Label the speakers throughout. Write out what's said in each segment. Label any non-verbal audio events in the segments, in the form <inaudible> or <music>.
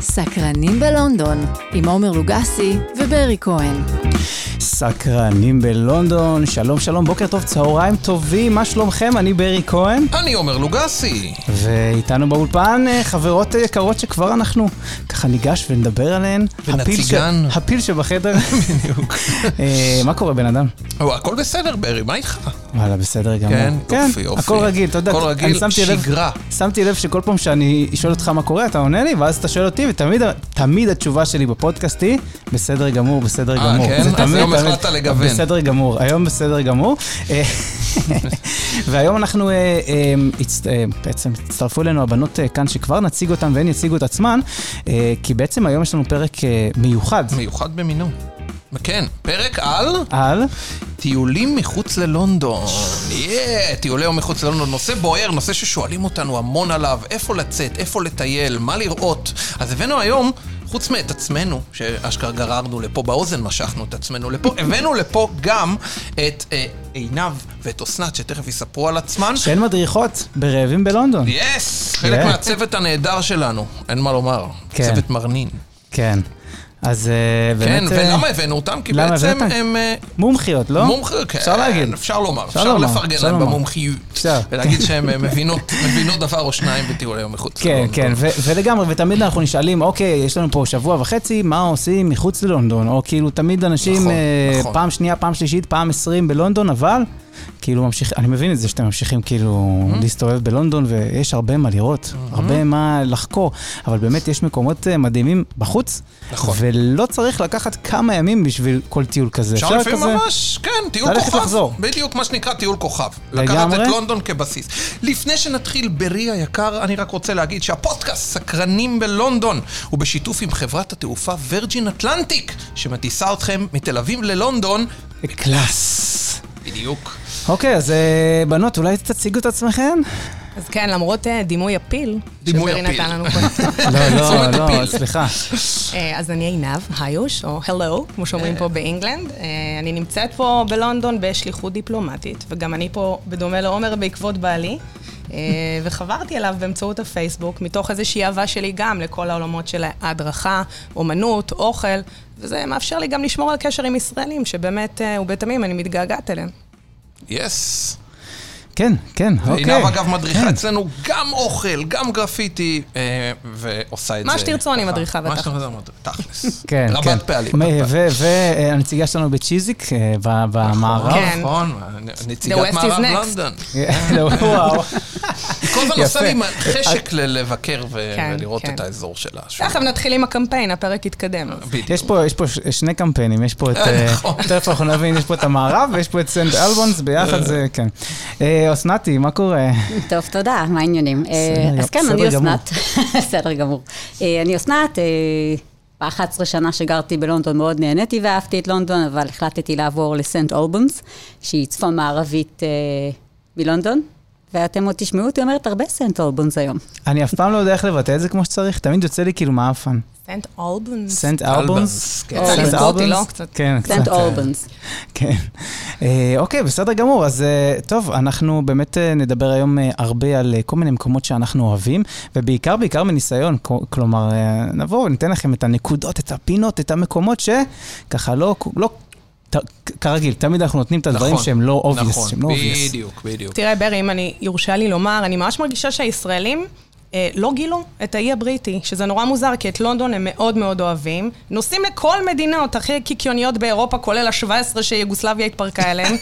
Speaker 1: סקרנים בלונדון, עם עומר לוגסי וברי כהן.
Speaker 2: סקרנים בלונדון, שלום שלום, בוקר טוב, צהריים טובים, מה שלומכם? אני ברי כהן,
Speaker 3: אני עומר לוגסי.
Speaker 2: ואיתנו באולפן אה, חברות יקרות שכבר אנחנו ככה ניגש ונדבר עליהן. הפיל, ש...
Speaker 3: ונציגן.
Speaker 2: הפיל שבחדר. <laughs>
Speaker 3: בדיוק.
Speaker 2: אה, מה קורה בן אדם?
Speaker 3: או, הכל בסדר, ברי, מה איתך?
Speaker 2: וואלה, בסדר גמור.
Speaker 3: כן, יופי, יופי.
Speaker 2: הכל רגיל, אתה יודע.
Speaker 3: הכל
Speaker 2: אני
Speaker 3: רגיל,
Speaker 2: שמתי לב-
Speaker 3: שגרה.
Speaker 2: שמתי לב שכל פעם שאני אשאל אותך מה קורה, אתה עונה לי, ואז אתה שואל אותי, ותמיד תמיד התשובה שלי בפודקאסט היא, בסדר גמור, בסדר
Speaker 3: אה,
Speaker 2: גמור.
Speaker 3: כן?
Speaker 2: זה
Speaker 3: אז
Speaker 2: תמיד,
Speaker 3: היום
Speaker 2: תמיד.
Speaker 3: החלטת לגוון.
Speaker 2: בסדר גמור, היום בסדר גמור. <laughs> אה, והיום אנחנו, אה, אה, הצט- אה, בעצם הצטרפו אלינו הבנות אה, כאן שכבר נציג אותן והן יציגו את עצמן, אה, כי בעצם היום יש לנו פרק אה, מיוחד
Speaker 3: מיוחד במינו. כן, פרק על
Speaker 2: על...
Speaker 3: טיולים מחוץ ללונדון. יאה, טיולי יום מחוץ ללונדון. נושא בוער, נושא ששואלים אותנו המון עליו, איפה לצאת, איפה לטייל, מה לראות. אז הבאנו היום, חוץ מאת עצמנו, שאשכרה גררנו לפה באוזן, משכנו את עצמנו לפה, הבאנו לפה גם את אה, עינב ואת אסנת, שתכף יספרו על עצמן.
Speaker 2: שאין מדריכות ברעבים בלונדון.
Speaker 3: יס! חלק
Speaker 2: כן.
Speaker 3: מהצוות הנהדר שלנו, אין מה לומר.
Speaker 2: כן.
Speaker 3: צוות מרנין.
Speaker 2: כן. אז אה,
Speaker 3: כן,
Speaker 2: באמת... אה,
Speaker 3: ולמה הבאנו אותם? כי
Speaker 2: למה
Speaker 3: בעצם
Speaker 2: הבאת?
Speaker 3: הם... אה,
Speaker 2: מומחיות, לא?
Speaker 3: מומחיות, כן,
Speaker 2: אפשר להגיד.
Speaker 3: אפשר לומר,
Speaker 2: אפשר
Speaker 3: אפשר
Speaker 2: לומר,
Speaker 3: לפרגן
Speaker 2: אפשר
Speaker 3: להם
Speaker 2: לומר.
Speaker 3: במומחיות,
Speaker 2: אפשר.
Speaker 3: ולהגיד שהן אה, מבינות מבינות דבר או שניים בטיול היום מחוץ
Speaker 2: כן,
Speaker 3: ללונדון.
Speaker 2: כן, ו- ולגמרי, ותמיד אנחנו נשאלים, אוקיי, יש לנו פה שבוע וחצי, מה עושים מחוץ ללונדון? או כאילו, תמיד אנשים,
Speaker 3: נכון,
Speaker 2: אה,
Speaker 3: נכון.
Speaker 2: פעם שנייה, פעם שלישית, פעם עשרים בלונדון, אבל, כאילו, ממשיך, אני מבין את זה שאתם ממשיכים כאילו
Speaker 3: Mm-hmm.
Speaker 2: להסתובב בלונדון, ויש הרבה מה לראות, הרבה מה לחקור, אבל באמת יש מקומות אה, מדהימים בחוץ,
Speaker 3: נכון.
Speaker 2: ולא צריך לקחת כמה ימים בשביל כל טיול כזה.
Speaker 3: אפשר לפעמים ממש, כן, טיול
Speaker 2: ללכת
Speaker 3: כוכב.
Speaker 2: לחזור.
Speaker 3: בדיוק, מה שנקרא טיול כוכב. לקחת
Speaker 2: לגמרי.
Speaker 3: את לונדון כבסיס. לפני שנתחיל, ברי היקר, אני רק רוצה להגיד שהפודקאסט סקרנים בלונדון הוא בשיתוף עם חברת התעופה וירג'ין אטלנטיק, שמטיסה אתכם מתל אביב ללונדון.
Speaker 2: קלאס.
Speaker 3: בדיוק.
Speaker 2: אוקיי, אז אה, בנות, אולי תציגו את עצמכן?
Speaker 4: אז כן, למרות אה, דימוי הפיל,
Speaker 3: דימוי
Speaker 4: שברי
Speaker 3: הפיל.
Speaker 4: נתן לנו
Speaker 3: <laughs>
Speaker 4: קודם.
Speaker 2: לא, לא,
Speaker 3: תשומת
Speaker 2: לא,
Speaker 3: הפיל.
Speaker 2: סליחה.
Speaker 4: אה, אז אני עינב, היוש, או הלו, כמו שאומרים פה באינגלנד. אה, אני נמצאת פה בלונדון בשליחות דיפלומטית, וגם אני פה, בדומה לעומר, בעקבות בעלי, אה,
Speaker 3: <laughs>
Speaker 4: וחברתי אליו באמצעות הפייסבוק, מתוך איזושהי אהבה שלי גם לכל העולמות של ההדרכה, אומנות, אוכל, וזה מאפשר לי גם לשמור על קשר עם ישראלים, שבאמת אה, ובתמים אני מתגעגעת אליהם.
Speaker 3: יס.
Speaker 2: כן, כן, אוקיי.
Speaker 3: עינב אגב מדריכה
Speaker 2: כן.
Speaker 3: אצלנו גם אוכל, גם גרפיטי, אה, ועושה את זה.
Speaker 4: מה שתרצו, אני
Speaker 3: ככה.
Speaker 4: מדריכה
Speaker 3: מה
Speaker 4: בתכלס.
Speaker 3: שתרצו, אני מדריכה, תכלס.
Speaker 2: כן, כן.
Speaker 3: רבת פעלים. רבת פעלים.
Speaker 2: והנציגה אה, שלנו בצ'יזיק, אה, ב- במערב.
Speaker 4: כן.
Speaker 3: נכון,
Speaker 4: The
Speaker 3: נציגת
Speaker 4: West is
Speaker 3: מערב
Speaker 4: next.
Speaker 3: לונדון.
Speaker 2: <laughs> לא, וואו.
Speaker 3: היא כל הזמן עושה
Speaker 2: יפה.
Speaker 3: לי עם חשק ל- לבקר ו-
Speaker 4: כן,
Speaker 3: ולראות
Speaker 4: כן.
Speaker 3: את האזור שלה. שוב. אה.
Speaker 4: תכף נתחיל עם הקמפיין, הפרק יתקדם. אז
Speaker 3: בדיוק.
Speaker 2: יש פה, יש פה ש- שני קמפיינים, יש פה את...
Speaker 3: אה,
Speaker 2: אה,
Speaker 3: נכון.
Speaker 2: תכף אנחנו נבין, יש פה את המערב ויש פה את סנט אלבונס, ביחד זה, כן. אה, אסנתי, מה קורה?
Speaker 5: טוב, תודה, מה העניינים? אה,
Speaker 2: בסדר,
Speaker 5: אז כן,
Speaker 2: בסדר
Speaker 5: אני
Speaker 2: גמור.
Speaker 5: אסנת. <laughs> בסדר גמור. אה, אני אסנת, אה, ב-11 שנה שגרתי בלונדון מאוד נהניתי ואהבתי את לונדון, אבל החלטתי לעבור לסנט אולבונס, שהיא צפון מערבית אה, מלונדון, ואתם עוד תשמעו אותי אומרת הרבה סנט אולבונס היום.
Speaker 2: אני אף פעם לא יודע איך לבטא את זה כמו שצריך, תמיד יוצא לי כאילו מעפן.
Speaker 4: סנט אולבונס.
Speaker 2: סנט אלבונס?
Speaker 3: אלבונס, כן.
Speaker 2: סנט
Speaker 4: קצת
Speaker 2: אלבונס?
Speaker 4: סקוטי, לא? קצת.
Speaker 2: כן,
Speaker 5: סנט
Speaker 2: אה,
Speaker 5: אולבונס.
Speaker 2: כן. אה, אוקיי, בסדר גמור. אז אה, טוב, אנחנו באמת אה, נדבר היום אה, הרבה על אה, כל מיני מקומות שאנחנו אוהבים, ובעיקר, בעיקר מניסיון. כל- כלומר, אה, נבוא וניתן לכם את הנקודות, את הפינות, את המקומות שככה לא... לא ת, כרגיל, תמיד אנחנו נותנים את הדברים
Speaker 3: נכון,
Speaker 2: שהם לא obvious,
Speaker 3: נכון,
Speaker 2: שהם לא obvious.
Speaker 3: בדיוק, בדיוק.
Speaker 4: תראה, ברי, אם אני, יורשה לי לומר, אני ממש מרגישה שהישראלים אה, לא גילו את האי הבריטי, שזה נורא מוזר, כי את לונדון הם מאוד מאוד אוהבים. נוסעים לכל מדינות הכי קיקיוניות באירופה, כולל ה-17 שיוגוסלביה התפרקה אליהם.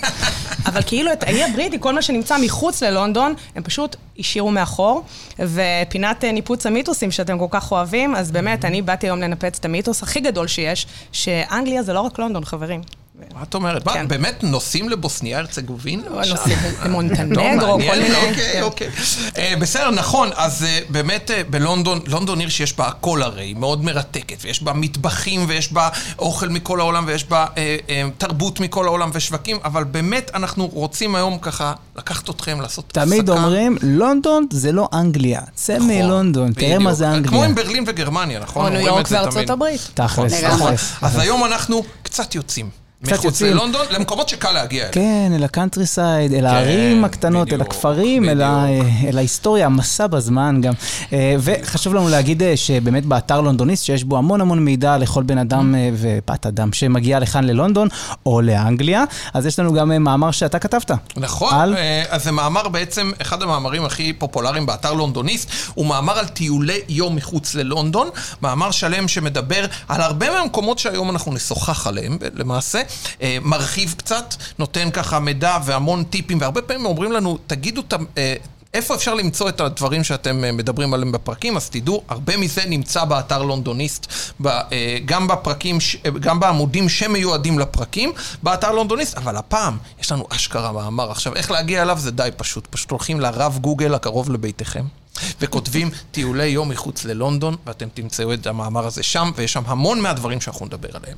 Speaker 4: אבל כאילו את האי הבריטי, כל מה שנמצא מחוץ ללונדון, הם פשוט השאירו מאחור. ופינת אה, ניפוץ המיתוסים שאתם כל כך אוהבים, אז באמת, אני באתי היום לנפץ את המיתוס הכי גדול שיש, שאנגליה זה לא רק לונדון, חברים.
Speaker 3: מה את אומרת? מה,
Speaker 4: כן.
Speaker 3: באמת נוסעים לבוסניה הרצגובינה? עכשיו?
Speaker 4: נוסעים למונטנגרו,
Speaker 3: לא,
Speaker 4: כל
Speaker 3: מעניין,
Speaker 4: מיני-
Speaker 3: אוקיי,
Speaker 4: כן.
Speaker 3: אוקיי. אה, בסדר, נכון, אז אה, באמת אה, בלונדון, לונדון עיר שיש בה הכל הרי, היא מאוד מרתקת, ויש בה מטבחים, ויש בה אוכל מכל העולם, ויש בה אה, אה, תרבות מכל העולם ושווקים, אבל באמת אנחנו רוצים היום ככה לקחת אתכם, לעשות הפסקה.
Speaker 2: תמיד אומרים, לונדון זה לא אנגליה. צא
Speaker 3: נכון,
Speaker 2: מלונדון, תראה
Speaker 3: בדיוק.
Speaker 2: מה זה
Speaker 3: כמו
Speaker 2: אנגליה.
Speaker 3: עם ברלין וגרמניה, נכון?
Speaker 4: או ניו
Speaker 3: אומרים את
Speaker 4: יורק
Speaker 3: זה
Speaker 4: וארצות
Speaker 3: תמיד. נכון.
Speaker 4: הברית.
Speaker 2: תכלס,
Speaker 5: לגמרי.
Speaker 2: תכלס.
Speaker 3: אז היום אנחנו קצת יוצאים.
Speaker 2: קצת
Speaker 3: מחוץ
Speaker 2: יוצאים.
Speaker 3: ללונדון, למקומות שקל להגיע אליהם.
Speaker 2: כן, אל הקאנטריסייד, אל הערים הקטנות,
Speaker 3: כן, בדיוק,
Speaker 2: אל הכפרים, אל, ה, אל ההיסטוריה, המסע בזמן גם. אה, וחשוב לנו להגיד אה, שבאמת באתר לונדוניסט, שיש בו המון המון מידע לכל בן אדם אה, ובת אדם שמגיע לכאן ללונדון או לאנגליה, אז יש לנו גם אה, מאמר שאתה כתבת.
Speaker 3: נכון,
Speaker 2: על?
Speaker 3: אה, אז זה מאמר בעצם, אחד המאמרים הכי פופולריים באתר לונדוניסט, הוא מאמר על טיולי יום מחוץ ללונדון, מאמר שלם שמדבר על הרבה מהמקומות שהיום אנחנו נשוחח עליהם ב- למעשה, אה, מרחיב קצת, נותן ככה מידע והמון טיפים, והרבה פעמים אומרים לנו, תגידו את ה... אה, איפה אפשר למצוא את הדברים שאתם אה, מדברים עליהם בפרקים? אז תדעו, הרבה מזה נמצא באתר לונדוניסט, ב- אה, גם בפרקים, ש- אה, גם בעמודים שמיועדים לפרקים, באתר לונדוניסט, אבל הפעם יש לנו אשכרה מאמר. עכשיו, איך להגיע אליו זה די פשוט. פשוט הולכים לרב גוגל הקרוב לביתכם, וכותבים טיולי יום מחוץ ללונדון, ואתם תמצאו את המאמר הזה שם, ויש שם המון מהדברים שאנחנו נדבר עליהם.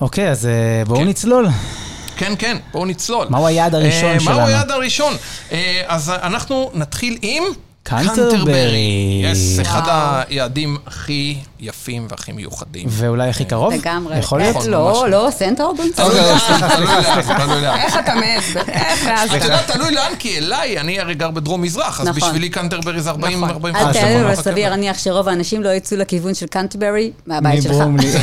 Speaker 2: אוקיי, אז אה, בואו
Speaker 3: כן.
Speaker 2: נצלול.
Speaker 3: כן, כן, בואו נצלול.
Speaker 2: מהו היעד הראשון
Speaker 3: אה,
Speaker 2: שלנו?
Speaker 3: מהו היעד הראשון? אה, אז אנחנו נתחיל עם...
Speaker 2: קנטרברי.
Speaker 3: יס, אחד
Speaker 5: וואו.
Speaker 3: היעדים הכי יפים והכי מיוחדים.
Speaker 2: ואולי
Speaker 3: כן.
Speaker 2: הכי קרוב?
Speaker 5: לגמרי.
Speaker 2: יכול
Speaker 5: אה,
Speaker 2: להיות? נכון,
Speaker 3: יכול, ממש.
Speaker 5: לא, לא, סנט אורבנס.
Speaker 3: תלוי לאן, תלוי לאן, תלוי לאן.
Speaker 4: איך אתה מעז?
Speaker 5: אה,
Speaker 4: איך
Speaker 3: אתה
Speaker 4: העזת?
Speaker 3: יודע, תלוי לאן, כי אליי, אני הרי גר בדרום-מזרח, אז
Speaker 5: נכון.
Speaker 3: בשבילי קנטרברי זה 40
Speaker 4: נכון.
Speaker 3: 40
Speaker 5: אל
Speaker 2: אה,
Speaker 5: תעלה
Speaker 2: סבבה.
Speaker 5: לו סביר, אני שרוב האנשים לא יצאו לכיוון של קנטברי מהבית שלך.
Speaker 2: מברומלי.
Speaker 3: זה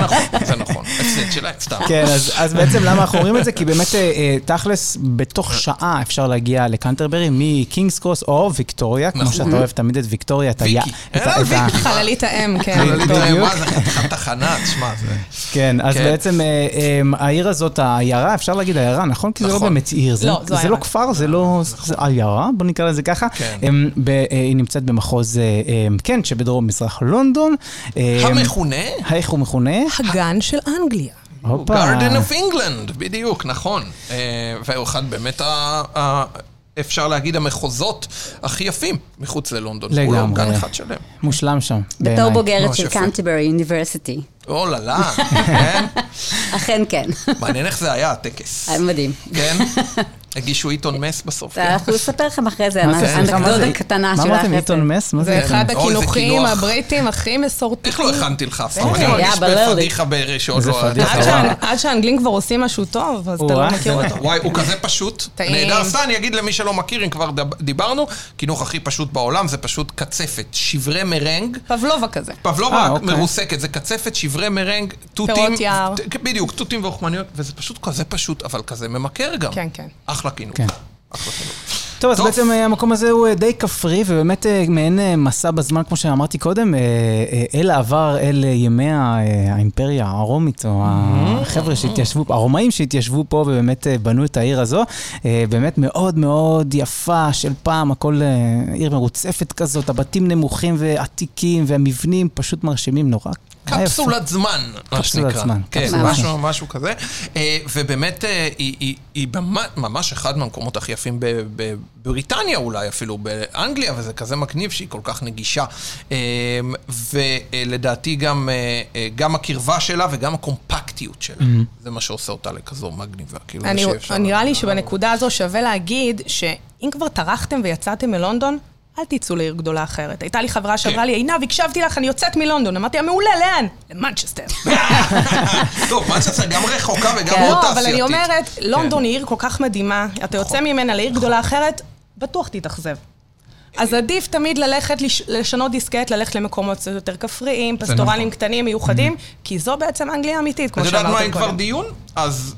Speaker 3: נכון, זה נכון. הפסד שלה, סתם.
Speaker 2: כן, אז, אז בעצם למה אנחנו אומרים את זה? כי באמת, אה, אה, תכלס, בתוך שעה אפשר להגיע לקנטרברי מקינגס קרוס או ויקטוריה, כמו
Speaker 3: נכון.
Speaker 2: שאתה אוהב תמיד את ויקטוריה, את
Speaker 3: ויקי.
Speaker 2: ה...
Speaker 3: אה,
Speaker 2: את ה- את ה-
Speaker 4: חללית האם, כן.
Speaker 3: אבל
Speaker 2: בדיוק.
Speaker 3: תראה, מה זה, חתיכת תחנה, תשמע, זה...
Speaker 2: כן, אז
Speaker 3: כן.
Speaker 2: בעצם אה, אה, העיר הזאת, העיירה, אפשר להגיד עיירה, נכון? כי זה לא
Speaker 3: נכון.
Speaker 2: באמת עיר, זה-
Speaker 4: לא, זו
Speaker 2: זה לא
Speaker 4: עיירה.
Speaker 2: כפר, זה לא זה עיירה, בוא נקרא לזה ככה.
Speaker 3: כן.
Speaker 2: אמ, ב- אה, היא נמצאת במחוז אה, אמ, קנט שבדרום-מזרח לונדון. אמ,
Speaker 3: המכונה?
Speaker 2: איך הוא מכונה?
Speaker 4: הגן של אנגליה.
Speaker 2: הופה.
Speaker 3: Garden of England, בדיוק, נכון. אה, והוא אחד באמת, ה- ה- אפשר להגיד, המחוזות הכי יפים מחוץ ללונדון.
Speaker 2: לגמרי.
Speaker 3: כולו גן אחד שלם.
Speaker 2: מושלם שם,
Speaker 5: בתור
Speaker 2: בעיניי.
Speaker 5: בוגרת
Speaker 3: ממש
Speaker 5: של
Speaker 3: יפה.
Speaker 5: קנטברי יוניברסיטי.
Speaker 3: אוללה, לא, כן?
Speaker 5: אכן
Speaker 2: <laughs>
Speaker 5: כן.
Speaker 3: מעניין איך זה היה הטקס.
Speaker 5: מדהים.
Speaker 3: כן? הגישו עיתון מס בסוף. כן?
Speaker 5: אנחנו נספר לכם אחרי זה,
Speaker 2: מה זה? סליחה, מה זה?
Speaker 5: אנקדודה קטנה
Speaker 2: מה
Speaker 5: של
Speaker 2: אמרתם, עיתון מס? מה זה
Speaker 4: זה אחד
Speaker 3: אוי, זה
Speaker 4: הקינוחים
Speaker 3: קינוח.
Speaker 4: הבריטים הכי מסורתיים.
Speaker 3: איך לא הכנתי לך אף פעם?
Speaker 5: בסדר,
Speaker 3: אני
Speaker 5: היה
Speaker 3: מרגיש
Speaker 5: ברור לי.
Speaker 3: בפדיחה בראשון.
Speaker 2: איזה
Speaker 3: לא-
Speaker 2: פדיחה.
Speaker 4: עד
Speaker 2: אה,
Speaker 4: שהאנ-
Speaker 2: אה.
Speaker 4: עד שהאנגלים כבר עושים משהו טוב, אז אתה
Speaker 2: או-אה.
Speaker 4: לא מכיר אותו.
Speaker 3: <laughs> וואי, הוא כזה פשוט.
Speaker 4: טעים.
Speaker 3: נהדר סע, אני אגיד למי שלא מכיר, אם כבר דב- דיברנו, קינוח הכי פשוט בעולם זה פשוט קצפת. שברי מרנג,
Speaker 4: פבלובה כזה.
Speaker 3: פבלובה
Speaker 2: אה, אוקיי.
Speaker 3: מרוסקת, זה קצפת, שברי מרנג, תותים.
Speaker 4: פירות יער.
Speaker 3: ת- בדיוק, תותים ואוכמניות, וזה פשוט כזה פשוט, אבל כזה ממכר גם.
Speaker 4: כן, כן.
Speaker 3: אחלה קינוח.
Speaker 2: כן.
Speaker 3: אחלה קינוח.
Speaker 2: טוב, אז
Speaker 3: טוב.
Speaker 2: בעצם אה, המקום הזה הוא אה, די כפרי, ובאמת אה, מעין אה, מסע בזמן, כמו שאמרתי קודם, אה, אה, אל העבר, אל אה, ימי ה- אה, האימפריה הרומית, או
Speaker 3: Mm-hmm.
Speaker 2: החבר'ה שהתיישבו, הרומאים שהתיישבו פה ובאמת אה, בנו את העיר הזו. אה, באמת מאוד מאוד יפה של פעם, הכל אה, עיר מרוצפת כזאת, הבתים נמוכים ועתיקים, והמבנים פשוט מרשימים נורא. היה יפה.
Speaker 3: קפסולת זמן, מה
Speaker 2: קפסולת
Speaker 3: שנקרא.
Speaker 2: זמן,
Speaker 3: כן,
Speaker 2: קפסולת
Speaker 3: משהו, משהו כזה. אה, ובאמת, אה, היא- היא- היא במה- ממש אחד מהמקומות הכי יפים ב- בבריטניה אולי, אפילו באנגליה, וזה כזה מגניב שהיא כל כך נגישה. אה, ולדעתי גם אה, גם הקרבה שלה וגם הקומפקטיות שלה. זה מה שעושה אותה לכזו מגניבה. כאילו, זה
Speaker 4: אני-
Speaker 3: שאפשר-
Speaker 4: נראה לי שבנקודה הזו שווה להגיד שאם כבר טרחתם ויצאתם מלונדון, אל תצאו לעיר גדולה אחרת. הייתה לי חברה שאמרה
Speaker 3: כן.
Speaker 4: לי, עינב, הקשבתי לך, אני יוצאת מלונדון. אמרתי לה, מעולה, לאן? למנצ'סטר.
Speaker 3: טוב, מה שעשה גם רחוקה וגם מאוד
Speaker 4: לא,
Speaker 3: תעשייתית.
Speaker 4: אבל אני אומרת,
Speaker 3: כן.
Speaker 4: לונדון היא עיר כל כך מדהימה, אתה יוצא
Speaker 3: נכון.
Speaker 4: ממנה לעיר גדולה אחרת, בטוח תתאכזב. אז
Speaker 3: אה,
Speaker 4: עדיף תמיד ללכת, לש- לשנות דיסקט, ללכת למקומות קצת יותר כפריים, פסטורליים קטנים, מיוחדים, כי זו בעצם אנגליה אמיתית, כמו
Speaker 3: נכון. את יודעת מה,
Speaker 4: שאמרתם
Speaker 3: אם כבר
Speaker 4: קודם.
Speaker 3: דיון, אז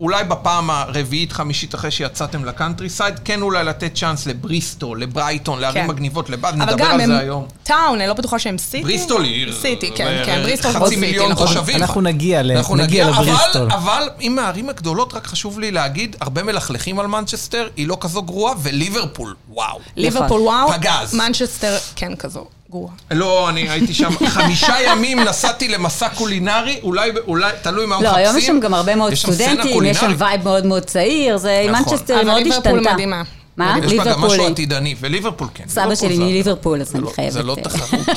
Speaker 3: אולי בפעם הרביעית, חמישית, אחרי שיצאתם לקאנטרי סייד, כן אולי לתת צ'אנס לבריסטול, לברייטון, לערים
Speaker 4: כן.
Speaker 3: מגניבות לבד,
Speaker 4: אבל
Speaker 3: נדבר
Speaker 4: גם
Speaker 3: על
Speaker 4: הם
Speaker 3: זה היום.
Speaker 4: טאון, אני לא בטוחה שהם סיטי.
Speaker 3: בריסטול היא עיר.
Speaker 4: סיטי, כן,
Speaker 3: ו-
Speaker 4: כן,
Speaker 3: ו-
Speaker 4: בריסטול כמו
Speaker 3: חצי
Speaker 4: סיטי,
Speaker 3: מיליון
Speaker 4: נכון.
Speaker 3: תושבים.
Speaker 2: אנחנו נגיע ל-
Speaker 3: אנחנו
Speaker 2: נגיע
Speaker 3: נגיע,
Speaker 2: לבריסטול.
Speaker 3: אבל, אבל אם הערים הגדולות, רק חשוב לי להגיד, הרבה מלכלכים על מנצ'סטר, היא לא כזו גרועה, וליברפול, וואו.
Speaker 4: <laughs> ליברפול וואו,
Speaker 3: פגז.
Speaker 4: מנצ'סטר, כן, כזו,
Speaker 3: <laughs>
Speaker 4: גרועה.
Speaker 3: לא, אני הייתי
Speaker 5: <laughs>
Speaker 3: שם חמישה ימים, נסעתי למסע קולינרי, אולי, אולי, תלוי מה
Speaker 5: לא,
Speaker 3: מחפשים.
Speaker 5: היום יש שם גם הרבה מאוד
Speaker 3: יש שם סצנה
Speaker 5: סטודנטים, יש שם
Speaker 3: קולינרית.
Speaker 5: וייב מאוד מאוד צעיר, זה
Speaker 3: נכון.
Speaker 5: מנצ'סטר
Speaker 2: אה,
Speaker 4: אבל
Speaker 5: היא מאוד
Speaker 4: ליברפול
Speaker 5: השתנתה.
Speaker 4: מדהימה.
Speaker 5: מה?
Speaker 3: יש בה גם משהו
Speaker 5: ליברפול. היא-
Speaker 3: עתידני, וליברפול כן.
Speaker 5: סבא
Speaker 3: ליברפול
Speaker 5: שלי
Speaker 3: זה-
Speaker 5: מליברפול, אז
Speaker 3: זה
Speaker 5: אני
Speaker 3: לא-
Speaker 5: חייבת...
Speaker 3: זה לא
Speaker 5: אה,
Speaker 3: תחרות,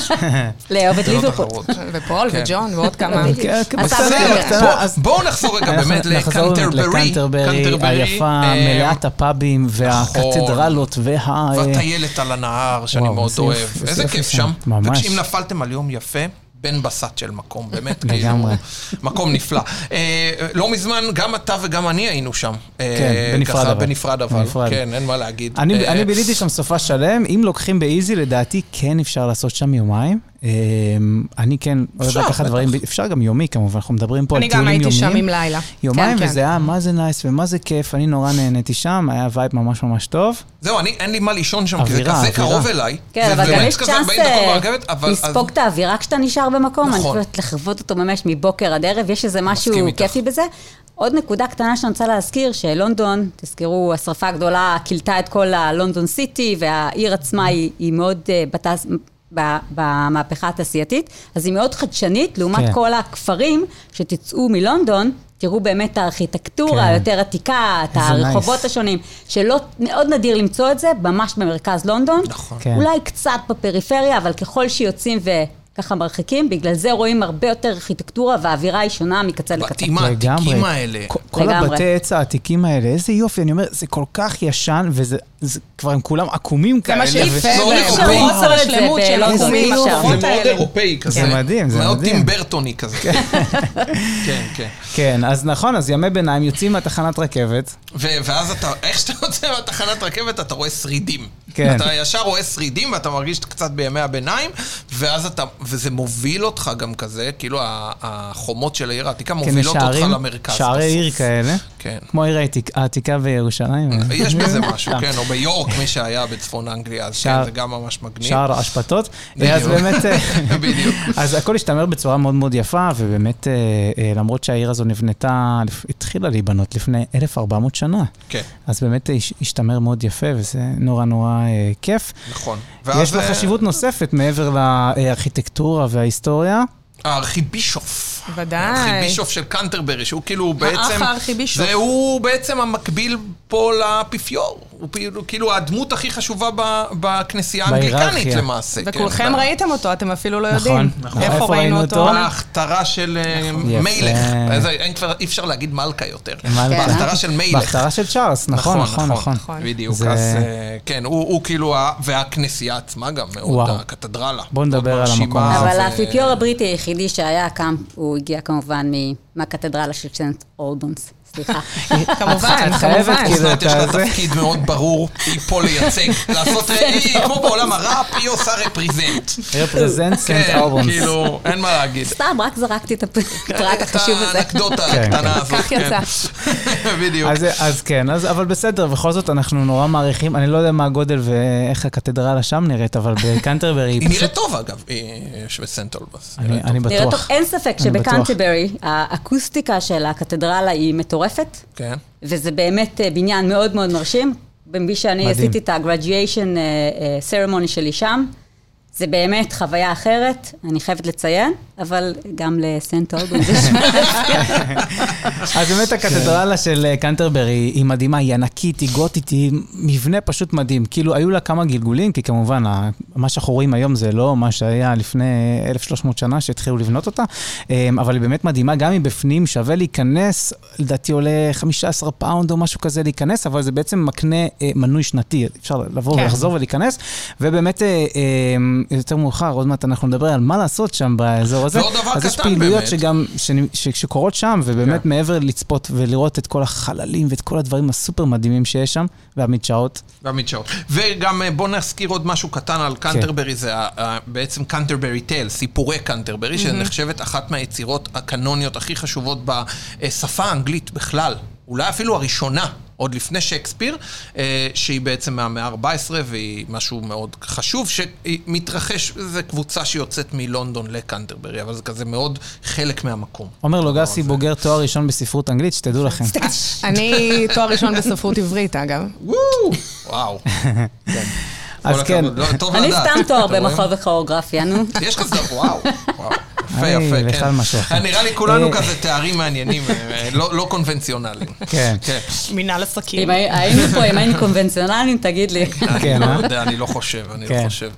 Speaker 5: לאהוב את
Speaker 3: זה לא
Speaker 5: ליברפול. <laughs>
Speaker 3: תחרות.
Speaker 4: ופול
Speaker 3: כן.
Speaker 4: וג'ון
Speaker 3: <laughs>
Speaker 4: ועוד כמה.
Speaker 2: כן, כן,
Speaker 5: הסבא
Speaker 2: בסדר,
Speaker 5: שלי.
Speaker 2: קטנה,
Speaker 3: בוא-
Speaker 2: אז-
Speaker 3: בואו נחזור רגע
Speaker 2: אנחנו
Speaker 3: באמת
Speaker 2: נחזור
Speaker 3: לקנטרברי.
Speaker 2: לקנטרברי היפה,
Speaker 3: אה, נכון.
Speaker 2: מלאת הפאבים והקתדרלות וה... אה,
Speaker 3: והטיילת על הנהר, שאני
Speaker 2: וואו,
Speaker 3: מאוד
Speaker 2: איזה
Speaker 3: אוהב.
Speaker 2: יופי, איזה
Speaker 3: איזה
Speaker 2: יופי
Speaker 3: כיף
Speaker 2: שם.
Speaker 3: שם.
Speaker 2: ממש.
Speaker 3: תקשיב, אם נפלתם על יום יפה, בן בסט של מקום, באמת,
Speaker 2: לגמרי.
Speaker 3: כאילו, מקום נפלא. אה, לא מזמן, גם אתה וגם אני היינו שם. אה,
Speaker 2: כן, בנפרד
Speaker 3: ככה,
Speaker 2: אבל.
Speaker 3: בנפרד אבל,
Speaker 2: בנפרד.
Speaker 3: כן, אין מה להגיד.
Speaker 2: אני,
Speaker 3: אה,
Speaker 2: אני ביליתי שם סופה שלם, אם לוקחים באיזי, לדעתי כן אפשר לעשות שם יומיים. אמ, אני כן אוהב
Speaker 3: אפשר,
Speaker 2: לקחת
Speaker 3: בטח.
Speaker 2: דברים, ב- אפשר גם יומי כמובן, אנחנו מדברים פה על
Speaker 4: אני
Speaker 2: טיולים
Speaker 4: גם
Speaker 2: יומיים.
Speaker 4: הייתי שם עם לילה.
Speaker 2: יומיים,
Speaker 4: כן, כן.
Speaker 2: וזה היה מה זה נייס ומה זה כיף, אני נורא נהניתי שם, היה וייב ממש ממש טוב.
Speaker 3: זהו, אני, אין לי מה לישון שם, כי זה
Speaker 2: אווירה,
Speaker 3: כזה
Speaker 2: אווירה.
Speaker 3: קרוב אליי.
Speaker 5: כן,
Speaker 3: זה
Speaker 5: אבל גם
Speaker 3: באמת
Speaker 5: יש
Speaker 3: כזה
Speaker 5: צ'אנס
Speaker 3: 40 דקות
Speaker 5: אה,
Speaker 3: ברכבת, אבל- אז-
Speaker 5: לספוג את האווירה כשאתה נשאר במקום. אני
Speaker 3: נכון.
Speaker 5: חושבת לחוות אותו ממש מבוקר עד ערב, יש איזה משהו
Speaker 3: מסכים איתך.
Speaker 5: כיפי בזה. עוד נקודה קטנה שאני רוצה להזכיר, שלונדון, תזכרו, השרפה הגדולה כילתה את כל הלונדון סיטי, והעיר עצמה היא, היא מאוד אה, בתעש- ב- במהפכה התעשייתית, אז היא מאוד חדשנית לעומת
Speaker 2: כן.
Speaker 5: כל הכפרים שתצאו מלונדון. תראו באמת את הארכיטקטורה
Speaker 2: כן.
Speaker 5: היותר עתיקה, את
Speaker 2: איזה
Speaker 5: הרחובות
Speaker 2: nice.
Speaker 5: השונים, שלא, מאוד נדיר למצוא את זה, ממש במרכז לונדון.
Speaker 3: נכון.
Speaker 2: כן.
Speaker 5: אולי קצת בפריפריה, אבל ככל שיוצאים וככה מרחיקים, בגלל זה רואים הרבה יותר ארכיטקטורה והאווירה היא שונה מקצה לקצה.
Speaker 3: בתים העתיקים
Speaker 2: לגמרי.
Speaker 3: האלה.
Speaker 2: כ- כל
Speaker 5: לגמרי.
Speaker 2: הבתי עץ העתיקים האלה, איזה יופי, אני אומר, זה כל כך ישן, וזה זה- כבר הם כולם עקומים
Speaker 4: זה
Speaker 2: כאלה.
Speaker 4: מה שיפה,
Speaker 2: וזה-
Speaker 3: לא
Speaker 4: ואי
Speaker 3: אירופאי.
Speaker 4: אפשר למצוא
Speaker 5: זה
Speaker 4: שלמות של
Speaker 5: באיזה
Speaker 4: התחומים,
Speaker 3: זה
Speaker 5: יופי.
Speaker 4: השערות
Speaker 3: מאוד
Speaker 4: האלה.
Speaker 3: אירופאי כזה.
Speaker 2: זה מדהים, זה
Speaker 3: מאוד
Speaker 2: מדהים.
Speaker 3: טימברטוני כזה. כן, כן.
Speaker 2: כן, אז נכון, אז ימי ביניים יוצאים מהתחנת רכבת.
Speaker 3: ו- ואז אתה, איך שאתה יוצא מהתחנת רכבת, אתה רואה שרידים.
Speaker 2: כן.
Speaker 3: אתה ישר רואה שרידים, ואתה מרגיש קצת בימי הביניים, ואז אתה, וזה מוביל אותך גם כזה, כאילו ה- החומות של העיר העתיקה
Speaker 2: כן, יש
Speaker 3: מובילות אותך
Speaker 2: שערים,
Speaker 3: למרכז.
Speaker 2: שערי
Speaker 3: בסוף.
Speaker 2: עיר כאלה.
Speaker 3: כן. אה,
Speaker 2: כמו העיר העתיק- העתיקה אה, בירושלים.
Speaker 3: יש בזה
Speaker 2: <laughs>
Speaker 3: משהו, כן, או ביורק, מי שהיה בצפון אנגליה, אז כן,
Speaker 2: שער-
Speaker 3: זה גם ממש מגניב.
Speaker 2: שער האשפתות.
Speaker 3: בדיוק.
Speaker 2: אז באמת... אה, <laughs>
Speaker 3: <laughs> בדיוק.
Speaker 2: אז הכל השתמר בצורה מאוד מאוד יפה, ובאמת, אה, אה, למרות שהעיר הזו נבנתה, לפ- התחילה להיבנות לפני 1,400 שנה.
Speaker 3: כן.
Speaker 2: אז באמת אה, הש- השתמר מאוד יפה, וזה נורא נורא אה, כיף.
Speaker 3: נכון.
Speaker 2: יש לה
Speaker 3: אה,
Speaker 2: חשיבות נוספת מעבר לארכיטקטורה וההיסטוריה.
Speaker 3: הארכיבישוף.
Speaker 4: ודאי.
Speaker 3: הארכיבישוף של קנטרברי, שהוא כאילו בעצם...
Speaker 4: הארכיבישוף.
Speaker 3: זה הוא בעצם המקביל פה לאפיפיור. הוא כאילו, כאילו הדמות הכי חשובה ב, בכנסייה
Speaker 2: בהיררכיה.
Speaker 3: האנגליקנית למעשה. כן.
Speaker 4: וכולכם ראיתם אותו, אתם אפילו לא יודעים.
Speaker 2: נכון, נכון.
Speaker 4: איפה ראינו אותו?
Speaker 3: בהכתרה של אה,
Speaker 2: יפה. כן,
Speaker 3: מלך. אז אין כבר- אי אפשר להגיד מלכה יותר.
Speaker 2: מלכה.
Speaker 3: כן. בהכתרה של מלך.
Speaker 2: בהכתרה של צ'ארלס, נכון, נכון, נכון.
Speaker 3: בדיוק,
Speaker 2: זה-
Speaker 3: אז אה, כן, הוא הוא כאילו, ה- והכנסייה עצמה גם מאוד,
Speaker 2: וואו.
Speaker 3: הקתדרלה.
Speaker 2: בוא נדבר
Speaker 3: מאוד
Speaker 2: על המקום
Speaker 3: מרשימה,
Speaker 2: הזה.
Speaker 5: אבל
Speaker 3: ו-
Speaker 5: האפיפיור הבריטי היחידי שהיה כאן, הוא הגיע כמובן מ- מהקתדרלה של סנט אולבונס,
Speaker 3: <laughs>
Speaker 5: סליחה.
Speaker 4: אה, כמובן,
Speaker 2: את חייבת,
Speaker 4: כמובן.
Speaker 2: כאילו,
Speaker 3: אסנת יש
Speaker 2: אתה
Speaker 3: לה
Speaker 2: זה?
Speaker 3: תפקיד מאוד ברור, היא פה
Speaker 2: <laughs>
Speaker 3: לייצג, לעשות, היא כמו בעולם הראפ, היא עושה רפרזנט.
Speaker 2: רפרזנט סנט
Speaker 3: כן,
Speaker 2: אורבונס.
Speaker 3: כאילו, אין מה להגיד.
Speaker 5: סתם, רק זרקתי את הפרט החשוב
Speaker 3: כן, את
Speaker 5: הזה.
Speaker 3: האנקדוטה
Speaker 2: כן,
Speaker 3: הקטנה הזאת.
Speaker 4: כך יצא.
Speaker 3: כן. <laughs> בדיוק.
Speaker 2: אז, אז כן, אז, אבל בסדר, בכל זאת אנחנו נורא מעריכים, אני לא יודע מה הגודל ואיך הקתדרלה שם נראית, אבל בקנטרברי
Speaker 3: היא
Speaker 2: היא פשוט...
Speaker 3: נראית טוב, אגב, היא- בסנט אולבס.
Speaker 2: אני, אני
Speaker 5: נראה טוב,
Speaker 2: בטוח.
Speaker 5: אין ספק
Speaker 2: אני בטוח.
Speaker 5: שבקנטברי האקוסטיקה של הקתדרלה היא מטורפת,
Speaker 3: כן.
Speaker 5: וזה באמת אה, בניין מאוד מאוד מרשים. במי שאני
Speaker 2: מדהים.
Speaker 5: עשיתי את ה-graduation אה, ceremony שלי שם, זה באמת חוויה אחרת, אני חייבת לציין, אבל גם לסנט אולבון
Speaker 3: <laughs>
Speaker 5: זה שם.
Speaker 2: אז
Speaker 3: כן.
Speaker 2: באמת הקתדרלה של אה, קנטרברי היא מדהימה, היא ענקית, היא גותית, היא מבנה פשוט מדהים. כאילו, היו לה כמה גלגולים, כי כמובן, ה- מה שאנחנו רואים היום זה לא מה שהיה לפני 1,300 שנה שהתחילו לבנות אותה, אה, אבל היא באמת מדהימה, גם מבפנים שווה להיכנס, לדעתי עולה 15 פאונד או משהו כזה להיכנס, אבל זה בעצם מקנה אה, מנוי שנתי, אפשר לבוא
Speaker 4: כן.
Speaker 2: ולחזור ולהיכנס, ובאמת, אה, אה, יותר מאוחר, עוד מעט אנחנו נדבר על מה לעשות שם באזור הזה.
Speaker 3: ועוד דבר
Speaker 2: אז יש
Speaker 3: קטן
Speaker 2: פעילויות
Speaker 3: באמת.
Speaker 2: שגם, שנ- ש- שקורות שם, ובאמת
Speaker 3: כן.
Speaker 2: מעבר לצפות ולראות את כל החללים ואת כל הדברים הסופר מדהימים שיש שם, והמדשאות.
Speaker 3: והמדשאות. וגם אה, בוא נזכיר עוד משהו קטן על קנטרברי, זה ה- ה- בעצם קנטרברי טייל, סיפורי קנטרברי, שנחשבת אחת מהיצירות הקנוניות הכי חשובות בשפה האנגלית בכלל, אולי אפילו הראשונה. עוד לפני שייקספיר, אה, שהיא בעצם מהמאה ה-14 והיא משהו מאוד חשוב, שמתרחש, זו קבוצה שיוצאת מלונדון לקנטרברי, אבל זה כזה מאוד חלק מהמקום.
Speaker 2: עומר לוגסי בוגר תואר ראשון בספרות אנגלית, שתדעו לכם.
Speaker 4: אני תואר ראשון בספרות עברית, אגב.
Speaker 3: וואו! וואו.
Speaker 2: אז
Speaker 3: כל
Speaker 2: כן.
Speaker 3: הכבוד, לא, טוב
Speaker 5: אני
Speaker 3: לדעת.
Speaker 5: סתם תואר
Speaker 3: אתה רואה?
Speaker 5: במחול וכוריאוגרפיה, נו.
Speaker 3: יש לך סדר, וואו, וואו. יפה,
Speaker 2: אני
Speaker 3: יפה.
Speaker 2: בכלל
Speaker 3: כן.
Speaker 2: משהו אחר.
Speaker 3: נראה לי כולנו
Speaker 2: אה.
Speaker 3: כזה תארים מעניינים, אה, לא לא קונבנציונליים.
Speaker 2: כן.
Speaker 4: מינהל
Speaker 5: אם
Speaker 4: עסקים.
Speaker 5: הי- היינו פה, אם היינו קונבנציונליים, תגיד לי.
Speaker 3: אני
Speaker 2: כן,
Speaker 3: לא
Speaker 2: אה?
Speaker 3: יודע, אני לא חושב, אני לא
Speaker 2: כן.
Speaker 3: חושב.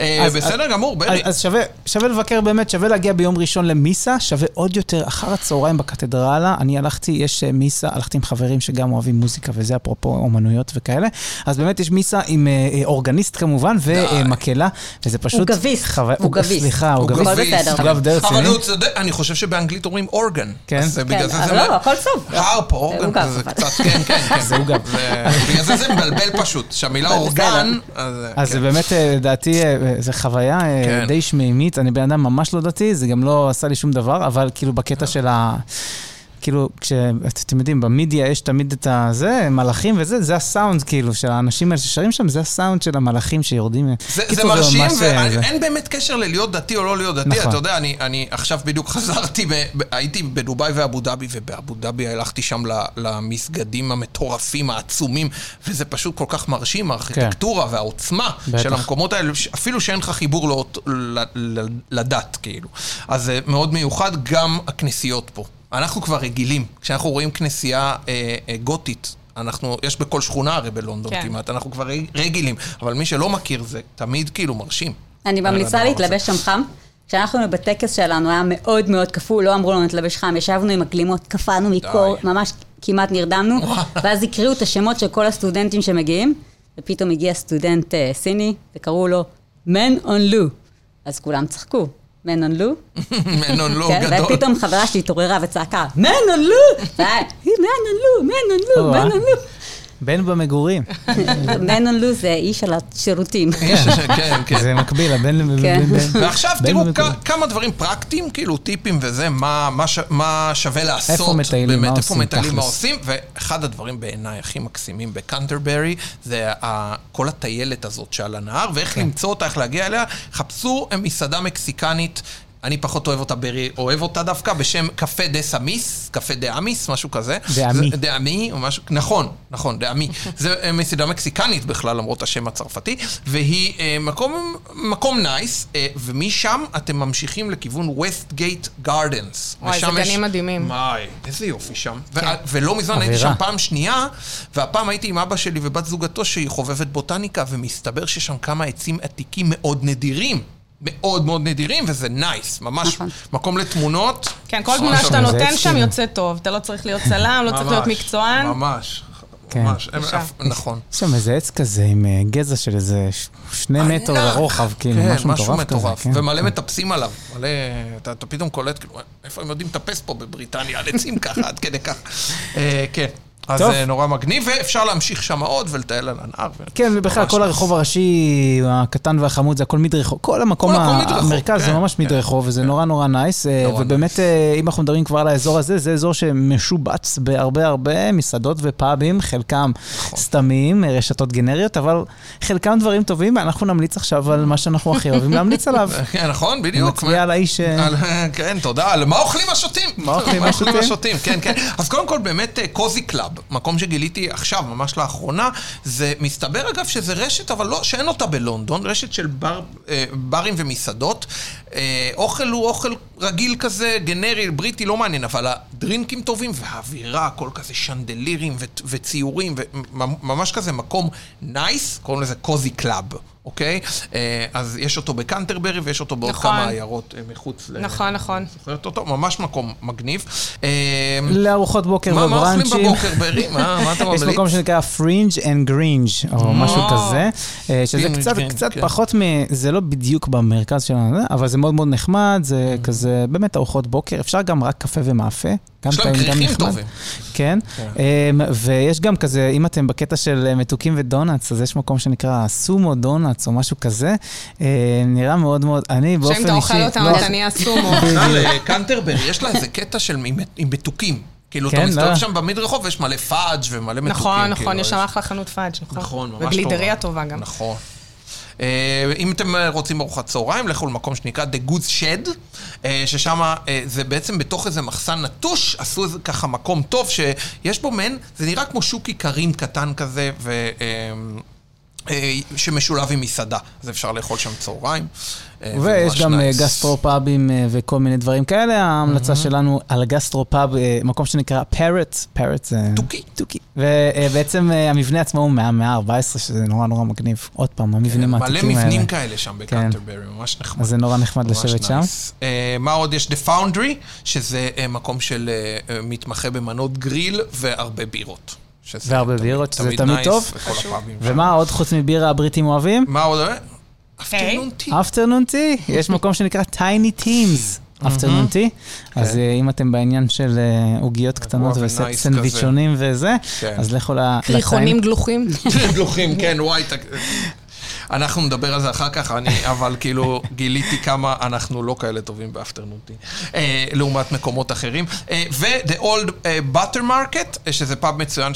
Speaker 3: אה,
Speaker 2: אז-
Speaker 3: בסדר גמור,
Speaker 2: אז,
Speaker 3: בני.
Speaker 2: אז שווה, שווה לבקר באמת, שווה להגיע ביום ראשון למיסה, שווה עוד יותר אחר הצהריים בקתדרלה. אני הלכתי, יש אה, מיסה, הלכתי עם חברים שגם אוהבים מוזיקה, וזה אפרופו אומנויות וכאלה. אז באמת יש מיסה עם אה, אה, אורגניסט כמובן, ומקהלה, וזה פשוט...
Speaker 5: עוגביסט,
Speaker 2: חוויה-
Speaker 5: עוגביסט.
Speaker 2: סליחה,
Speaker 5: הוא
Speaker 2: עוגביסט.
Speaker 5: גביס. בסדר. אוקיי.
Speaker 2: הוא גב די
Speaker 3: אבל
Speaker 2: רציני.
Speaker 3: הוא צודק, אני חושב שבאנגלית אומרים אורגן.
Speaker 2: כן.
Speaker 3: אז בגלל
Speaker 5: כן,
Speaker 3: זה
Speaker 5: אבל
Speaker 3: זה...
Speaker 5: לא, הכל טוב.
Speaker 3: הרפ,
Speaker 5: הוא
Speaker 3: אורגן,
Speaker 5: גב,
Speaker 3: זה
Speaker 5: אבל.
Speaker 3: קצת, כן, כן, כן.
Speaker 2: זה הוא גב.
Speaker 3: זה- בגלל זה זה מבלבל פשוט, שהמילה
Speaker 5: אבל
Speaker 3: אורגן...
Speaker 2: אז זה
Speaker 3: כן.
Speaker 2: באמת, אה, לדעתי, אה, אה, זו חוויה אה,
Speaker 3: כן.
Speaker 2: די שמימית. אני בן אדם ממש לא דתי, זה גם לא עשה לי שום דבר, אבל כאילו בקטע
Speaker 3: אה.
Speaker 2: של ה... כאילו, כש... את- אתם יודעים, במדיה יש תמיד את הזה, מלאכים וזה, זה הסאונד, כאילו, של האנשים האלה ששרים שם, זה הסאונד של המלאכים שיורדים. אה,
Speaker 3: זה, זה
Speaker 2: קיצור,
Speaker 3: מרשים,
Speaker 2: ממש, אה, זה.
Speaker 3: ואין באמת קשר ללהיות דתי או לא להיות דתי.
Speaker 2: נכון.
Speaker 3: אתה יודע, אני, אני עכשיו בדיוק <laughs> חזרתי, ב, ב, הייתי בדובאי ואבו דאבי, ובאבו דאבי הלכתי שם ל- למסגדים המטורפים, העצומים, וזה פשוט כל כך מרשים, הארכיטקטורה והעוצמה
Speaker 2: כן. בטח.
Speaker 3: של המקומות האלה, ש- אפילו שאין לך חיבור לאות, ל, ל, לדת, כאילו. אז זה מאוד מיוחד, גם הכנסיות פה. אנחנו כבר רגילים, כשאנחנו רואים כנסייה אה, אה, גותית. אנחנו, יש בכל שכונה הרי בלונדון
Speaker 4: כן.
Speaker 3: כמעט, אנחנו כבר רגילים, אבל מי שלא מכיר זה תמיד כאילו
Speaker 2: <laughs>
Speaker 3: מרשים.
Speaker 5: אני ממליצה
Speaker 3: הדבר הזה.
Speaker 5: להתלבש שם חם. כשאנחנו היינו בטקס שלנו היה מאוד מאוד קפוא, לא אמרו לנו להתלבש חם, ישבנו עם הגלימות, קפאנו מקור,
Speaker 3: די.
Speaker 5: ממש
Speaker 3: <laughs>
Speaker 5: כמעט נרדמנו, ואז הקריאו את השמות של כל הסטודנטים שמגיעים, ופתאום הגיע סטודנט אה, סיני, וקראו לו Man on Lu. אז כולם צחקו, Man on Lu.
Speaker 3: מנון לא
Speaker 5: כן,
Speaker 3: גדול.
Speaker 5: ופתאום חברה שלי התעוררה וצעקה, Man on
Speaker 3: <laughs>
Speaker 5: Lu! והיה, Man on Lu, Man on Lu,
Speaker 2: או-אה.
Speaker 5: Man on Lu.
Speaker 2: בן במגורים.
Speaker 5: <laughs> Man on Lu זה איש על
Speaker 3: <laughs>
Speaker 5: השירותים.
Speaker 3: יש, <laughs> כן, כן.
Speaker 2: זה מקביל, הבן... לבן-
Speaker 5: כן.
Speaker 2: בן-
Speaker 3: ועכשיו
Speaker 2: בן
Speaker 3: תראו
Speaker 2: במגורים.
Speaker 3: כ- כמה דברים פרקטיים, כאילו טיפים וזה, מה- מה ש- מה שווה לעשות.
Speaker 2: איפה מטיילים,
Speaker 3: באמת,
Speaker 2: מה
Speaker 3: איפה
Speaker 2: עושים,
Speaker 3: מטיילים, מה
Speaker 2: תכלס.
Speaker 3: עושים. ואחד הדברים בעיניי הכי מקסימים בקנטרברי, זה ה- כל הטיילת הזאת שעל הנהר,
Speaker 4: כן.
Speaker 3: ואיך למצוא אותה, איך להגיע אליה. חפשו מסעדה מקסיקנית. אני פחות אוהב אותה, ברי, אוהב אותה דווקא, בשם קפה דה סמיס, קפה דה אמיס, משהו כזה.
Speaker 2: דעמי.
Speaker 3: זה- דעמי, או משהו, נכון, נכון, דעמי. <laughs> זה אה, מסעדה מקסיקנית בכלל, למרות השם הצרפתי, והיא אה, מקום, מקום נייס, אה, ומשם אתם ממשיכים לכיוון וסטגייט גארדנס.
Speaker 4: וואי, זה גנים מדהימים.
Speaker 3: וואי, איזה יופי שם.
Speaker 4: כן.
Speaker 3: ו- ולא מזמן הייתי שם
Speaker 2: אווירה.
Speaker 3: פעם שנייה, והפעם הייתי עם אבא שלי ובת זוגתו שהיא חובבת בוטניקה, ומסתבר שיש שם כמה עצים עתיקים מאוד נדירים. מאוד מאוד נדירים, וזה נייס, ממש
Speaker 5: נכון.
Speaker 3: מקום לתמונות.
Speaker 4: כן, כל
Speaker 3: ממש לא.
Speaker 4: תמונה שאתה
Speaker 2: זה
Speaker 4: נותן
Speaker 2: אקסטרים.
Speaker 4: שם יוצאת טוב. אתה לא צריך להיות צלם, לא צריך להיות
Speaker 3: ממש,
Speaker 4: מקצוען.
Speaker 3: ממש.
Speaker 2: כן.
Speaker 3: ממש, הם-
Speaker 4: בבקשה.
Speaker 3: אף- נכון.
Speaker 2: יש שם איזה עץ כזה עם אה, גזע של איזה ש- שני
Speaker 3: ענק.
Speaker 2: מטר לרוחב, כאילו,
Speaker 3: כן,
Speaker 2: משהו מטורף כזה. כן.
Speaker 3: ומלא מטפסים עליו. מלא... אתה אתה פתאום קולט, כאילו, איפה הם יודעים לטפס פה בבריטניה <laughs> על עצים ככה, עד כדי כך. אה, כן. אז
Speaker 2: טוב.
Speaker 3: אה, נורא מגניב, ואפשר להמשיך שם עוד ולטייל על הנהר. ו-
Speaker 2: כן, ובכלל
Speaker 3: ממש
Speaker 2: כל
Speaker 3: nice.
Speaker 2: הרחוב הראשי הקטן והחמוד, זה הכל מדרחוב. כל המקום
Speaker 3: כל הכל
Speaker 2: ה-
Speaker 3: מדרחוב,
Speaker 2: המרכז זה
Speaker 3: כן,
Speaker 2: ממש
Speaker 3: כן,
Speaker 2: מדרחוב, וזה נורא נורא נייס. אה,
Speaker 3: נורא
Speaker 2: ובאמת, אה, אם אנחנו מדברים כבר על האזור הזה, זה אזור שמשובץ בהרבה הרבה מסעדות ופאבים, חלקם
Speaker 3: נכון.
Speaker 2: סתמיים, אה, רשתות גנריות, אבל חלקם דברים טובים, ואנחנו נמליץ עכשיו על מה שאנחנו הכי אוהבים להמליץ עליו.
Speaker 3: כן, נכון, <laughs> בדיוק.
Speaker 2: נצביע על האיש... אה,
Speaker 3: על- <laughs> כן, תודה. על מה אוכלים השותים?
Speaker 2: מה אוכלים השותים?
Speaker 3: כן, כן. אז קודם כל, באמת, אה, קוזי קלאב, מקום שגיליתי עכשיו, ממש לאחרונה, זה מסתבר, אגב, שזה רשת, אבל לא, שאין אותה בלונדון, רשת של בר, אה, ברים ומסעדות. אה, אוכל הוא אוכל רגיל כזה, גנרי, בריטי, לא מעניין, אבל הדרינקים טובים, והאווירה, הכל כזה שנדלירים ו- וציורים, וממש כזה מקום נייס, קוראים לזה קוזי קלאב. אוקיי? אה, אז יש אותו בקנטרברי ויש אותו בעוד
Speaker 4: נכון.
Speaker 3: כמה עיירות אה, מחוץ ל...
Speaker 4: נכון, נכון.
Speaker 3: זוכרת אותו? ממש מקום מגניב. אה,
Speaker 2: לארוחות בוקר
Speaker 3: מה מה אוכלים
Speaker 2: ובראנצ'ים.
Speaker 3: בבוקר ברי? מה מה אתה
Speaker 2: <laughs> יש
Speaker 3: ממליץ?
Speaker 2: מקום שנקרא פרינג' אנד גרינג' או משהו כזה, אה, שזה
Speaker 3: Fringe,
Speaker 2: קצת,
Speaker 3: כן,
Speaker 2: קצת
Speaker 3: כן.
Speaker 2: פחות מ... זה לא בדיוק במרכז שלנו, אה, אבל זה מאוד מאוד נחמד, זה
Speaker 3: אה.
Speaker 2: כזה באמת ארוחות בוקר, אפשר גם רק קפה ומאפה. גם
Speaker 3: יש להם
Speaker 2: טעים, גם
Speaker 3: כריכים
Speaker 2: נחמד.
Speaker 3: טובים.
Speaker 2: כן, אמ, ויש גם כזה, אם אתם בקטע של אה, מתוקים ודונלדס, אז יש מקום שנקרא סומו דונלדס או משהו כזה. אה, נראה מאוד מאוד, אני באופן
Speaker 4: שאם
Speaker 2: אישי...
Speaker 4: אתה אוכל אותם,
Speaker 2: לא-
Speaker 4: אתה נהיה
Speaker 3: <laughs>
Speaker 4: סומו.
Speaker 2: <laughs>
Speaker 3: בכלל, אה, קנטרברי, יש לה איזה קטע של עם- עם מתוקים. כאילו, אתה
Speaker 2: כן,
Speaker 3: מסתובב
Speaker 2: לא.
Speaker 3: שם במדרחוב ויש מלא פאג' ומלא מתוקים.
Speaker 4: נכון, נכון,
Speaker 3: כאילו,
Speaker 4: יש שם
Speaker 3: אז-
Speaker 4: אחלה חנות פאג', נכון?
Speaker 3: נכון, ממש טובה.
Speaker 4: ובלידריה טובה גם.
Speaker 3: נכון. אה, אם אתם אה, רוצים ארוחת צהריים, לכו למקום שנקרא The Good Shed, אה, ששם אה, זה בעצם בתוך איזה מחסן נטוש, עשו איזה ככה מקום טוב, שיש בו מעין, זה נראה כמו שוק איכרים קטן כזה, ו... אה, אה, שמשולב עם מסעדה, אז אפשר לאכול שם צהריים. אה, זה
Speaker 2: ויש
Speaker 3: ממש
Speaker 2: גם אה,
Speaker 3: nice. Mm-hmm.
Speaker 2: גסטרופאבים אה, וכל מיני דברים כאלה. ההמלצה שלנו על גסטרופאב, אה, מקום שנקרא פרט, פרט זה...
Speaker 3: תוכי.
Speaker 2: תוכי. ובעצם אה, המבנה עצמו הוא מהמאה ה-14, שזה נורא נורא מגניב. עוד פעם, המבנים
Speaker 3: כן, מלא
Speaker 2: העתיקים האלה.
Speaker 3: מבנים כאלה שם בקנטרברי, ממש נחמד.
Speaker 2: אז זה נורא נחמד
Speaker 3: ממש
Speaker 2: לשבת שם.
Speaker 3: nice. אה, מה עוד יש? The Foundry, שזה אה, מקום של אה, אה, מתמחה במנות גריל והרבה בירות. שזה
Speaker 2: והרבה
Speaker 3: תמיד-
Speaker 2: בירות, שזה תמיד
Speaker 3: nice,
Speaker 2: טוב.
Speaker 3: וכל הפאבים שם.
Speaker 2: ומה עוד חוץ מבירה הבריטים אוהבים?
Speaker 3: מה עוד? אה? אפטרנון טי.
Speaker 2: אפטרנון טי, יש מקום שנקרא Tiny Teams.
Speaker 3: Mm-hmm.
Speaker 2: אפטרנון טי, אז אה, אם אתם בעניין של אה, עוגיות קטנות
Speaker 3: ו-
Speaker 2: וסט
Speaker 3: כן. nice
Speaker 2: סנדוויצ'ונים וזה,
Speaker 3: כן.
Speaker 2: אז לכו ל-
Speaker 4: קריחונים גלוחים.
Speaker 3: גלוחים, כן, וואי. ת- אנחנו נדבר על זה אחר כך, אני, אבל כאילו גיליתי כמה אנחנו לא כאלה טובים באפטרנון טי, אה, לעומת מקומות אחרים. אה, ו-The Old אה, Butter Market, אה, שזה פאב מצוין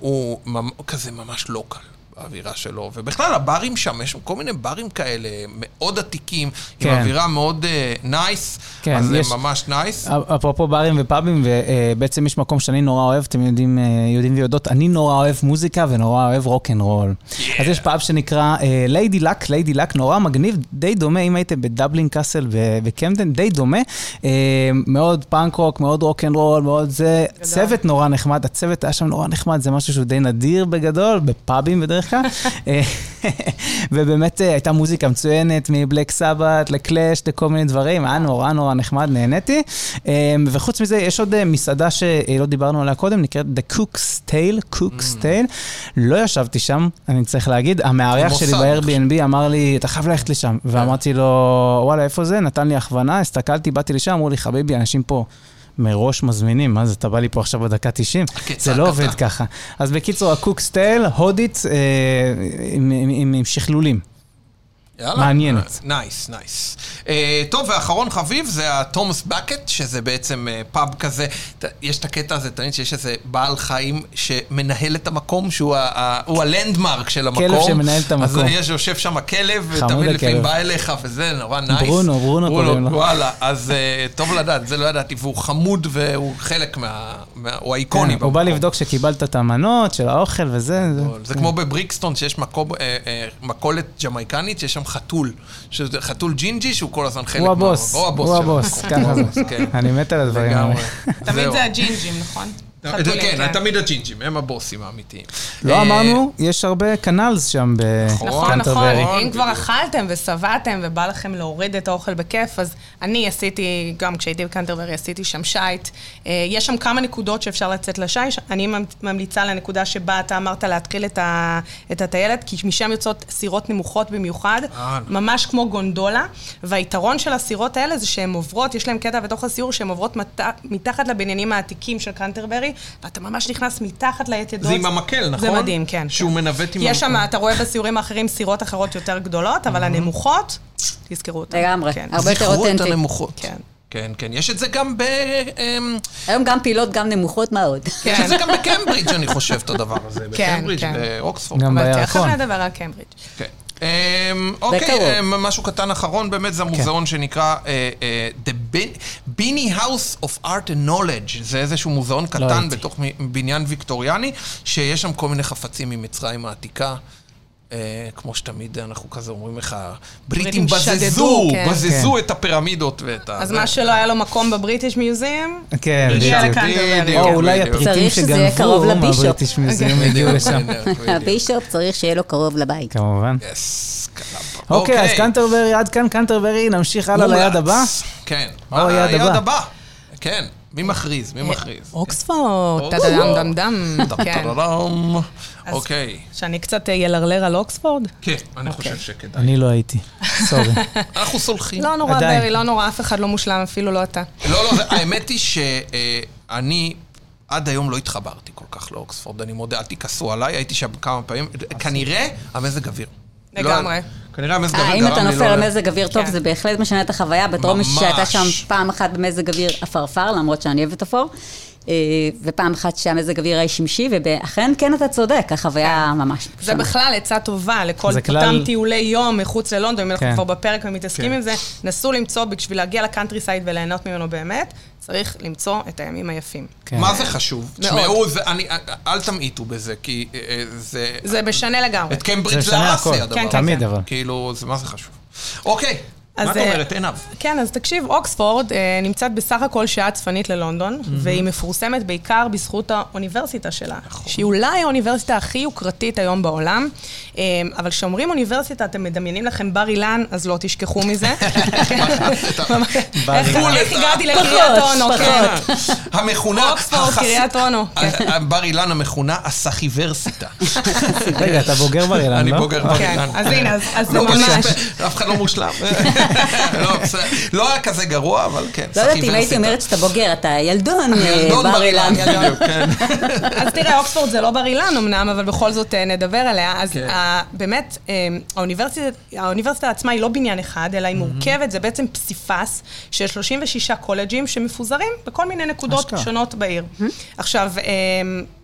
Speaker 3: שהוא ממ, כזה ממש לא קל. האווירה שלו, ובכלל הברים שם, יש שם כל מיני ברים כאלה מאוד עתיקים,
Speaker 2: כן.
Speaker 3: עם אווירה מאוד אה, נייס,
Speaker 2: כן,
Speaker 3: אז
Speaker 2: יש-
Speaker 3: זה ממש נייס.
Speaker 2: אפרופו ברים ופאבים, ובעצם יש מקום שאני נורא אוהב, אתם יודעים, אה, יודעים ויודעות, אני נורא אוהב מוזיקה ונורא אוהב רוקנרול. אז יש פאב שנקרא אה, ליידי לק, ליידי לק, נורא מגניב, די דומה, אם הייתם בדבלין קאסל ב- בקמפטן, די דומה. אה, מאוד פאנק רוק, מאוד רוקנרול, מאוד זה. צוות נורא נחמד, הצוות היה שם נורא נחמד, זה משהו שהוא די נדיר בגדול, בפאבים בדרך כלל. אה, ובאמת אה, הייתה מוזיקה מצוינת, מבלק סבת לקלאש, לכל מיני דברים, היה נורא נורא נחמד, נהניתי. אה, וחוץ מזה, יש עוד אה, מסעדה שלא דיברנו עליה קודם, נקראת The Cook's Tale, Cook's Tale. לא ישבתי שם, אני צריך להגיד, המארח שלי
Speaker 3: המוסד.
Speaker 2: ב-Airbnb אמר לי, אתה חייב ללכת לשם.
Speaker 3: כן.
Speaker 2: ואמרתי לו, וואלה, איפה זה? נתן לי הכוונה, הסתכלתי, באתי לשם, אמרו לי, חביבי, אנשים פה... מראש מזמינים, מה זה, אתה בא לי פה עכשיו בדקה 90? זה לא עובד ככה. אז בקיצור, הקוק סטייל, הודית, אה, עם, עם, עם, עם שכלולים.
Speaker 3: יאללה.
Speaker 2: מעניינת.
Speaker 3: נייס, נייס. אה, טוב, ואחרון חביב זה התומאס בקט, שזה בעצם אה, פאב כזה, ת- יש את הקטע הזה, תמיד שיש איזה בעל חיים שמנהל את המקום, שהוא ה- ה- הוא הלנדמרק של המקום.
Speaker 2: שמנהל את
Speaker 3: אז
Speaker 2: המקום.
Speaker 3: יש, יושב שם הכלב,
Speaker 2: חמוד
Speaker 3: ותמיד לפעמים
Speaker 2: הכלב.
Speaker 3: בא אליך, וזה נורא נייס.
Speaker 2: ברונו, ברונו קוראים לו.
Speaker 3: וואלה, אז אה, טוב לדעת, זה לא ידעתי, והוא חמוד והוא חלק מה... מה- הוא האיקוני.
Speaker 2: כן, הוא בא
Speaker 3: במקום.
Speaker 2: לבדוק שקיבלת את המנות של האוכל וזה. זה-
Speaker 3: זה כמו בבריקסטון, שיש מקום, אה, אה, מכולת ג'מייקנית, שיש שם חתול. שזה חתול ג'ינג'י, שהוא כל הזמן חלק
Speaker 2: הוא הבוס,
Speaker 3: מה- הוא הבוס.
Speaker 2: הוא
Speaker 3: של
Speaker 2: הבוס,
Speaker 3: המקום.
Speaker 2: ככה
Speaker 3: הוא הבוס,
Speaker 2: זה.
Speaker 3: כן.
Speaker 2: אני מת על הדברים האלה.
Speaker 3: לגמרי.
Speaker 4: תמיד
Speaker 3: זהו.
Speaker 4: זה הג'ינג'ים, נכון? חתולים,
Speaker 3: כן, תמיד הג'ינג'ים, הם הבוסים האמיתיים.
Speaker 2: לא
Speaker 3: אה,
Speaker 2: אמרנו, יש הרבה קנלס שם
Speaker 4: נכון, נכון.
Speaker 2: בקנטרברי.
Speaker 4: אם
Speaker 3: נכון,
Speaker 4: כבר
Speaker 3: בדיוק.
Speaker 4: אכלתם ושבעתם ובא לכם להוריד את האוכל בכיף, אז אני עשיתי, גם כשהייתי בקנטרברי עשיתי שם שייט. אה, יש שם כמה נקודות שאפשר לצאת לשייט. אני ממ- ממליצה לנקודה שבה אתה אמרת להתחיל את ה- את הטיילת, כי משם יוצאות סירות נמוכות במיוחד,
Speaker 3: אה, נכון.
Speaker 4: ממש כמו גונדולה. והיתרון של הסירות האלה זה שהן עוברות, יש להן קטע בתוך הסיור שהן עוברות מת- מתחת לבניינים העתיקים של קנטרברי, ואתה ממש נכנס מתחת ליתדות.
Speaker 3: זה עם המקל, נכון?
Speaker 4: זה מדהים, כן.
Speaker 3: שהוא
Speaker 4: כן.
Speaker 3: מנווט עם
Speaker 4: יש שם,
Speaker 3: המקל.
Speaker 4: אתה רואה בסיורים האחרים סירות אחרות יותר גדולות, אבל הנמוכות, תזכרו אותן.
Speaker 5: לגמרי.
Speaker 4: כן.
Speaker 5: הרבה יותר
Speaker 3: זכרו את
Speaker 5: אותנטי.
Speaker 3: הנמוכות.
Speaker 4: כן.
Speaker 3: כן, כן. יש את זה גם ב... אמ,
Speaker 5: היום גם פילות, גם נמוכות מאוד.
Speaker 4: כן.
Speaker 3: יש את זה גם בקמברידג', אני חושב, את הדבר הזה.
Speaker 4: כן,
Speaker 3: בקמברידג',
Speaker 4: כן.
Speaker 3: באוקספורד.
Speaker 2: גם
Speaker 4: אבל תכף
Speaker 2: בירקון.
Speaker 4: נדבר על קיימברידג'.
Speaker 2: אה,
Speaker 3: כן. אמ, אוקיי,
Speaker 5: בקרוב.
Speaker 3: אמ, משהו קטן אחרון, באמת
Speaker 2: כן.
Speaker 3: זה המוזיאון שנקרא אה, אה, The Bin- Bini House of Art and Knowledge. זה איזשהו מוזיאון
Speaker 2: לא
Speaker 3: קטן
Speaker 2: הייתי.
Speaker 3: בתוך מ- בניין ויקטוריאני, שיש שם כל מיני חפצים ממצרים העתיקה. אה, כמו שתמיד אנחנו כזה אומרים לך, בריטים
Speaker 4: בריטים
Speaker 3: בזזו,
Speaker 4: שדדו, כן.
Speaker 3: בזזו את הפירמידות ואת ה...
Speaker 4: אז
Speaker 2: אה.
Speaker 3: זה.
Speaker 4: מה שלא היה לו מקום בבריטיש מיוזיאם,
Speaker 2: כן,
Speaker 4: הגיע
Speaker 2: בדיוק.
Speaker 4: לקנטרברי.
Speaker 3: בדיוק.
Speaker 2: או אולי
Speaker 3: בדיוק.
Speaker 2: הפריטים
Speaker 5: צריך שזה יהיה
Speaker 2: שגנבו
Speaker 5: קרוב לבישופ.
Speaker 2: מהבריטיש מיוזיאום
Speaker 3: בדיוק,
Speaker 2: הגיעו לשם.
Speaker 4: <laughs>
Speaker 3: בדיוק. כן.
Speaker 5: הבישופ צריך שיהיה לו קרוב לבית.
Speaker 2: כמובן.
Speaker 3: יס, קלאב.
Speaker 2: אוקיי, אז קנטרברי, עד כאן קנטרברי, נמשיך הלאה
Speaker 3: מומלץ.
Speaker 2: ליד הבא.
Speaker 3: כן.
Speaker 2: או,
Speaker 3: מה
Speaker 2: יד הבא.
Speaker 3: כן. מי מכריז? מי מכריז?
Speaker 4: אה, אוקספורד, טדדם דם דם, כן.
Speaker 3: טאדאדם.
Speaker 4: אז
Speaker 3: אוקיי.
Speaker 4: כן. שאני קצת אה, ילרלר על אוקספורד?
Speaker 3: כן, אני חושב שכדאי.
Speaker 2: אני לא הייתי,
Speaker 4: <laughs>
Speaker 2: סורי.
Speaker 3: <laughs> אנחנו סולחים.
Speaker 4: לא נורא,
Speaker 2: כן. עדיין.
Speaker 4: ברי, לא נורא, אף אחד לא מושלם, אפילו לא אתה.
Speaker 3: לא, לא, זה- האמת היא שאני עד היום לא התחברתי כל כך לאוקספורד, אני מודה, אל תכעסו עליי, הייתי שם כמה פעמים, כנראה המזג אוויר. לא-
Speaker 4: לגמרי.
Speaker 3: כנראה המזג
Speaker 5: אה,
Speaker 3: אוויר
Speaker 5: אם
Speaker 3: גרם לי לא...
Speaker 5: אתה נופל על
Speaker 3: ל-
Speaker 5: מזג אוויר טוב,
Speaker 4: כן.
Speaker 5: זה בהחלט משנה את החוויה. בתור מישהי שהייתה
Speaker 3: ממש.
Speaker 5: שם פעם אחת במזג אוויר עפרפר, למרות שאני אוהבת אפור. אה, אה, ופעם אחת שהמזג אוויר היה שמשי, ואכן כן אתה צודק, החוויה ממש
Speaker 4: זה
Speaker 5: שונה.
Speaker 4: בכלל עצה טובה לכל
Speaker 2: זה כלל-
Speaker 4: אותם טיולי יום מחוץ ללונדון, אם
Speaker 2: כן.
Speaker 4: אנחנו כבר בפרק ומתעסקים
Speaker 3: כן.
Speaker 4: עם זה, נסו למצוא, בשביל להגיע לקאנטרי סייד וליהנות ממנו באמת, צריך למצוא את הימים היפים.
Speaker 2: כן.
Speaker 3: מה זה חשוב? תשמעו, זה- אני- אל תמעיטו בזה, כי אה, אה, זה...
Speaker 4: זה משנה לגמרי.
Speaker 3: את
Speaker 2: זה
Speaker 3: קיימברידג'
Speaker 2: משנה הכל,
Speaker 3: להרסי הדבר.
Speaker 4: כן,
Speaker 3: הזה.
Speaker 2: תמיד
Speaker 4: כן.
Speaker 2: אבל.
Speaker 3: כאילו, זה מה זה חשוב. אוקיי,
Speaker 4: אז,
Speaker 3: מה את
Speaker 4: אה,
Speaker 3: אומרת, עינב?
Speaker 4: כן, אז תקשיב, אוקספורד אה, נמצאת בסך הכל שעה צפונית ללונדון, והיא מפורסמת בעיקר בזכות האוניברסיטה שלה,
Speaker 3: נכון.
Speaker 4: שהיא אולי האוניברסיטה הכי יוקרתית היום בעולם, אה, אבל כשאומרים אוניברסיטה, אתם מדמיינים לכם בר אילן, אז לא תשכחו מזה.
Speaker 3: <laughs>
Speaker 4: כן. ממש.
Speaker 2: בר
Speaker 4: איך-
Speaker 2: אילן.
Speaker 4: איך הגעתי לקריית אונו? כן.
Speaker 3: המכונה...
Speaker 4: אוקספורד,
Speaker 3: החס-
Speaker 4: קריית אונו. כן.
Speaker 3: ה- ה- בר אילן המכונה הסחיברסיטה.
Speaker 2: <laughs> רגע, אתה בוגר בר אילן, לא?
Speaker 3: אני בוגר בר
Speaker 4: כן,
Speaker 3: אילן.
Speaker 4: אז הנה, אז- אז זה
Speaker 3: לא
Speaker 4: ממש...
Speaker 3: בסדר, אף אחד לא
Speaker 4: <laughs>
Speaker 3: מושלם. לא, בסדר. לא היה כזה גרוע, אבל כן,
Speaker 5: לא יודעת אם הייתי
Speaker 3: סחיברסיטה.
Speaker 5: אומרת שאתה בוגר, אתה ילדון,
Speaker 3: ילדון
Speaker 5: אה, בר אילן.
Speaker 3: בדיוק, כן.
Speaker 4: אז תראה, אוקספורד זה לא בר אילן אמנם, אבל בכל זאת אה, נדבר עליה. אז
Speaker 3: כן.
Speaker 4: ה- באמת, אה, האוניברסיטה- האוניברסיטה עצמה היא לא בניין אחד, אלא היא מורכבת, זה בעצם פסיפס של 36 קולג'ים שמפוזרים בכל מיני נקודות
Speaker 2: אשכרה.
Speaker 4: שונות בעיר. עכשיו, אה,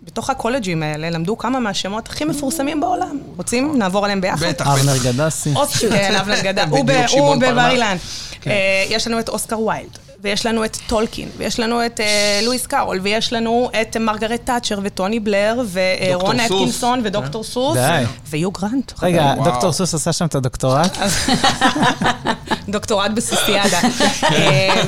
Speaker 4: בתוך הקולג'ים האלה למדו כמה מהשמות הכי מפורסמים בעולם. רוצים? נעבור עליהם ביחד?
Speaker 3: אה. בטח,
Speaker 2: אבנר
Speaker 3: בטח.
Speaker 2: גדסי.
Speaker 4: אוסקר, כן, אבנר גדל, הוא
Speaker 3: בדיוק,
Speaker 4: ב- הוא
Speaker 3: שמעון כן. פרלס.
Speaker 4: בבר אילן. אה, יש לנו את אוסקר ויילד, ויש לנו את טולקין, ויש לנו את אה, לואיס קארול, ויש לנו את מרגרט תאצ'ר וטוני בלר,
Speaker 3: דוקטור
Speaker 4: ורון
Speaker 3: סוס. אה?
Speaker 4: אטקינסון ודוקטור סוס,
Speaker 2: די.
Speaker 4: ויו גרנט.
Speaker 2: רגע,
Speaker 3: וואו.
Speaker 2: דוקטור סוס עשה שם את הדוקטורט.
Speaker 4: דוקטורט
Speaker 2: <laughs>
Speaker 4: בסוסיאדה. אה,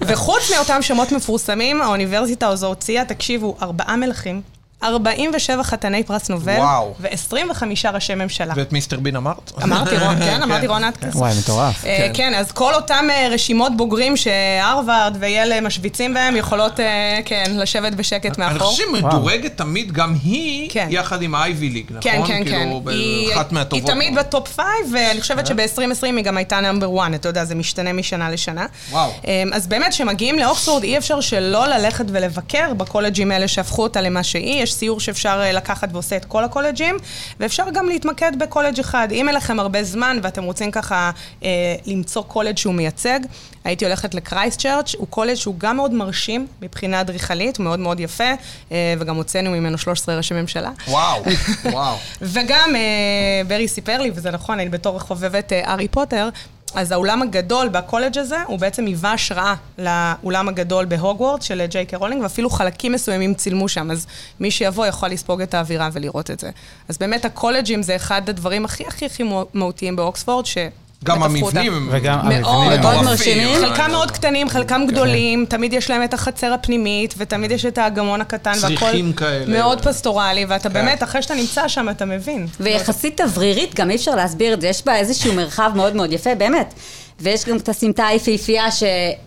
Speaker 4: וחוץ מאותם שמות מפורסמים, האוניברסיטה הזו הוציאה, תקשיבו, ארבעה מלכים. 47 חתני פרס נובל,
Speaker 3: וואו.
Speaker 4: ו-25 ראשי ממשלה.
Speaker 3: ואת מיסטר בין אמרת?
Speaker 4: אמרתי
Speaker 3: <laughs>
Speaker 4: רון, כן, אמרתי רון אטקינס.
Speaker 2: וואי, מטורף.
Speaker 4: אה,
Speaker 3: כן.
Speaker 4: כן, אז כל אותם אה, רשימות בוגרים שהרווארד ויל משוויצים בהם, יכולות, אה, כן, לשבת בשקט
Speaker 3: אני
Speaker 4: מאחור.
Speaker 3: חושב שמדורגת תמיד גם היא,
Speaker 4: כן.
Speaker 3: יחד עם האייבי ליג, נכון?
Speaker 4: כן, כן, כן.
Speaker 3: כאילו,
Speaker 4: היא-
Speaker 3: באחת
Speaker 4: היא
Speaker 3: מהטובות. כן.
Speaker 4: תמיד בטופ פייב, ואני חושבת שב-2020 היא גם הייתה נאמבר 1, אתה יודע, זה משתנה משנה לשנה.
Speaker 3: וואו.
Speaker 4: אה, אז באמת, כשמגיעים לאוקספורד, אי אפשר שלא ללכת ולבקר בקולג'ים האלה שהפכו אותה למה שהיא. יש סיור שאפשר אה, לקחת ועושה את כל הקולג'ים, ואפשר גם להתמקד בקולג' אחד. אם אין לכם הרבה זמן ואתם רוצים ככה אה, למצוא קולג' שהוא מייצג, הייתי הולכת לקרייסט צ'רץ', הוא קולג' שהוא גם מאוד מרשים מבחינה אדריכלית, הוא מאוד מאוד יפה, אה, וגם הוצאנו ממנו 13 ראשי ממשלה. <laughs>
Speaker 3: וואו, וואו.
Speaker 4: וגם אה, ברי סיפר לי, וזה נכון, אני בתור חובבת אה, הארי פוטר, אז האולם הגדול בקולג' הזה, הוא בעצם היווה השראה לאולם הגדול בהוגוורט של אה, ג'יי קרולינג, ואפילו חלקים מסוימים צילמו שם, אז מי שיבוא יכול לספוג את האווירה ולראות את זה. אז באמת הקולג'ים זה אחד הדברים הכי הכי הכי מהו- מהותיים באוקספורד, ש...
Speaker 3: גם
Speaker 4: באמת הפכו אותם-
Speaker 3: המבנים.
Speaker 2: וגם
Speaker 4: מאוד,
Speaker 2: המבנים.
Speaker 5: מאוד
Speaker 3: מטורפים.
Speaker 5: מרשימים.
Speaker 4: חלקם מאוד קטנים, חלקם
Speaker 3: כן.
Speaker 4: גדולים, תמיד יש להם את החצר הפנימית, ותמיד יש את האגמון הקטן, והכל
Speaker 3: צריכים כאלה. כן.
Speaker 4: מאוד פסטורלי, ואתה באמת, אחרי שאתה נמצא שם, אתה מבין.
Speaker 5: ויחסית תברירית, גם אי אפשר להסביר את זה, יש בה איזשהו מרחב מאוד מאוד יפה, באמת. ויש גם את הסמטה היפהפייה ש-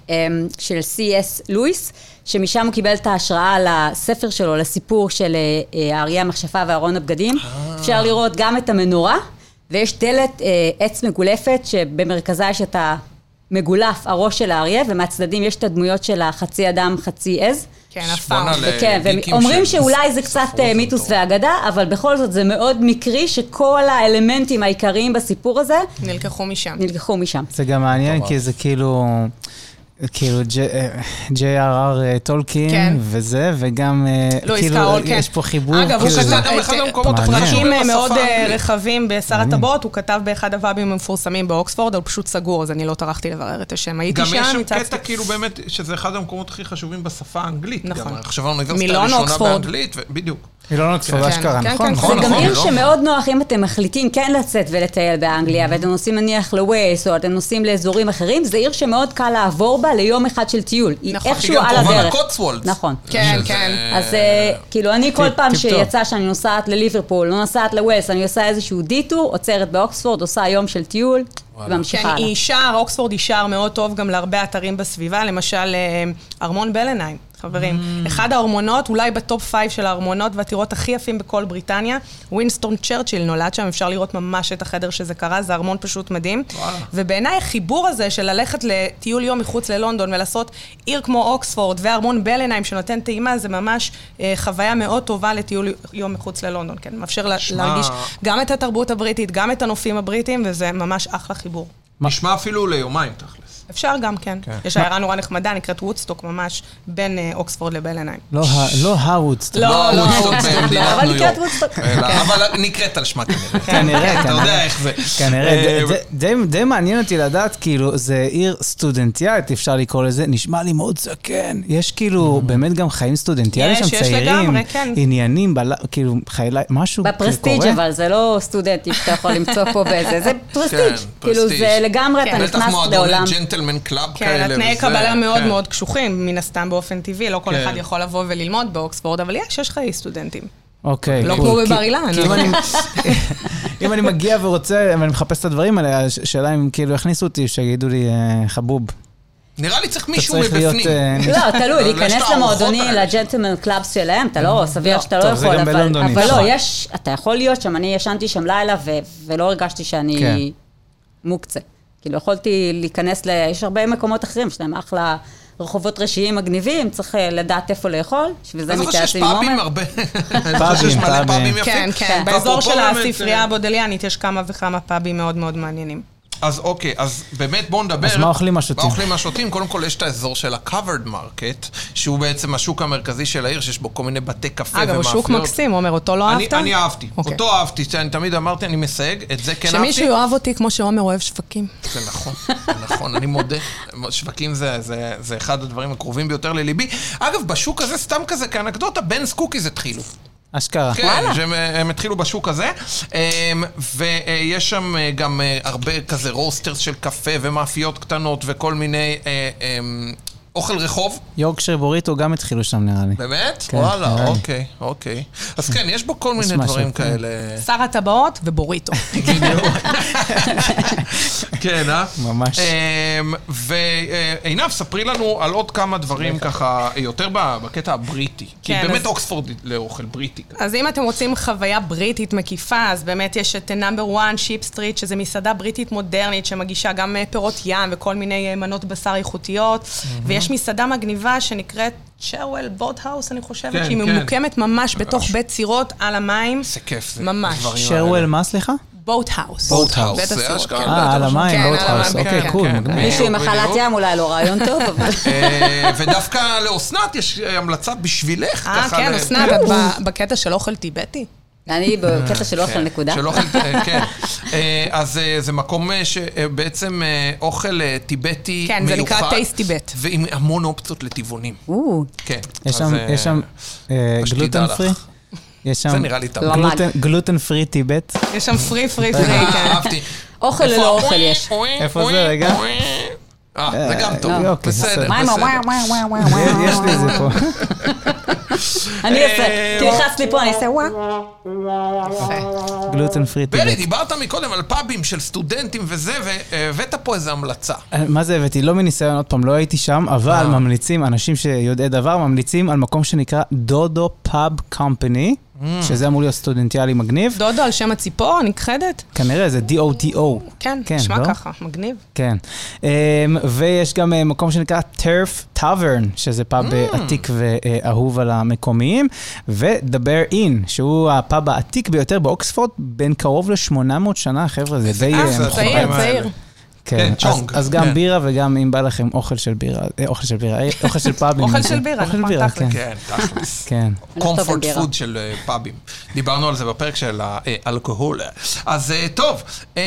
Speaker 5: אמ, של סי.אס לואיס, שמשם הוא קיבל את ההשראה לספר שלו, לסיפור של אה, אה, האריה המכשפה וארון הבגדים. אפשר לראות גם את המנורה, ויש דלת אה, עץ מגולפת, שבמרכזה יש את המגולף, הראש של האריה, ומהצדדים יש את הדמויות של החצי אדם, חצי עז.
Speaker 4: כן,
Speaker 3: שבונה
Speaker 4: הפארם.
Speaker 3: ל-
Speaker 5: וכן,
Speaker 3: לגיקים
Speaker 5: ואומרים
Speaker 3: של-
Speaker 5: שאולי זה קצת
Speaker 3: ספרות
Speaker 5: אה, מיתוס
Speaker 3: מטורף.
Speaker 5: ואגדה, אבל בכל זאת זה מאוד מקרי שכל האלמנטים העיקריים בסיפור הזה
Speaker 4: נלקחו משם.
Speaker 5: נלקחו משם.
Speaker 2: זה גם מעניין, כי זה כאילו... כאילו ג'י.אר.אר אה, טולקין,
Speaker 4: כן.
Speaker 2: וזה, וגם אה,
Speaker 4: לואיס
Speaker 2: כאילו,
Speaker 4: קארול, כן.
Speaker 2: יש פה חיבור.
Speaker 4: אגב, הוא
Speaker 2: כאילו, זה-
Speaker 4: כתב
Speaker 3: גם אחד המקומות
Speaker 4: את-
Speaker 2: הכי
Speaker 4: מעניין.
Speaker 2: חשובים
Speaker 4: פרקים מאוד
Speaker 3: בשפה
Speaker 4: אה,
Speaker 3: האנגלית.
Speaker 4: רחבים בשר הטבעות, הוא כתב באחד הוואבים המפורסמים באוקספורד, אבל הוא פשוט סגור, אז אני לא טרחתי לברר את השם. הייתי
Speaker 3: גם
Speaker 4: שם,
Speaker 3: יש שם
Speaker 4: הצצתי.
Speaker 3: קטע כאילו באמת, שזה אחד המקומות הכי חשובים בשפה האנגלית.
Speaker 4: נכון.
Speaker 3: גם עכשיו האוניברסיטה
Speaker 4: מילון,
Speaker 3: הראשונה
Speaker 4: אוקספורד.
Speaker 3: באנגלית, ו- בדיוק.
Speaker 2: מילון אוקספורד
Speaker 4: כן,
Speaker 2: אשכרה,
Speaker 4: כן,
Speaker 2: לא נכון?
Speaker 4: כן,
Speaker 2: נכון?
Speaker 5: זה
Speaker 3: נכון,
Speaker 5: גם
Speaker 3: נכון,
Speaker 5: עיר
Speaker 3: לא?
Speaker 5: שמאוד נוח אם אתם מחליטים כן לצאת ולטייל באנגליה, ואתם נוסעים נניח לווייס, או אתם נוסעים לאזורים אחרים, זה עיר שמאוד קל לעבור בה ליום אחד של טיול. היא
Speaker 4: נכון.
Speaker 5: איכשהו
Speaker 3: היא גם
Speaker 5: על
Speaker 3: קרובה
Speaker 5: הדרך.
Speaker 3: לקוטסוולדס.
Speaker 5: נכון.
Speaker 4: כן,
Speaker 3: שזה-
Speaker 4: כן.
Speaker 5: אז אה, כאילו, אני כל
Speaker 2: טיפ-
Speaker 5: פעם
Speaker 2: טיפ-טופ.
Speaker 5: שיצא שאני נוסעת לליברפול, לא נוסעת לווילס, אני עושה איזשהו דיטור, עוצרת באוקספורד, עושה יום של טיול, וממשיכה
Speaker 4: כן,
Speaker 5: הלאה.
Speaker 4: היא שער, אוקספורד היא שער מאוד טוב גם להרבה אתרים בסביבה, למשל אה, ארמון בלנהיים, חברים. אחד הארמונות, אולי בטופ פייב של הארמונות והטירות הכי יפים בכל בריטניה, ווינסטון צ'רצ'יל נולד שם, אפשר לראות ממש את החדר שזה קרה, זה ארמון פשוט מדהים.
Speaker 3: וואלה.
Speaker 4: ובעיניי החיבור הזה של ללכת לטיול יום מחוץ ללונדון ולעשות עיר כמו אוקספורד וארמון בלנהיים שנותן טעימה, זה ממש אה, חוויה מאוד טובה לטיול יום מחוץ ללונדון, כן? מאפשר לה-
Speaker 3: שמע.
Speaker 4: להרגיש גם את התרבות הבריטית, גם את הנופים הבריטים, וזה ממש אחלה חיבור.
Speaker 3: נשמע אפילו ליומיים, תכלס.
Speaker 4: אפשר גם כן.
Speaker 3: כן.
Speaker 4: יש עיירה נורא נחמדה, נקראת וודסטוק ממש, בין אה, אוקספורד לבין עיניים.
Speaker 2: לא ה- לא הוודסטוק.
Speaker 4: לא, לא,
Speaker 3: וודסטוק
Speaker 4: וודסטוק לא,
Speaker 3: במדינת
Speaker 5: אבל
Speaker 3: ניו יורק.
Speaker 5: נקראת וודסטוק.
Speaker 3: אלא-
Speaker 4: כן.
Speaker 3: אבל נקראת על שמה כנראה.
Speaker 2: <laughs> כנראה,
Speaker 3: כן, אתה
Speaker 2: כנראה.
Speaker 3: יודע איך זה.
Speaker 2: כנראה,
Speaker 3: אה,
Speaker 2: זה- זה- די- די מעניין אותי לדעת, כאילו, זה עיר סטודנטיאלית, אפשר לקרוא לזה, נשמע לי מאוד זקן. יש
Speaker 3: Mm.
Speaker 2: כאילו, באמת גם חיים סטודנטיאליים
Speaker 4: יש,
Speaker 2: שם,
Speaker 4: יש
Speaker 2: צעירים,
Speaker 4: לגמרי, כן.
Speaker 2: עניינים, בל- כאילו, חיי לילה, משהו כאילו
Speaker 5: בפרסטיג'
Speaker 2: קורה.
Speaker 5: אבל, זה לא סטודנטים שאתה יכול למצוא פה באיזה, זה פרסטיג'. כאילו
Speaker 3: פרסטיג'.
Speaker 5: זה לגמרי, אתה
Speaker 4: כן.
Speaker 5: נכנס
Speaker 3: בטח מועדוני
Speaker 5: לעולם.
Speaker 3: ג'נטלמן קלאב כאלה.
Speaker 4: כן, התנאי
Speaker 3: וזה,
Speaker 4: קבלה מאוד
Speaker 3: אוקיי, כן.
Speaker 4: מאוד קשוחים, מן הסתם באופן טבעי, לא כל
Speaker 3: כן.
Speaker 4: אחד יכול לבוא וללמוד באוקספורד, אבל יש, יש חיי סטודנטים.
Speaker 2: אוקיי.
Speaker 4: לא
Speaker 2: כי-
Speaker 4: כמו
Speaker 2: כי-
Speaker 4: בבר אילן.
Speaker 2: כי אם
Speaker 3: כאילו,
Speaker 4: <laughs>
Speaker 2: אני- אם אני מגיע ורוצה, ואני מחפש את הדברים האלה, הש- השאלה אם כאילו יכניסו אותי, שיגידו לי, אה, חבוב,
Speaker 3: נראה לי צריך
Speaker 2: אתה
Speaker 3: מישהו
Speaker 2: צריך להיות...
Speaker 3: מבפנים.
Speaker 2: אה,
Speaker 3: <laughs>
Speaker 5: לא,
Speaker 3: יש
Speaker 5: תלוי,
Speaker 3: את
Speaker 5: להיכנס
Speaker 3: הארוחות
Speaker 5: למועדונים,
Speaker 3: האלה.
Speaker 5: לג'נטלמן קלאבס שלהם, אתה לא, סביר שאתה לא
Speaker 2: טוב, זה
Speaker 5: יכול,
Speaker 2: גם
Speaker 5: אבל-
Speaker 2: בלונדון אי
Speaker 5: אבל
Speaker 2: אפשר.
Speaker 5: לא, יש, אתה יכול להיות שם, אני ישנתי שם לילה ו- ולא הרגשתי
Speaker 2: כן.
Speaker 5: שאני מוקצה. כאילו, יכולתי להיכנס ל... יש הרבה מקומות אחרים, יש להם אחלה רחובות ראשיים מגניבים, צריך אה, לדעת איפה לאכול, בשביל זה
Speaker 3: אני זוכר שיש
Speaker 5: מתייעצים עם
Speaker 3: פאבים
Speaker 5: עומר.
Speaker 3: הרבה. <laughs> אני זוכר שיש מלא
Speaker 2: פאבים.
Speaker 3: פאבים יפים.
Speaker 4: כן, כן,
Speaker 5: כן.
Speaker 4: באזור
Speaker 3: ואפרופו
Speaker 4: של
Speaker 3: באמת,
Speaker 4: הספרייה
Speaker 3: אה,
Speaker 4: הבודליאנית יש כמה וכמה פאבים מאוד מאוד מעניינים.
Speaker 3: אז אוקיי, אז באמת בואו נדבר.
Speaker 2: אז מה אוכלים השותים?
Speaker 3: מה אוכלים השותים? קודם כל יש את האזור של ה-covered market, שהוא בעצם השוק המרכזי של העיר, שיש בו כל מיני בתי קפה ומאפיות.
Speaker 4: אגב, הוא שוק מקסים, עומר, אותו לא
Speaker 3: אני-
Speaker 4: אהבת?
Speaker 3: אני אהבתי.
Speaker 4: אוקיי.
Speaker 3: אותו אהבתי, שאני תמיד אמרתי, אני מסייג, את זה כן אהבתי.
Speaker 4: שמישהו יאהב אותי כמו שעומר אוהב שווקים.
Speaker 3: זה נכון, זה נכון, אני מודה. שווקים זה, זה, זה אחד הדברים הקרובים ביותר לליבי. אגב, בשוק הזה, סתם כזה כאנקדוטה, בנס קוקיז התחילו.
Speaker 2: אשכרה.
Speaker 3: כן, שהם, אה, הם התחילו בשוק הזה. אמ, ויש שם אה, גם אה, הרבה כזה רוסטרס של קפה ומאפיות קטנות וכל מיני אה, אמ, אוכל רחוב.
Speaker 2: יורקשר בוריטו גם התחילו שם, נראה לי.
Speaker 3: באמת?
Speaker 2: כן, נראה
Speaker 3: וואלה,
Speaker 2: לי.
Speaker 3: אוקיי, אוקיי. אז כן, יש בו כל מיני
Speaker 2: משהו,
Speaker 3: דברים
Speaker 2: כן. <laughs>
Speaker 3: כאלה.
Speaker 4: שר הטבעות ובוריטו.
Speaker 3: כן, אה? אמ,
Speaker 2: ממש.
Speaker 3: ועינב, ספרי לנו על עוד כמה דברים ככה, אה, יותר ב- בקטע הבריטי. כי
Speaker 4: כן,
Speaker 3: באמת
Speaker 4: אז-
Speaker 3: אוקספורד לאוכל בריטי. כזה.
Speaker 4: אז אם אתם רוצים חוויה בריטית מקיפה, אז באמת יש את נאמבר 1 שיפ סטריט, שזה מסעדה בריטית מודרנית שמגישה גם אה, פירות ים וכל מיני אה, מנות בשר איכותיות, ויש מסעדה מגניבה שנקראת צ'רוול בוטהאוס, אני חושבת,
Speaker 3: כן,
Speaker 4: שהיא
Speaker 3: כן.
Speaker 4: ממוקמת ממש בתוך בית סירות על המים.
Speaker 3: איזה כיף זה.
Speaker 4: ממש.
Speaker 3: הדברים האלה.
Speaker 2: שרוול מה, סליחה?
Speaker 4: בוטהאוס.
Speaker 3: Boathouse,
Speaker 4: בית
Speaker 3: זה
Speaker 4: הסירות,
Speaker 3: אשכרה.
Speaker 4: כן.
Speaker 2: אה, על המים,
Speaker 4: כן, על
Speaker 2: באוטהאוס.
Speaker 4: המים,
Speaker 2: אוקיי,
Speaker 4: כן,
Speaker 2: קול,
Speaker 3: כן,
Speaker 2: מגניב.
Speaker 5: מישהו עם
Speaker 3: בדיוק.
Speaker 5: מחלת ים אולי לא רעיון טוב, אבל...
Speaker 3: אה, ודווקא לאסנת יש אה, המלצה בשבילך.
Speaker 4: אה,
Speaker 3: ככה
Speaker 4: כן,
Speaker 3: ל-
Speaker 4: אסנת, את ב- בקטע של אוכל טיבטי?
Speaker 5: אני בקטע של אוכל
Speaker 3: כן,
Speaker 5: נקודה.
Speaker 3: של אוכל, אה, כן. אה, אז אה, זה מקום אה, שבעצם אה, אוכל אה, טיבטי מיוחד.
Speaker 4: כן, זה נקרא טייסט טיבט.
Speaker 3: ועם המון אופציות לטבעונים.
Speaker 5: או,
Speaker 3: כן.
Speaker 2: יש
Speaker 3: אז,
Speaker 2: שם,
Speaker 3: אה,
Speaker 2: יש שם אה,
Speaker 3: פשוט
Speaker 2: גלוטן
Speaker 3: תדע לך.
Speaker 2: פרי? יש שם
Speaker 3: זה נראה לי טוב.
Speaker 5: לא.
Speaker 2: גלוטן- גלוטן פרי טיבט?
Speaker 4: יש שם פרי פרי פרי,
Speaker 3: אה,
Speaker 4: כן.
Speaker 3: אהבתי.
Speaker 5: אוכל
Speaker 3: איפה
Speaker 5: ללא
Speaker 3: ה-
Speaker 5: אוכל יש.
Speaker 2: איפה זה, רגע?
Speaker 3: אה, זה גם טוב.
Speaker 2: אה, אוקיי,
Speaker 3: בסדר,
Speaker 2: בסדר.
Speaker 5: וואי וואי
Speaker 3: בסדר.
Speaker 5: וואי וואי וואי וואי.
Speaker 2: יש לי את זה פה. <laughs>
Speaker 5: אני
Speaker 3: אה,
Speaker 5: אעשה, תלחץ לי פה, אני אעשה וואו.
Speaker 4: כן.
Speaker 2: גלוטן פרי
Speaker 3: בני,
Speaker 2: טיבט.
Speaker 3: דיברת מקודם על פאבים של סטודנטים וזה, והבאת פה איזו המלצה.
Speaker 2: אה, מה זה הבאתי? לא מניסיון, עוד פעם, לא הייתי שם, אבל
Speaker 3: אה.
Speaker 2: ממליצים, אנשים שיודעי דבר, ממליצים על מקום שנקרא דודו פאב קומפני,
Speaker 3: Mm.
Speaker 2: שזה אמור להיות סטודנטיאלי מגניב.
Speaker 4: דודו על שם הציפור, נכחדת?
Speaker 2: כנראה זה D-O-D-O.
Speaker 4: כן, נשמע
Speaker 2: לא?
Speaker 4: ככה, מגניב.
Speaker 2: כן. Um, ויש גם uh, מקום שנקרא turf tavern, שזה פאב mm. עתיק ואהוב על המקומיים, ו-The Bear Inn, שהוא הפאב העתיק ביותר באוקספורד, בין קרוב ל-800 שנה, חבר'ה, זה די...
Speaker 4: אה,
Speaker 2: אה,
Speaker 3: זה
Speaker 2: מכובד.
Speaker 3: הדברים
Speaker 4: צעיר,
Speaker 3: האלה.
Speaker 4: צעיר.
Speaker 2: כן,
Speaker 3: כן,
Speaker 2: אז,
Speaker 3: צ'ונג,
Speaker 2: אז גם
Speaker 3: כן.
Speaker 2: בירה וגם אם בא לכם אוכל של בירה, אה, אוכל של בירה, אה, אוכל של פאבים.
Speaker 4: אוכל
Speaker 2: אני
Speaker 4: של
Speaker 2: מבין.
Speaker 4: בירה,
Speaker 2: אוכל
Speaker 4: נכון,
Speaker 2: בירה,
Speaker 4: תכל'ס.
Speaker 2: כן.
Speaker 3: כן, תכלס.
Speaker 2: כן.
Speaker 5: טוב עם
Speaker 3: קומפורט
Speaker 5: בירה.
Speaker 3: פוד של אה, פאבים. דיברנו על זה בפרק של האלכוהול. אז אה, טוב, אמ,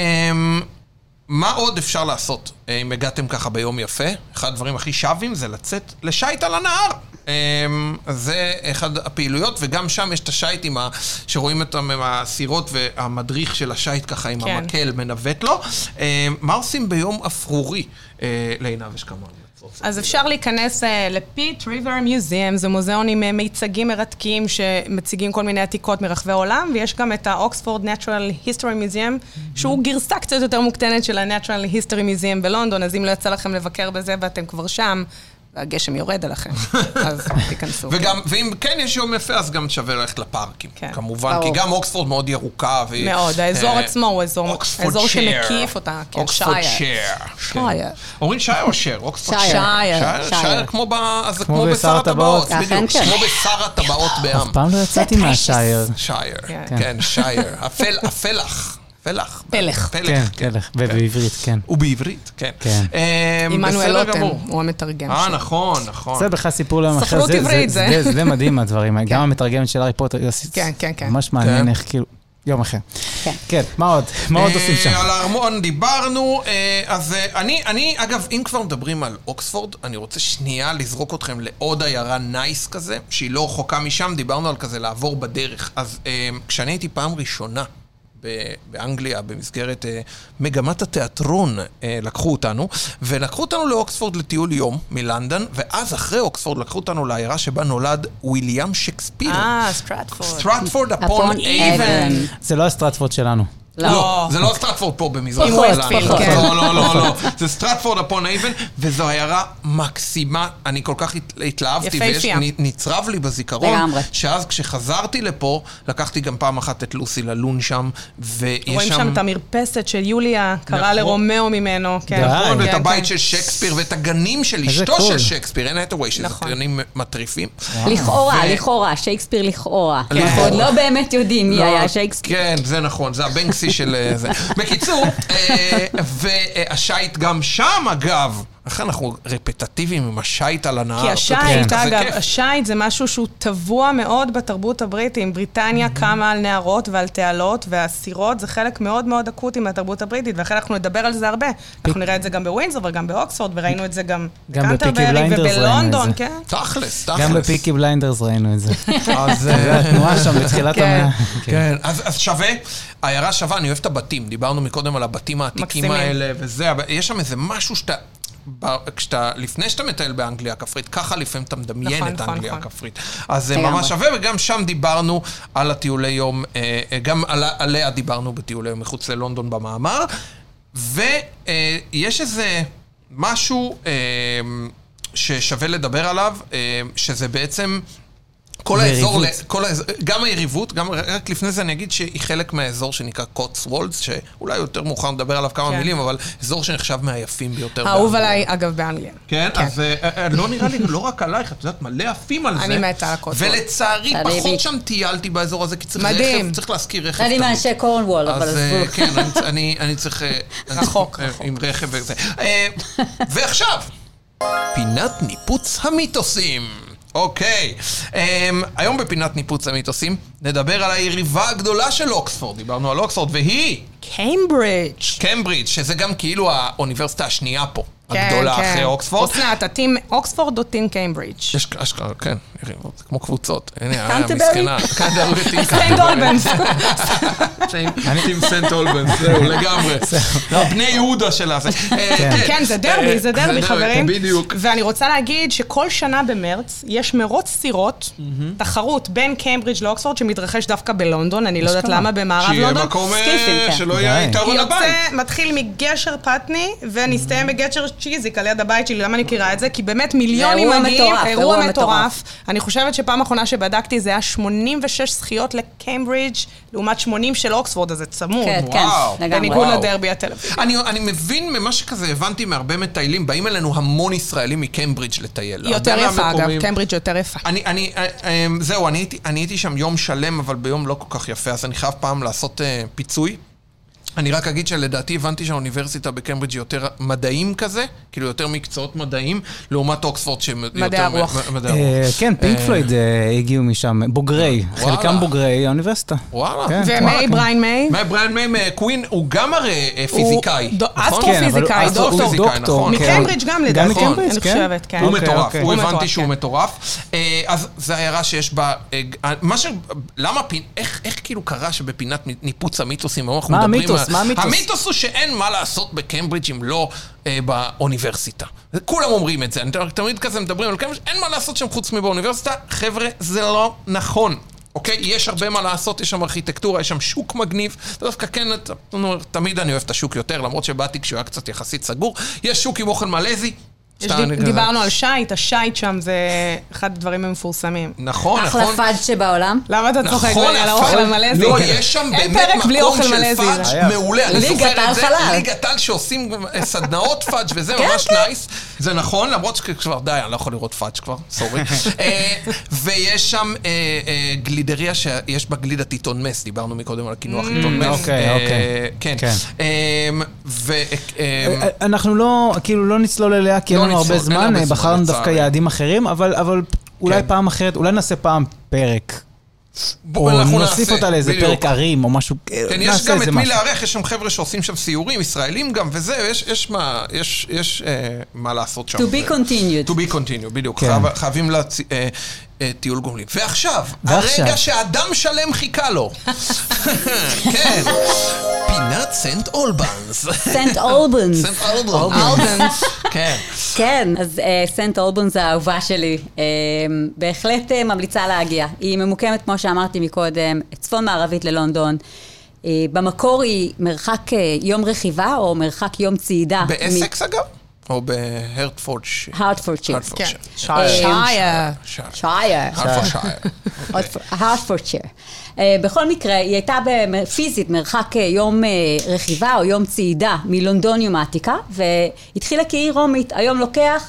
Speaker 3: מה עוד אפשר לעשות אה, אם הגעתם ככה ביום יפה? אחד הדברים הכי שווים זה לצאת לשייט על הנהר. אמ, זה אחד הפעילויות, וגם שם יש את השייט עם ה... שרואים אותם עם הסירות והמדריך של השייט ככה עם
Speaker 4: כן.
Speaker 3: המקל מנווט לו. אמ, מה עושים ביום אפרורי? אה, לעינב יש כמה המלצות.
Speaker 4: אז אפשר להיכנס אה, לפיט ריבר מיוזיאם, זה מוזיאון עם אה, מיצגים מרתקים שמציגים כל מיני עתיקות מרחבי העולם, ויש גם את האוקספורד Natural History Museum,
Speaker 3: Mm-hmm.
Speaker 4: שהוא גרסה קצת יותר מוקטנת של ה-Natural History Museum בלונדון, אז אם לא יצא לכם לבקר בזה ואתם כבר שם, והגשם
Speaker 3: <laughs>
Speaker 4: יורד עליכם, אז תיכנסו.
Speaker 3: וגם, ואם כן יש יום יפה, אז גם שווה ללכת לפארקים.
Speaker 4: אוקיי. כן.
Speaker 3: כמובן, כי
Speaker 5: ברור.
Speaker 3: גם אוקספורד מאוד ירוקה. והיא, אה,
Speaker 4: מאוד, האזור עצמו הוא אזור-
Speaker 3: אוקספורד
Speaker 4: האזור
Speaker 3: שייר.
Speaker 4: שמקיף אותה, כן,
Speaker 3: אוקספורד
Speaker 4: שייר.
Speaker 3: שייר.
Speaker 4: שייר.
Speaker 3: כן. אומרים שייר או שייר? אוקספורד
Speaker 5: שייר.
Speaker 4: שייר.
Speaker 3: שייר, שייר
Speaker 5: שייר.
Speaker 3: כמו ב... אז זה
Speaker 2: כמו
Speaker 3: כמו
Speaker 2: בשר
Speaker 3: בשר הטבעות,
Speaker 5: הטבעות.
Speaker 3: בדיוק.
Speaker 5: אכן כן.
Speaker 3: כמו בשר הטבעות בעם.
Speaker 2: אף פעם לא יצאתי מהשייר.
Speaker 3: שייר,
Speaker 4: כן.
Speaker 3: כן, שייר. הפל- הפלח. פלח.
Speaker 4: פלך.
Speaker 2: כן,
Speaker 3: פלך, כן.
Speaker 2: כן, ובעברית, כן.
Speaker 3: ובעברית, כן.
Speaker 2: כן.
Speaker 3: אה,
Speaker 4: עמנואל
Speaker 3: בסדר
Speaker 4: לוטם, כן,
Speaker 3: גמור.
Speaker 4: הוא המתרגם
Speaker 3: אה,
Speaker 4: שלו.
Speaker 3: נכון, נכון.
Speaker 2: זה בכלל סיפור ליום אחר.
Speaker 4: ספרות
Speaker 2: זה-
Speaker 4: עברית,
Speaker 2: זה.
Speaker 4: זה.
Speaker 2: זה- זה מדהים הדברים האלה. גם המתרגמת של הארי פוטר, יוסי,
Speaker 4: כן, כן, כן.
Speaker 2: ממש מעניין
Speaker 3: כן.
Speaker 2: איך כאילו, יום אחר.
Speaker 5: כן.
Speaker 2: כן, מה עוד? מה עוד עושים שם?
Speaker 3: אה, על הארמון דיברנו, אה, אז אה, אני, אני, אגב, אם כבר מדברים על אוקספורד, אני רוצה שנייה לזרוק אתכם לעוד עיירה נייס כזה, שהיא לא רחוקה משם, דיברנו על כזה לעבור בדרך. אז אה, כשאני הייתי פעם ראשונה ב- באנגליה, במסגרת אה, מגמת התיאטרון, אה, לקחו אותנו, ולקחו אותנו לאוקספורד לטיול יום מלונדון, ואז אחרי אוקספורד לקחו אותנו לעיירה שבה נולד ויליאם שקספיר.
Speaker 4: אה, סטרטפורד.
Speaker 3: סטרטפורד
Speaker 5: אפון
Speaker 3: אפון
Speaker 5: אבן.
Speaker 3: אייבן.
Speaker 2: זה לא הסטרטפורד שלנו.
Speaker 3: לא, זה לא סטרטפורד פה במזרח
Speaker 5: פחות,
Speaker 3: אירלנד.
Speaker 5: פחות.
Speaker 3: לא, לא, לא, לא. זה סטרטפורד אפון אייבן, וזו עיירה מקסימה. אני כל כך הת- התלהבתי,
Speaker 4: יפהפייה.
Speaker 3: ויש- נ- נצרב לי בזיכרון,
Speaker 5: לגמרי.
Speaker 3: שאז כשחזרתי לפה, לקחתי גם פעם אחת את לוסי ללון שם, ויש שם...
Speaker 4: רואים שם את המרפסת של יוליה, קרא
Speaker 3: נכון.
Speaker 4: לרומאו ממנו. כן,
Speaker 2: נכון,
Speaker 3: נכון, ואת
Speaker 4: כן,
Speaker 3: הבית
Speaker 4: כן.
Speaker 3: של שייקספיר, ואת הגנים של
Speaker 2: איזה
Speaker 3: אשתו
Speaker 2: קול.
Speaker 3: של שייקספיר, אין הייטווי, שזה
Speaker 4: נכון.
Speaker 3: גנים מטריפים.
Speaker 5: לכאורה,
Speaker 3: אה, ו-
Speaker 5: לכאורה, שייקספיר לכאורה.
Speaker 3: לכאורה.
Speaker 5: אנחנו עוד לא באמת יודעים מי
Speaker 3: לא,
Speaker 5: היה שייקספיר.
Speaker 3: כן, זה נכון, זה הבנקסי של אה, זה. בקיצור, אה, והשייט גם שם, אגב. איך אנחנו רפטטיביים עם השייט על הנהר?
Speaker 4: כי
Speaker 2: כן.
Speaker 4: השייט,
Speaker 3: זה
Speaker 4: אגב,
Speaker 3: כיף.
Speaker 4: השייט זה משהו שהוא טבוע מאוד בתרבות הבריטית. בריטניה
Speaker 2: Mm-hmm.
Speaker 4: קמה על נהרות ועל תעלות, והסירות זה חלק מאוד מאוד אקוטי מהתרבות הבריטית, ואכן אנחנו נדבר על זה הרבה. אנחנו נראה את זה גם בווינזר וגם באוקספורד, וראינו את זה גם
Speaker 2: גם בפיקי
Speaker 4: בקנטרברי
Speaker 2: בליינדרס ראינו את
Speaker 4: ובלונדון,
Speaker 2: זה.
Speaker 4: כן.
Speaker 3: תכלס,
Speaker 2: גם
Speaker 3: תכלס.
Speaker 2: בפיקי בליינדרס ראינו את
Speaker 4: <laughs>
Speaker 2: זה.
Speaker 3: אז...
Speaker 2: זה
Speaker 3: אה, <laughs>
Speaker 2: התנועה שם בתחילת
Speaker 4: כן.
Speaker 2: המאה.
Speaker 3: כן, אז, אז שווה, העיירה שווה, אני אוהב את הבתים. דיברנו מקודם על הבתים העתיקים
Speaker 4: מקסימים.
Speaker 3: האלה וזה, אבל יש שם איזה משהו שאתה... ב- כשאתה, לפני שאתה מטייל באנגליה הכפרית, ככה לפעמים אתה מדמיין
Speaker 4: נכון,
Speaker 3: את
Speaker 4: נכון,
Speaker 3: האנגליה
Speaker 4: נכון.
Speaker 3: הכפרית. אז זה
Speaker 5: לגמרי.
Speaker 3: ממש שווה, וגם שם דיברנו על הטיולי יום, אה, אה, גם על, עליה דיברנו בטיולי יום מחוץ ללונדון במאמר, ויש איזה משהו אה, ששווה לדבר עליו, אה, שזה בעצם... כל האזור, ל-
Speaker 2: ויריבות.
Speaker 3: כל האזור, גם היריבות, גם, רק לפני זה אני אגיד שהיא חלק מהאזור שנקרא קוטס וולדס, שאולי יותר מאוחר נדבר עליו כמה
Speaker 4: כן.
Speaker 3: מילים, אבל אזור שנחשב מהיפים ביותר.
Speaker 4: האהוב
Speaker 3: באנגליה.
Speaker 4: עליי, אגב, באנגליה.
Speaker 3: כן, אז אה, אה, לא נראה לי, לא רק עלייך, את יודעת, מלא עפים על זה.
Speaker 4: אני מתה על הקוטס וולדס.
Speaker 3: ולצערי,
Speaker 5: חביבי.
Speaker 3: פחות שם טיילתי באזור הזה, כי צריך
Speaker 4: מדהים.
Speaker 3: רכב, צריך להשכיר רכב.
Speaker 5: אני
Speaker 3: תמיד.
Speaker 5: מאנשי קורנוול, אבל
Speaker 3: כן, אז אה,
Speaker 5: עזבו.
Speaker 3: כן, אני צ- אני- אני צריך... אה, אני
Speaker 4: רחוק,
Speaker 3: צריך, אה, עם רכב וזה. אה, ועכשיו, פינת ניפוץ המיתוסים. אוקיי, um, היום בפינת ניפוץ המיתוסים נדבר על היריבה הגדולה של אוקספורד, דיברנו על אוקספורד, והיא
Speaker 4: כן. קיימברידג'.
Speaker 3: קיימברידג', שזה גם כאילו האוניברסיטה השנייה פה,
Speaker 4: כן,
Speaker 3: הגדולה
Speaker 4: כן.
Speaker 3: אחרי אוקספורד.
Speaker 4: אסנת, הטים אוקספורד או טים קיימברידג'?
Speaker 3: יש אשכרה, כן, יריבות, זה כמו קבוצות. הנה, אה,
Speaker 5: קנטרברי?
Speaker 3: המסכנה.
Speaker 4: <laughs>
Speaker 3: קנטרברי, טים
Speaker 4: סנט אולבנס.
Speaker 3: טים סנט אולבנס, <laughs> זהו, לגמרי. לא, בני יהודה שלה. זה- אה,
Speaker 4: כן, זה דרבי, זה
Speaker 3: אה,
Speaker 4: דרבי, חברים.
Speaker 3: בדיוק.
Speaker 4: ואני רוצה להגיד שכל שנה במרץ יש מרוץ סירות, תחרות בין קיימברידג' לאוקספורד, שמתרחש דווקא בלונדון, אני לא יודעת
Speaker 2: כמה.
Speaker 4: למה, במערב
Speaker 3: שיהיה
Speaker 4: לונדון.
Speaker 3: מקום, אה,
Speaker 5: סקיפים, כן.
Speaker 3: שלא יהיה
Speaker 2: די.
Speaker 3: יתרון לבית.
Speaker 4: יוצא, מתחיל מגשר פטני, ונסתיים בגשר צ'יזיק על יד הבית שלי. למה אני מכירה את זה? כי באמת מיליונים
Speaker 5: אירוע
Speaker 4: מגיעים,
Speaker 5: מטורף,
Speaker 4: אירוע
Speaker 5: אירוע
Speaker 4: מטורף.
Speaker 5: מטורף.
Speaker 4: אני חושבת שפעם אחרונה שבדקתי זה היה 86 זכיות לקיימברידג', לעומת 80 של אוקספורד, אז זה צמוד.
Speaker 5: כן, כן,
Speaker 3: וואו.
Speaker 5: לגמרי.
Speaker 4: בניגוד
Speaker 3: וואו.
Speaker 4: לדרבי התל אביב.
Speaker 3: אני, אני מבין ממה שכזה הבנתי מהרבה מטיילים, באים אלינו המון ישראלים מקיימברידג' לטייל.
Speaker 4: היא יותר
Speaker 3: הרבה
Speaker 4: יפה,
Speaker 3: מהמקומים-
Speaker 4: אגב, קיימברידג' יותר יפה.
Speaker 3: אני, אני, אה, אה, זהו, אני הייתי, אני הייתי שם יום שלם, אבל ביום לא כל כך יפה, אז אני חייב פעם לעשות אה, פיצוי. אני רק אגיד שלדעתי הבנתי שהאוניברסיטה בקיימברידג' היא יותר מדעים כזה, כאילו יותר מקצועות מדעים, לעומת אוקספורד שהם
Speaker 4: מדעי
Speaker 3: יותר מ-
Speaker 4: הרוח.
Speaker 3: מ- מדעי
Speaker 2: אה,
Speaker 3: הרוח.
Speaker 2: כן, פינק
Speaker 3: אה,
Speaker 2: פלויד אה, הגיעו משם, בוגרי,
Speaker 3: וואלה.
Speaker 2: חלקם בוגרי האוניברסיטה.
Speaker 3: וואלה.
Speaker 2: כן.
Speaker 4: ומיי, בריין מיי,
Speaker 3: מה, בריאן מיי מקווין אה, הוא גם הרי אה, פיזיקאי.
Speaker 4: דו-
Speaker 3: נכון?
Speaker 4: אסטרו- כן, פיזיקאי,
Speaker 2: אבל הוא
Speaker 4: דוקטור.
Speaker 3: פיזיקאי, נכון.
Speaker 2: כן.
Speaker 4: מקיימברידג' גם לדעתי.
Speaker 2: גם
Speaker 3: נכון.
Speaker 2: מקיימברידג',
Speaker 4: אני
Speaker 2: כן?
Speaker 4: חושבת, כן.
Speaker 3: הוא
Speaker 2: אוקיי,
Speaker 3: מטורף,
Speaker 2: אוקיי.
Speaker 3: הוא
Speaker 4: הוא
Speaker 3: הבנתי
Speaker 4: מטורף,
Speaker 3: שהוא
Speaker 4: כן.
Speaker 3: מטורף. אה, אז זו עיירה שיש בה... אה, ג- מה ש... למה פינ... איך איך כאילו קרה שבפינת ניפוץ המיתוסים, היום אנחנו
Speaker 2: מה
Speaker 3: מדברים
Speaker 2: המיתוס?
Speaker 3: על-
Speaker 2: מה המיתוס?
Speaker 3: המיתוס הוא שאין מה לעשות בקיימברידג' אם לא אה, באוניברסיטה. זה- כולם אומרים את זה, אני ת- תמיד כזה מדברים על קיימברידג', אין מה לעשות שם חוץ מבאוניברסיטה. חבר'ה, זה לא נכון. אוקיי, יש הרבה מה לעשות, יש שם ארכיטקטורה, יש שם שוק מגניב. זה דווקא כן, את- נו, תמיד אני אוהב את השוק יותר, למרות שבאתי כשהוא היה קצת יחסית סגור. יש שוק עם אוכל מלזי,
Speaker 4: יש
Speaker 3: שאתה-
Speaker 4: די- דיברנו על שייט, השייט שם זה אחד הדברים המפורסמים.
Speaker 3: נכון,
Speaker 5: אחלה
Speaker 3: נכון.
Speaker 5: פאג' שבעולם.
Speaker 4: למה אתה צוחק
Speaker 3: נכון,
Speaker 4: על האוכל
Speaker 3: הפאג'.
Speaker 4: המלזי?
Speaker 3: לא, יש שם
Speaker 4: אין
Speaker 3: באמת
Speaker 4: פרק בלי
Speaker 3: מקום
Speaker 4: אוכל
Speaker 3: של
Speaker 4: מלזי.
Speaker 3: פאג'
Speaker 2: היה.
Speaker 3: מעולה. אני
Speaker 5: ליגת
Speaker 3: זוכר
Speaker 5: העל
Speaker 3: את זה,
Speaker 5: חלל.
Speaker 3: ליגת על שעושים אה, סדנאות פאג' וזה
Speaker 4: כן,
Speaker 3: ממש נייס. זה נכון, למרות שכבר, די, אני לא יכול לראות פאג' כבר,
Speaker 4: <laughs>
Speaker 3: סורי. אה, ויש שם אה, אה, גלידריה שיש בה גלידת עיתון מס, דיברנו מקודם על הקינוח עיתון
Speaker 4: Mm.
Speaker 3: מס.
Speaker 2: אוקיי,
Speaker 3: אה,
Speaker 2: אוקיי.
Speaker 3: כן.
Speaker 2: כן.
Speaker 3: אה, ו... אה,
Speaker 2: אנחנו לא, כאילו, לא נצלול אליה, כי אין
Speaker 3: לא
Speaker 2: לנו הרבה
Speaker 3: נצלול, אין הרבה
Speaker 2: זמן, אה,
Speaker 3: זמן,
Speaker 2: בחרנו דווקא
Speaker 3: לצערי.
Speaker 2: יעדים אחרים, אבל אבל אולי
Speaker 3: כן.
Speaker 2: פעם אחרת, אולי נעשה פעם פרק.
Speaker 3: בוא,
Speaker 2: או
Speaker 3: אנחנו
Speaker 2: נוסיף
Speaker 3: נעשה,
Speaker 2: אותה לאיזה
Speaker 3: בדיוק.
Speaker 2: פרק ערים, או משהו, אה,
Speaker 3: כן, יש
Speaker 2: נעשה
Speaker 3: גם את
Speaker 2: איזה
Speaker 3: מי
Speaker 2: משהו.
Speaker 3: לארח, יש שם חבר'ה שעושים שם סיורים, ישראלים גם, וזה, יש, יש, מה, יש, יש אה, מה לעשות שם.
Speaker 5: To be continued.
Speaker 3: To be continued, בדיוק.
Speaker 2: כן.
Speaker 3: חייב, חייבים להצ... אה, אה, טיול גומלין. ועכשיו,
Speaker 2: ועכשיו.
Speaker 3: הרגע שאדם שלם חיכה
Speaker 5: <laughs>
Speaker 3: לו. כן. פינת סנט
Speaker 5: <laughs>
Speaker 3: אולבנס.
Speaker 5: סנט אולבנס.
Speaker 3: סנט אולבנס.
Speaker 4: אולבנס.
Speaker 3: כן.
Speaker 5: כן, אז אה, סנט אולבונס האהובה שלי, אה, בהחלט אה, ממליצה להגיע. היא ממוקמת, כמו שאמרתי מקודם, צפון-מערבית ללונדון. אה, במקור היא מרחק אה, יום רכיבה או מרחק יום צעידה.
Speaker 3: באסקס אגב? או בהרטפורד ש...
Speaker 5: הרטפורדשיר.
Speaker 4: כן.
Speaker 3: הרטפורד ש-
Speaker 4: שייר.
Speaker 3: ש-
Speaker 2: <laughs>
Speaker 5: שייר.
Speaker 3: הרטפורד שייר.
Speaker 5: הרטפורדשיר. Uh, בכל מקרה, היא הייתה במ- פיזית מרחק אה, יום אה, רכיבה או יום צעידה מלונדוניום העתיקה, והתחילה כעיר רומית. היום לוקח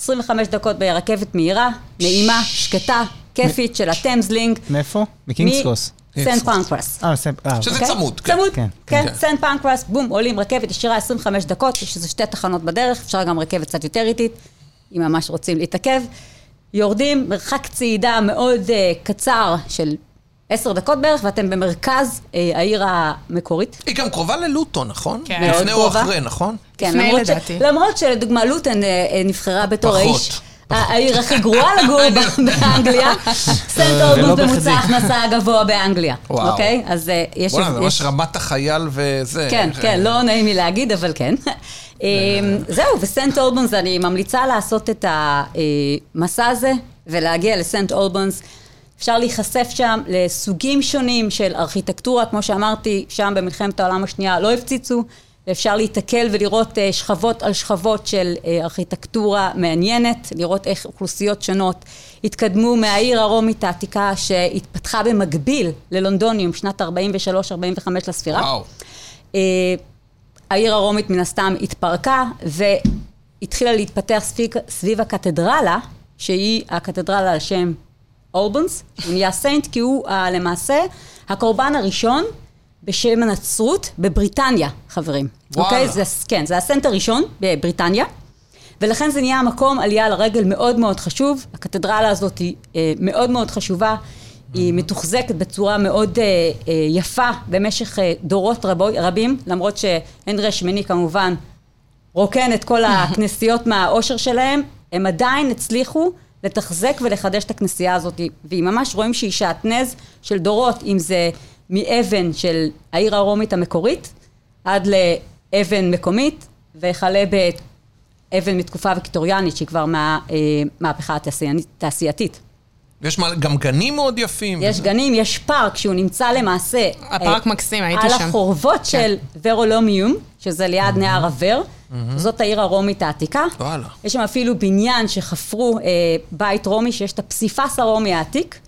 Speaker 5: 25 דקות ברכבת מהירה, נעימה, שקטה, כיפית של הטמזלינג.
Speaker 2: מאיפה? מקינגס קרוס.
Speaker 5: סנט פנקרס.
Speaker 2: אה, סם- אה,
Speaker 3: שזה
Speaker 5: אוקיי?
Speaker 3: צמוד. כן.
Speaker 5: צמוד,
Speaker 2: כן,
Speaker 5: כן,
Speaker 3: כן.
Speaker 5: סנט פנקרס, בום, עולים רכבת ישירה 25 דקות, יש איזה שתי תחנות בדרך, אפשר גם רכבת קצת יותר איטית, אם ממש רוצים להתעכב. יורדים, מרחק צעידה מאוד uh, קצר של 10 דקות בערך, ואתם במרכז uh, העיר המקורית.
Speaker 3: היא גם קרובה ללוטון, נכון?
Speaker 4: כן.
Speaker 5: מאוד
Speaker 3: לפני או
Speaker 5: קרובה.
Speaker 3: אחרי, נכון?
Speaker 5: כן,
Speaker 4: לפני,
Speaker 5: למרות, ש...
Speaker 4: לדעתי.
Speaker 5: למרות שלדוגמה לוטן אה, אה, נבחרה בתור
Speaker 3: פחות. אה,
Speaker 5: האיש. העיר הכי
Speaker 3: <laughs>
Speaker 5: גרועה לגור ב- באנגליה, סנט אורבוס
Speaker 2: ולא
Speaker 5: בממוצע
Speaker 2: בכדי.
Speaker 5: ההכנסה הגבוה באנגליה,
Speaker 3: וואו.
Speaker 5: אוקיי? אז אה, יש...
Speaker 3: וואלה, זה
Speaker 5: יש-
Speaker 3: ממש רמת החייל וזה.
Speaker 5: כן, כן, לא נעים לי להגיד, אבל כן. אמ, זהו, וסנט אולבונס, אני ממליצה לעשות את המסע הזה ולהגיע לסנט אולבונס. אפשר להיחשף שם לסוגים שונים של ארכיטקטורה, כמו שאמרתי, שם במלחמת העולם השנייה לא הפציצו, ואפשר להיתקל ולראות אה, שכבות על שכבות של אה, ארכיטקטורה מעניינת, לראות איך אוכלוסיות שונות התקדמו מהעיר הרומית העתיקה שהתפתחה במקביל ללונדוניום שנת 43-45 לספירה.
Speaker 3: וואו.
Speaker 5: אה, העיר הרומית מן הסתם התפרקה והתחילה להתפתח סביב, סביב הקתדרלה, שהיא הקתדרלה על שם אורבנס, הוא נהיה סיינט כי הוא אה, למעשה הקורבן הראשון בשם הנצרות בבריטניה, חברים.
Speaker 3: וואלה.
Speaker 5: אוקיי? זה, כן, זה הסנט הראשון בבריטניה. ולכן זה נהיה מקום עלייה לרגל מאוד מאוד חשוב. הקתדרלה הזאת היא אה, מאוד מאוד חשובה, היא מתוחזקת בצורה מאוד אה, אה, יפה במשך אה, דורות רבו, רבים, למרות שהנרי השמיני כמובן רוקן את כל הכנסיות מהאושר שלהם, הם עדיין הצליחו לתחזק ולחדש את הכנסייה הזאת, והיא ממש רואים שהיא שעטנז של דורות, אם זה מאבן של העיר הרומית המקורית, עד לאבן מקומית, וכלה באבן מתקופה ויקטוריאנית, שהיא כבר אה, מהמהפכה התעשייתית.
Speaker 3: יש מה- גם גנים מאוד יפים.
Speaker 5: יש גנים, יש פארק שהוא נמצא למעשה...
Speaker 4: הפארק
Speaker 5: אה,
Speaker 4: מקסים, הייתי
Speaker 5: על
Speaker 4: שם. כן.
Speaker 5: החורבות של ורולומיום, שזה ליד נהר הוור. זאת העיר הרומית העתיקה.
Speaker 3: וואלה.
Speaker 5: יש שם אפילו בניין שחפרו אה, בית רומי, שיש את הפסיפס הרומי העתיק.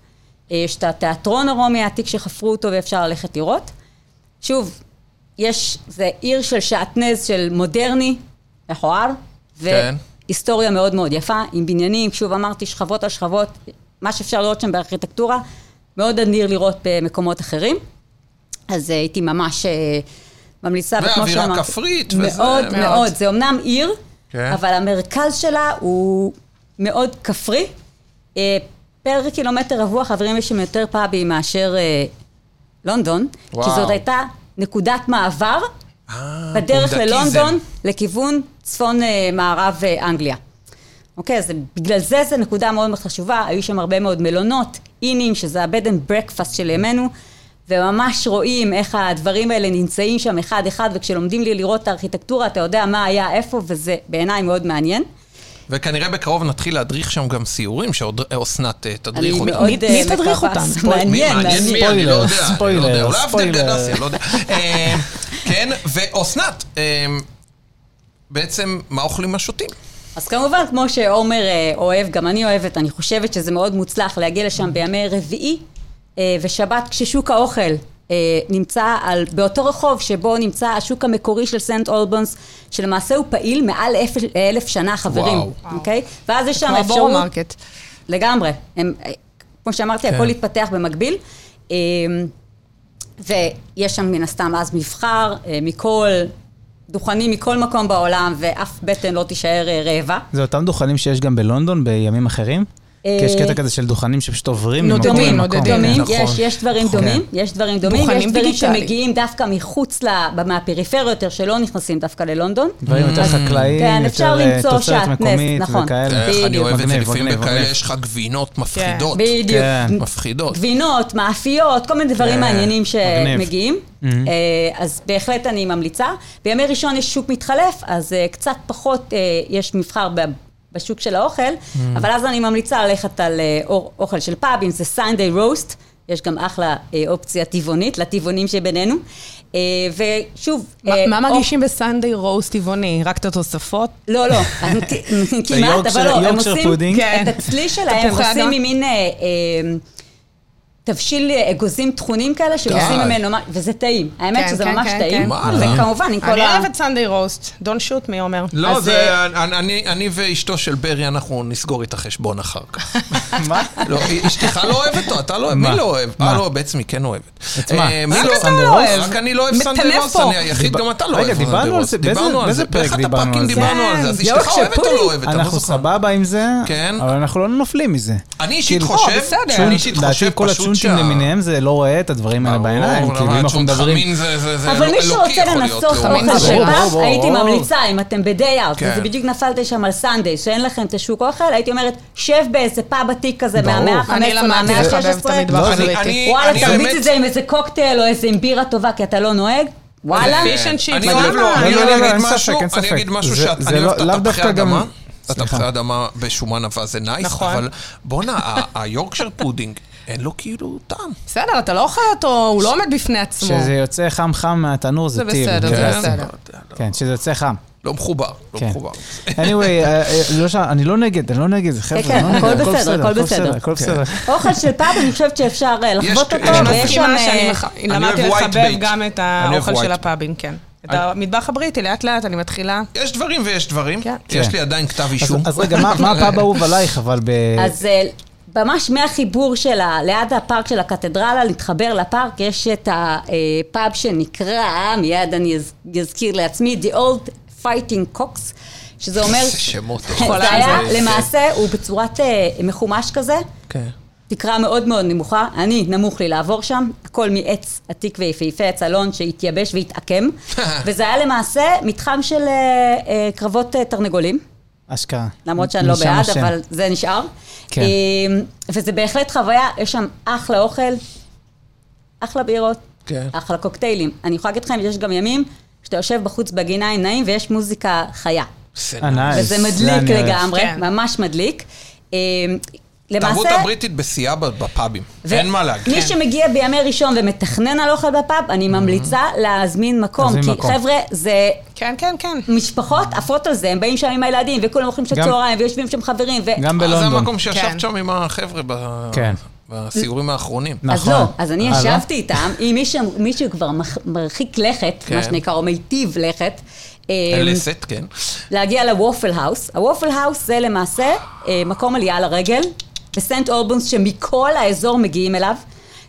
Speaker 5: אה, יש את התיאטרון הרומי העתיק שחפרו אותו ואפשר ללכת לראות. שוב, יש, זה עיר של שעטנז של מודרני, מכוער,
Speaker 3: כן.
Speaker 5: והיסטוריה מאוד מאוד יפה, עם בניינים, שוב אמרתי, שכבות על שכבות, מה שאפשר לראות שם בארכיטקטורה, מאוד אדיר לראות במקומות אחרים. אז אה, הייתי ממש אה, ממליצה, וכמו
Speaker 3: ואווירה
Speaker 5: שאמרתי,
Speaker 3: כפרית וזה,
Speaker 5: מאוד
Speaker 3: מאוד.
Speaker 5: מאוד, זה אמנם עיר,
Speaker 3: כן.
Speaker 5: אבל המרכז שלה הוא מאוד כפרי. אה, פר קילומטר רבוע, חברים, יש שם יותר פאבים מאשר אה, לונדון,
Speaker 3: וואו. אה,
Speaker 5: כי זאת הייתה נקודת מעבר בדרך
Speaker 3: פונדקיזם.
Speaker 5: ללונדון לכיוון צפון-מערב אה, אנגליה. אוקיי, אז בגלל זה זו נקודה מאוד מאוד חשובה, היו שם הרבה מאוד מלונות, אינים, שזה ה-bed and breakfast של ימינו, וממש רואים איך הדברים האלה נמצאים שם אחד-אחד, וכשלומדים לי לראות את הארכיטקטורה, אתה יודע מה היה איפה, וזה בעיניי מאוד מעניין.
Speaker 3: וכנראה בקרוב נתחיל להדריך שם גם סיורים, שעוד אה, אסנת אה, תדריך
Speaker 5: אני
Speaker 3: אותם.
Speaker 5: מאוד,
Speaker 4: מי-
Speaker 5: אה,
Speaker 4: מי תדריך
Speaker 5: מקווה.
Speaker 4: אותם?
Speaker 5: מעניין, מעניין.
Speaker 3: מי? אני לא יודע,
Speaker 2: ספוילר,
Speaker 3: אני לא יודע.
Speaker 2: ספוילר,
Speaker 3: אולי
Speaker 2: ספוילר.
Speaker 3: אבדל גדסי, אני לא יודע. אה, כן, ואסנת, אה, בעצם, מה אמ, אוכלים מה שותים?
Speaker 5: אז כמובן, כמו שעומר אה, אוהב, גם אני אוהבת, אני חושבת שזה מאוד מוצלח להגיע לשם בימי רביעי אה, ושבת, כששוק האוכל אה, נמצא על, באותו רחוב שבו נמצא השוק המקורי של סנט אולבונס, שלמעשה הוא פעיל מעל אלף, אלף שנה, חברים,
Speaker 3: וואו.
Speaker 5: אוקיי? ואז יש שם
Speaker 4: כמו
Speaker 5: אפשרות...
Speaker 4: הבורומרקט.
Speaker 5: לגמרי. הם, אה, כמו שאמרתי,
Speaker 3: כן.
Speaker 5: הכל התפתח במקביל. אה, ויש שם מן הסתם אז מבחר אה, מכל, דוכנים מכל מקום בעולם, ואף בטן לא תישאר אה, רעבה.
Speaker 2: זה אותם דוכנים שיש גם בלונדון בימים אחרים?
Speaker 5: אה,
Speaker 2: כי יש קטע כזה של דוכנים שפשוט עוברים
Speaker 4: נו,
Speaker 2: ממקום למקום.
Speaker 4: דומים, נודדים.
Speaker 2: כן,
Speaker 5: דומים,
Speaker 2: נכון.
Speaker 5: יש, יש דברים
Speaker 2: נכון.
Speaker 5: דומים,
Speaker 2: כן.
Speaker 5: יש דברים דומים, יש
Speaker 4: דוכנים
Speaker 5: דברים
Speaker 4: דיגיטליים.
Speaker 5: שמגיעים דווקא מחוץ, ל- מהפריפריה יותר, שלא נכנסים דווקא ללונדון.
Speaker 2: דברים יותר
Speaker 5: כן,
Speaker 2: חקלאיים,
Speaker 5: אפשר
Speaker 2: יותר אה,
Speaker 5: למצוא
Speaker 2: תוצרת
Speaker 5: שעטנז,
Speaker 2: מקומית
Speaker 5: נכון.
Speaker 2: וכאלה.
Speaker 3: איך אני
Speaker 5: בדיוק.
Speaker 3: אוהב
Speaker 5: כן.
Speaker 3: את זה
Speaker 2: כן. מגניב,
Speaker 3: לפעמים
Speaker 2: מגניב,
Speaker 3: בכאלה,
Speaker 2: מגניב.
Speaker 3: יש לך גבינות מפחידות.
Speaker 5: בדיוק.
Speaker 2: כן.
Speaker 3: מפחידות.
Speaker 5: גבינות, מאפיות, כל מיני דברים
Speaker 3: כן,
Speaker 5: מעניינים
Speaker 2: מגניב.
Speaker 5: שמגיעים. אה, אז בהחלט אני ממליצה. בימי ראשון יש שוק מתחלף, אז אה, קצת פחות אה, יש מבחר ב- בשוק של האוכל, אבל אז אני ממליצה ללכת על אה, אור- אוכל של פאב, אם זה סיינדיי רוסט. יש גם אחלה אה, אופציה טבעונית לטבעונים שבינינו. אה, ושוב... אה,
Speaker 4: מה- מה
Speaker 5: אופ-
Speaker 4: מרגישים בסנדיי רוז טבעוני? רק את התוספות?
Speaker 5: לא, לא,
Speaker 3: <laughs>
Speaker 5: כמעט, אבל
Speaker 2: היורקשר-
Speaker 5: לא, הם
Speaker 2: יורקשר
Speaker 5: עושים
Speaker 2: פודינג.
Speaker 4: כן.
Speaker 5: את הצליל שלהם,
Speaker 4: תפוחי
Speaker 5: עושים
Speaker 4: אדמה.
Speaker 5: ממין אה, אה, תבשיל אה, אגוזים טחונים כאלה, שעושים
Speaker 3: די.
Speaker 5: ממנו, מה- וזה טעים. האמת
Speaker 4: כן,
Speaker 5: שזה
Speaker 4: כן,
Speaker 5: ממש
Speaker 4: כן,
Speaker 5: טעים,
Speaker 4: כן.
Speaker 3: וואלה.
Speaker 5: וכמובן עם כל
Speaker 4: אני
Speaker 5: ה...
Speaker 4: אוהבת סנדיי רוסט. Don't shoot me, אה, אומר.
Speaker 3: לא,
Speaker 5: אז,
Speaker 2: אה,
Speaker 3: זה... אני- אני- אני ואשתו של ברי, אנחנו נסגור את החשבון אחר כך. <laughs>
Speaker 2: מה?
Speaker 3: לא, אשתך לא אוהבת אותו, אתה לא אוהב,
Speaker 2: מה?
Speaker 3: מי לא אוהב?
Speaker 2: מה?
Speaker 3: אה, לא, בעצם היא כן אוהבת.
Speaker 2: את מה?
Speaker 3: אה, מי
Speaker 2: רק
Speaker 4: אתה לא
Speaker 3: סנדרוס?
Speaker 4: אוהב.
Speaker 3: רק אני לא אוהב
Speaker 4: מטנף
Speaker 3: סנדרוס,
Speaker 4: פה.
Speaker 3: אני היחיד,
Speaker 2: דיב-
Speaker 3: גם אתה לא
Speaker 2: רגע,
Speaker 3: אוהב
Speaker 2: דיברנו על
Speaker 3: סנדרוס.
Speaker 2: זה, באיזה-
Speaker 3: דיברנו על
Speaker 2: באיזה
Speaker 3: זה,
Speaker 2: פרק
Speaker 3: באחד
Speaker 2: דיברנו על
Speaker 3: הפרקים
Speaker 2: זה?
Speaker 3: דיברנו על זה, אז
Speaker 4: כן,
Speaker 3: אשתך אוהבת או לא אוהבת? אני לא
Speaker 2: אנחנו
Speaker 3: זוכר.
Speaker 2: סבבה עם זה,
Speaker 3: כן.
Speaker 2: אבל אנחנו לא נופלים מזה.
Speaker 3: אני אישית
Speaker 2: כאילו,
Speaker 5: לא,
Speaker 3: חושב,
Speaker 4: בסדר.
Speaker 3: אני אישית חושב
Speaker 2: לדעתי כל
Speaker 3: פשוט
Speaker 2: הצ'ונצ'ים
Speaker 3: שה...
Speaker 2: למיניהם זה לא רואה את הדברים האלה
Speaker 3: ברור,
Speaker 2: בעיניים.
Speaker 3: למה
Speaker 2: כאילו, אם אנחנו
Speaker 3: הצ'ונט
Speaker 2: מדברים...
Speaker 3: חמין זה- זה- זה
Speaker 5: אבל מי
Speaker 3: אלוקי
Speaker 5: שרוצה
Speaker 3: יכול להיות,
Speaker 5: לנסות
Speaker 3: לא?
Speaker 4: חמין
Speaker 5: אוכל
Speaker 4: זה ברור,
Speaker 5: שבת,
Speaker 2: ברור,
Speaker 5: הייתי
Speaker 2: ברור.
Speaker 5: ממליצה, אם אתם ב-day out,
Speaker 3: כן.
Speaker 5: וזה בדיוק נפלתם שם על סנדיי, שאין לכם את השוק אוכל, הייתי אומרת, שב באיזה פאב עתיק כזה
Speaker 2: ברור.
Speaker 5: מהמאה
Speaker 4: אני
Speaker 5: ה-15,
Speaker 4: למדתי
Speaker 5: מהמאה
Speaker 4: לחבב את
Speaker 5: ה-16.
Speaker 4: המטבח
Speaker 2: לא,
Speaker 3: אני-
Speaker 4: הבריטי.
Speaker 3: אני-
Speaker 5: וואלה, תרביץ
Speaker 3: באמת-
Speaker 5: את זה עם איזה קוקטייל או איזה עם בירה טובה, כי אתה לא נוהג. וואלה.
Speaker 4: כן. פיש אנד צ'יפס,
Speaker 3: אני אוהב
Speaker 4: למה?
Speaker 3: לו, אני
Speaker 2: לא,
Speaker 3: אני
Speaker 2: לא, לא,
Speaker 3: אגיד
Speaker 2: אין
Speaker 3: משהו,
Speaker 2: ספק, אין
Speaker 3: אני
Speaker 2: ספק.
Speaker 3: אגיד משהו
Speaker 2: זה-
Speaker 3: שאת,
Speaker 2: זה
Speaker 3: אני
Speaker 2: לא-
Speaker 3: אוהב את
Speaker 2: לאו
Speaker 3: התפוחי
Speaker 2: דווקא גם-
Speaker 3: אדמה.
Speaker 2: סליחה.
Speaker 3: התפוחי אדמה בשומן אבק זה נייס,
Speaker 4: נכון.
Speaker 3: אבל בואנה, ה- היורקשר פודינג, אין לו כאילו טעם.
Speaker 4: בסדר, אתה לא אוכל אותו, הוא לא עומד בפני עצמו.
Speaker 2: כשזה יוצא חם חם מהתנור זה
Speaker 4: זה
Speaker 2: טיל.
Speaker 4: בסדר, זה
Speaker 2: כן.
Speaker 4: בסדר.
Speaker 2: כן, כשזה יוצא חם.
Speaker 3: לא מחובר, לא
Speaker 2: כן.
Speaker 3: מחובר.
Speaker 2: anyway, אה, אה, לא ש- אני לא נגד, אני לא נגד, חבר'ה,
Speaker 5: כן,
Speaker 2: אני לא
Speaker 5: הכל
Speaker 2: נגד,
Speaker 5: בסדר, הכל בסדר.
Speaker 2: הכל
Speaker 3: כן.
Speaker 2: בסדר.
Speaker 5: אוכל של פאב, אני חושבת שאפשר אה, לחוות
Speaker 3: יש-
Speaker 5: אותו,
Speaker 3: יש
Speaker 4: אני
Speaker 5: ויש שם...
Speaker 4: מסכימה שאני
Speaker 5: אה,
Speaker 4: מח-
Speaker 3: אני
Speaker 4: למדתי
Speaker 3: אוהב white
Speaker 4: לחבב
Speaker 3: bait.
Speaker 4: גם את
Speaker 3: אני אוהב
Speaker 4: האוכל של
Speaker 3: white.
Speaker 4: הפאבים, כן. את המטבח הבריטי, לאט לאט אני מתחילה.
Speaker 3: יש דברים ויש דברים,
Speaker 4: כן.
Speaker 3: יש
Speaker 2: כן.
Speaker 3: לי עדיין כתב
Speaker 2: אז-
Speaker 3: אישום.
Speaker 2: אז רגע, מה מה הפאב האהוב עלייך, אבל ב...
Speaker 5: אז אה, ממש מהחיבור שלה, ליד הפארק של הקתדרלה, להתחבר לפארק, יש את הפאב שנקרא, מיד אני אז- אזכיר לעצמי, The Old Fighting Cox, שזה אומר...
Speaker 3: איזה שמות.
Speaker 5: <laughs> זה היה,
Speaker 3: זה-
Speaker 5: למעשה, הוא בצורת אה, מחומש כזה,
Speaker 3: <laughs> כן.
Speaker 5: תקרה מאוד מאוד נמוכה, אני, נמוך לי לעבור שם, הכל מעץ עתיק ויפהפה, עץ אלון שהתייבש והתעקם, וזה היה למעשה מתחם של אה, אה, קרבות אה, תרנגולים.
Speaker 2: אשכרה.
Speaker 5: למרות שאני לא
Speaker 2: משם
Speaker 5: בעד,
Speaker 2: השם.
Speaker 5: אבל זה נשאר.
Speaker 2: כן.
Speaker 5: אה, וזה בהחלט חוויה, יש שם אחלה אוכל, אחלה בירות,
Speaker 3: כן.
Speaker 5: אחלה קוקטיילים. אני יכולה להגיד לכם, יש גם ימים שאתה יושב בחוץ בגינה עם נעים ויש מוזיקה חיה.
Speaker 3: זה
Speaker 2: אה,
Speaker 3: נע-
Speaker 2: nice.
Speaker 5: וזה
Speaker 2: זה
Speaker 5: מדליק
Speaker 2: אני אוהב.
Speaker 5: לגמרי,
Speaker 4: כן.
Speaker 5: ממש מדליק. אה,
Speaker 3: התרבות
Speaker 5: למעשה...
Speaker 3: הבריטית בשיאה ב- בפאבים,
Speaker 5: ו-
Speaker 3: אין מה להגיד. אה,
Speaker 5: מי
Speaker 2: כן.
Speaker 5: שמגיע בימי ראשון ומתכנן על אוכל בפאב, אני ממליצה להזמין מקום.
Speaker 2: Mm-hmm. להזמין
Speaker 5: כי
Speaker 2: מקום.
Speaker 5: חבר'ה, זה
Speaker 4: כן, כן, כן.
Speaker 5: משפחות עפות על זה, הם באים שם עם הילדים, וכולם אוכלים של
Speaker 2: גם-
Speaker 5: צהריים, ויושבים שם חברים, ו...
Speaker 2: גם
Speaker 3: אה, זה
Speaker 2: בלונדון.
Speaker 3: המקום שישבת
Speaker 4: כן.
Speaker 3: שם עם החבר'ה ב-
Speaker 2: כן.
Speaker 3: בסיורים האחרונים.
Speaker 5: אז
Speaker 2: נכון.
Speaker 5: לא, אז אני
Speaker 2: אה, לא?
Speaker 5: ישבתי איתם עם מישהו, מישהו כבר מח- מרחיק לכת,
Speaker 3: כן.
Speaker 5: מה שנקרא, או מיטיב לכת, אה,
Speaker 3: לסט, כן.
Speaker 5: להגיע לוופל האוס. הוופל האוס זה למעשה אה, מקום עלייה לרגל בסנט אולבונס, שמכל האזור מגיעים אליו.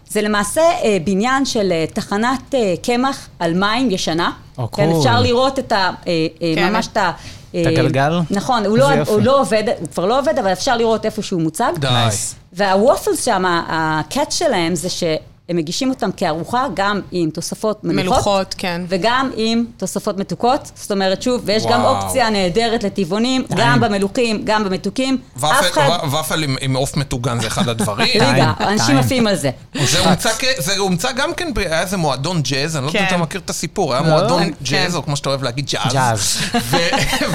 Speaker 5: זה למעשה אה, בניין של אה, תחנת אה, קמח על מים ישנה.
Speaker 2: או,
Speaker 5: כן,
Speaker 2: קול.
Speaker 5: אפשר לראות את ה... אה, אה,
Speaker 4: כן.
Speaker 5: ממש את ה... אה,
Speaker 2: את הגלגל?
Speaker 5: נכון, הוא
Speaker 2: איזה
Speaker 5: לא,
Speaker 2: יופי.
Speaker 5: הוא לא עובד, הוא כבר לא עובד, אבל אפשר לראות איפה שהוא מוצג.
Speaker 3: די.
Speaker 2: Nice.
Speaker 5: והוופלס שם, הקאץ' שלהם זה שהם מגישים אותם כארוחה, גם עם תוספות מלוכות.
Speaker 4: מלוכות, כן.
Speaker 5: וגם עם תוספות מתוקות. זאת אומרת, שוב, ויש וואו. גם
Speaker 3: וואו.
Speaker 5: אופציה נהדרת לטבעונים, גם במלוכים, גם במתוקים. אף
Speaker 3: ופל-
Speaker 5: אחד...
Speaker 3: ו- ופל עם- עם עוף מטוגן זה אחד
Speaker 4: <laughs>
Speaker 3: הדברים.
Speaker 5: רגע,
Speaker 2: טעים,
Speaker 5: אנשים
Speaker 2: טעים.
Speaker 5: עפים על זה.
Speaker 3: זה הומצא כ- זה הומצא גם כן, ב- היה איזה מועדון ג'אז, אני לא יודע אם
Speaker 4: כן.
Speaker 3: אתה מכיר את הסיפור, היה מועדון
Speaker 4: כן.
Speaker 3: ג'אז, או כמו שאתה אוהב להגיד, ג'אז. <laughs>
Speaker 2: ג'אז.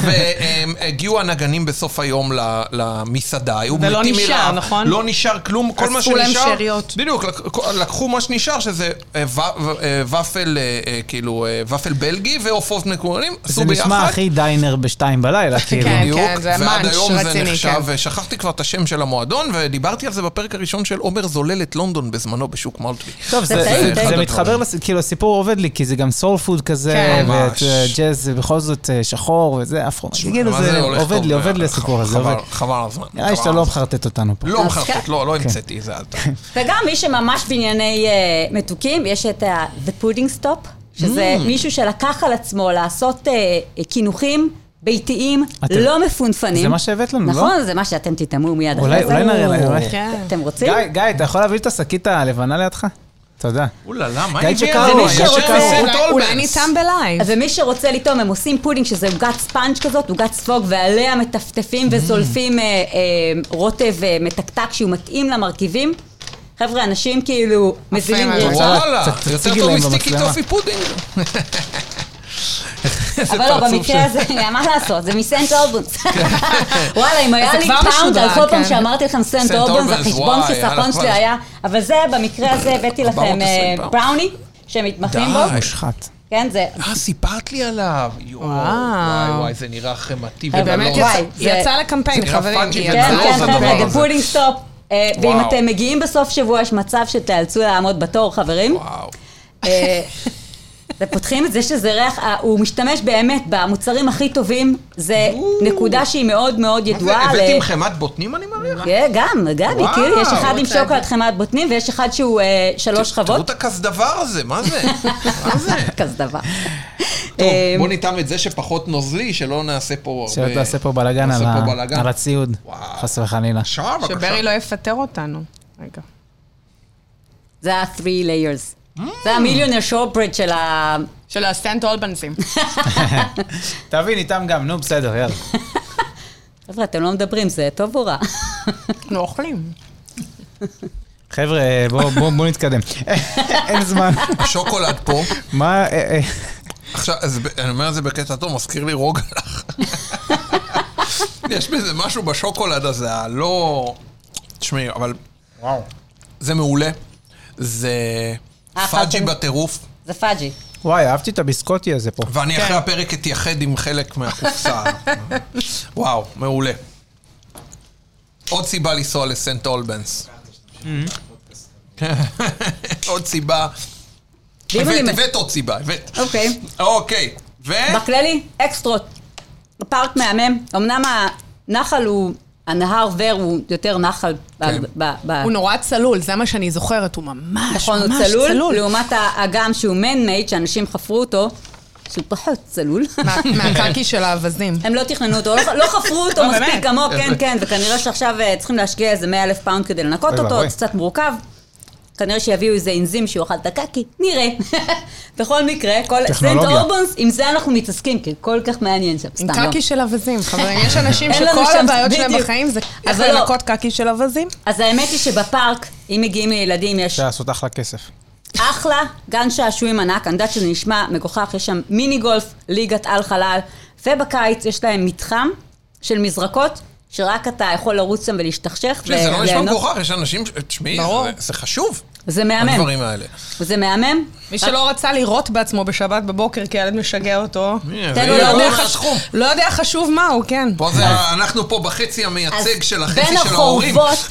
Speaker 3: והגיעו הנגנים בסוף היום ל- למסעדה, היו מתים
Speaker 4: ולא
Speaker 3: מרעב.
Speaker 4: נשאר, נכון?
Speaker 3: לא נשאר כלום, כל מה
Speaker 4: אספו להם
Speaker 3: שנשאר.
Speaker 4: שאריות.
Speaker 3: בדיוק, לק- לקחו לקחו מה שנשאר, שזה אה, ו- ו- אה, ופל, אה, אה, כאילו, אה, ופל בלגי ועופות מקורנים,
Speaker 2: זה
Speaker 3: עשו ביחד.
Speaker 2: נשמע הכי דיינר בשתיים
Speaker 5: <laughs>
Speaker 2: בלילה, כאילו.
Speaker 4: כן.
Speaker 3: בדיוק,
Speaker 4: זה
Speaker 3: ועד
Speaker 4: מאנץ'
Speaker 3: היום זה
Speaker 4: רציני,
Speaker 3: נחשב,
Speaker 4: כן.
Speaker 3: ושכחתי כבר את השם של המועדון, ודיברתי על זה בפרק הראשון של עומר זולל את לונדון בזמנו בשוק מולטבי.
Speaker 2: טוב, זה,
Speaker 5: זה טעים,
Speaker 2: זה,
Speaker 5: טעים.
Speaker 2: זה
Speaker 3: אחד
Speaker 2: מתחבר,
Speaker 3: הדברים.
Speaker 2: לס... כאילו הסיפור עובד לי, כי זה גם סול פוד כזה,
Speaker 4: כן.
Speaker 3: ממש.
Speaker 2: וג'אז זה בכל זאת אה, שחור, וזה אפרו. כאילו
Speaker 3: מה לא
Speaker 2: זה
Speaker 3: הולך
Speaker 2: עובד
Speaker 3: טוב
Speaker 2: לי,
Speaker 3: ב-
Speaker 2: עובד לי הסיפור
Speaker 3: חבל-
Speaker 2: הזה, עובד.
Speaker 3: חבל- חבל על הזמן.
Speaker 2: נראה לי שאתה
Speaker 3: חבל על
Speaker 2: לא כן.
Speaker 3: הזמן.
Speaker 2: מחרטט אותנו פה.
Speaker 3: לא
Speaker 5: אז
Speaker 3: מחרטט,
Speaker 5: כן.
Speaker 3: לא, לא המצאתי את זה. אל ת-
Speaker 5: וגם מי שממש בענייני אה, מתוקים, יש את ה- The Pudding Stop, שזה
Speaker 2: Mm.
Speaker 5: מישהו שלקח על עצמו לעשות אה, אה, קינוחים ביתיים
Speaker 2: אתם-
Speaker 5: לא מפונפנים.
Speaker 2: זה מה שהבאת לנו, לא?
Speaker 5: נכון, זה מה שאתם תטעמו מיד
Speaker 2: אולי-
Speaker 5: אחרי זה.
Speaker 2: אולי נראה להם, אולי.
Speaker 4: כן.
Speaker 5: אתם רוצים?
Speaker 2: גיא, גיא, אתה יכול להביא את השקית הלבנה לידך? תודה.
Speaker 3: אוללה, מה
Speaker 2: גיא
Speaker 3: הביא את
Speaker 2: צ'קארו,
Speaker 3: זה?
Speaker 5: גיא
Speaker 3: ישר
Speaker 5: צ'קארו.
Speaker 3: מסעוד
Speaker 4: אולי-
Speaker 3: אולמרס.
Speaker 4: אולי ניתן בלייב.
Speaker 5: ומי שרוצה לטעום, הם עושים פודינג, שזה עוגת ספאנג' כזאת, עוגת ספוג, ועליה מטפטפים
Speaker 2: Mm.
Speaker 5: וזולפים אה, אה, רוטב אה, מתקתק שהוא מתאים למרכיבים. חבר'ה, אנשים כאילו מזילים
Speaker 4: מאוד.
Speaker 5: רצון.
Speaker 3: וואלה,
Speaker 2: צ- תציגי
Speaker 3: יותר
Speaker 2: להם
Speaker 3: טוב מסטיקי
Speaker 2: במצלמה.
Speaker 3: טופי
Speaker 4: <laughs>
Speaker 3: פודינג. איזה
Speaker 5: אבל לא,
Speaker 3: פרצוף
Speaker 5: במקרה
Speaker 3: של-
Speaker 5: הזה, <laughs> מה לעשות, זה מסנט אורבונס.
Speaker 3: <laughs>
Speaker 5: וואלה, אם היה
Speaker 4: זה
Speaker 5: לי
Speaker 4: כבר
Speaker 5: פאונד
Speaker 4: משודרג,
Speaker 5: על כל פעם
Speaker 4: כן.
Speaker 5: שאמרתי לכם סנט
Speaker 3: סנט
Speaker 5: אורבונס,
Speaker 3: אורבונס,
Speaker 5: החשבון
Speaker 3: וואי,
Speaker 5: חיסכון
Speaker 3: יאללה,
Speaker 5: שלי
Speaker 3: כבר.
Speaker 5: היה, אבל זה, במקרה הזה הבאתי לכם
Speaker 3: 420
Speaker 5: אה,
Speaker 3: פאונד.
Speaker 5: בראוני, שמתמחים
Speaker 3: די.
Speaker 5: בו.
Speaker 2: מושחת.
Speaker 5: כן, זה...
Speaker 3: אה, סיפרת לי עליו. יואו, וואי וואי, זה נראה חמאתי
Speaker 5: אבל
Speaker 4: אה, באמת
Speaker 5: לא,
Speaker 3: ובלון.
Speaker 5: יצא- וואי,
Speaker 4: יצא-
Speaker 5: זה-
Speaker 4: יצא לקמפיין,
Speaker 3: זה נראה
Speaker 4: חברים.
Speaker 3: פאנג'י,
Speaker 4: יצא.
Speaker 3: זה
Speaker 5: כן,
Speaker 3: לא
Speaker 5: כן,
Speaker 3: עוזר
Speaker 5: חבר'ה,
Speaker 3: הדבר
Speaker 5: דה
Speaker 3: הזה.
Speaker 5: פודינג סטופ. אה, ואם
Speaker 3: וואו.
Speaker 5: אתם מגיעים בסוף שבוע, יש מצב שתיאלצו לעמוד בתור, חברים.
Speaker 3: וואו.
Speaker 5: אה, ופותחים את זה שזה ריח, אה, הוא משתמש באמת במוצרים הכי טובים, זה נקודה שהיא מאוד מאוד
Speaker 3: מה זה,
Speaker 5: ידועה. ל-
Speaker 3: הבאתם חמת בוטנים אני מריח?
Speaker 5: כן, גם, גם,
Speaker 3: וואו,
Speaker 5: מכיר, יש אחד עם
Speaker 4: אוקיי.
Speaker 5: שוקולד חמת בוטנים ויש אחד שהוא אה, שלוש
Speaker 3: תראו
Speaker 5: חוות.
Speaker 3: את הכסדבר הזה, מה
Speaker 5: <laughs>
Speaker 3: זה? מה זה?
Speaker 5: כזה דבר.
Speaker 3: טוב,
Speaker 5: אה,
Speaker 3: בוא נטעם את זה שפחות נוזלי, שלא נעשה פה הרבה...
Speaker 2: שלא תעשה לא פה בלאגן
Speaker 3: נעשה
Speaker 2: על ה-
Speaker 3: פה בלאגן.
Speaker 2: על הציוד,
Speaker 3: וואו.
Speaker 2: חס וחלילה.
Speaker 3: שעה, בבקשה.
Speaker 4: שברי לא יפטר אותנו. רגע.
Speaker 5: זה ה-3
Speaker 4: Mm.
Speaker 5: layers. זה המיליונר שורפרד של ה...
Speaker 4: של הסנט אולבנסים.
Speaker 2: תבין איתם גם, נו בסדר, יאללה.
Speaker 5: חבר'ה, אתם לא מדברים, זה טוב או רע? <laughs>
Speaker 4: אנחנו אוכלים.
Speaker 2: חבר'ה, בואו- בואו בואו נתקדם. <laughs> אין זמן.
Speaker 3: השוקולד
Speaker 5: <laughs>
Speaker 3: פה.
Speaker 2: מה, אה, אה,
Speaker 3: עכשיו, אז ב- אני אומר את זה בקטע טוב, מזכיר לי
Speaker 5: <laughs>
Speaker 3: רוגלח. יש בזה משהו בשוקולד הזה, הלא... תשמעי, אבל... וואו. זה מעולה. זה פאג'י
Speaker 5: אה, אכלתם?
Speaker 3: בטירוף.
Speaker 5: זה פאג'י.
Speaker 2: וואי, אהבתי את הביסקוטי הזה פה.
Speaker 3: ואני
Speaker 5: כן.
Speaker 3: אחרי הפרק אתייחד עם חלק
Speaker 5: <laughs>
Speaker 3: מהקופסה. וואו, מעולה. עוד סיבה לנסוע לסנט אולבנס. עוד סיבה.
Speaker 5: Mm-hmm. ואם
Speaker 3: הבאת,
Speaker 5: אני-
Speaker 3: הבאת עוד סיבה, הבאת.
Speaker 5: אוקיי.
Speaker 3: אוקיי, ו...
Speaker 5: בכללי, אקסטרות. פארק מהמם. אמנם הנחל הוא... הנהר ור הוא יותר נחל. ב- ב- ב-
Speaker 4: כן. הוא נורא צלול, זה מה שאני זוכרת, הוא ממש
Speaker 5: נכון, הוא
Speaker 4: ממש
Speaker 5: צלול,
Speaker 4: צלול.
Speaker 5: לעומת האגם שהוא man-made, שאנשים חפרו אותו, שהוא פחות צלול.
Speaker 4: מה- מהקקי של האווזים.
Speaker 5: הם לא תכננו אותו, לא, לא חפרו אותו
Speaker 4: לא,
Speaker 3: אה,
Speaker 5: מספיק
Speaker 4: באמת.
Speaker 5: עמוק, כן, כן, וכנראה שעכשיו אה, צריכים להשקיע איזה 100 אלף פאונד כדי לנקות
Speaker 2: אוי
Speaker 5: אותו,
Speaker 2: ואבוי.
Speaker 5: זה קצת מורכב. כנראה שיביאו איזה אנזים שיאכל את הקקי, נראה. <laughs> בכל מקרה, כל סנט
Speaker 2: טכנולוגיה.
Speaker 5: אורבונס, עם זה אנחנו מתעסקים, כי כל כך מעניין שם,
Speaker 4: עם
Speaker 5: סתם לא.
Speaker 4: קקי של אווזים, חברים. יש אנשים
Speaker 5: <laughs> אין לנו
Speaker 4: שכל
Speaker 5: שם-
Speaker 4: הבעיות שלהם
Speaker 5: בדיוק.
Speaker 4: בחיים זה איך
Speaker 5: אבל לא.
Speaker 4: לנקות קקי של אווזים.
Speaker 5: אז האמת היא שבפארק, אם מגיעים לילדים, יש
Speaker 2: אפשר לעשות אחלה כסף.
Speaker 5: אחלה גן שעשועים ענק, אני יודעת שזה נשמע מגוחך, יש שם מיני גולף, ליגת על חלל, ובקיץ יש להם מתחם של מזרקות, שרק אתה יכול לרוץ שם ולהשתכשך.
Speaker 3: תשמעי, זה לא נשמע
Speaker 5: וליהנות.
Speaker 3: מגוחך, יש אנשים... ש- תשמעי,
Speaker 4: ברור.
Speaker 3: זה- זה חשוב,
Speaker 5: זה מהמם,
Speaker 3: הדברים האלה.
Speaker 5: זה מהמם.
Speaker 4: מי שלא רצה לירות בעצמו בשבת בבוקר כי הילד משגע אותו.
Speaker 3: הנה,
Speaker 5: תן
Speaker 3: זה
Speaker 5: לו
Speaker 3: יהיה
Speaker 5: לדעת.
Speaker 3: ברור לסכום.
Speaker 4: לא יודע חשוב מה הוא, כן.
Speaker 3: פה זה, ה- אנחנו פה בחצי המייצג של החצי
Speaker 5: בין
Speaker 3: של ההורים. <laughs>
Speaker 5: החורבות-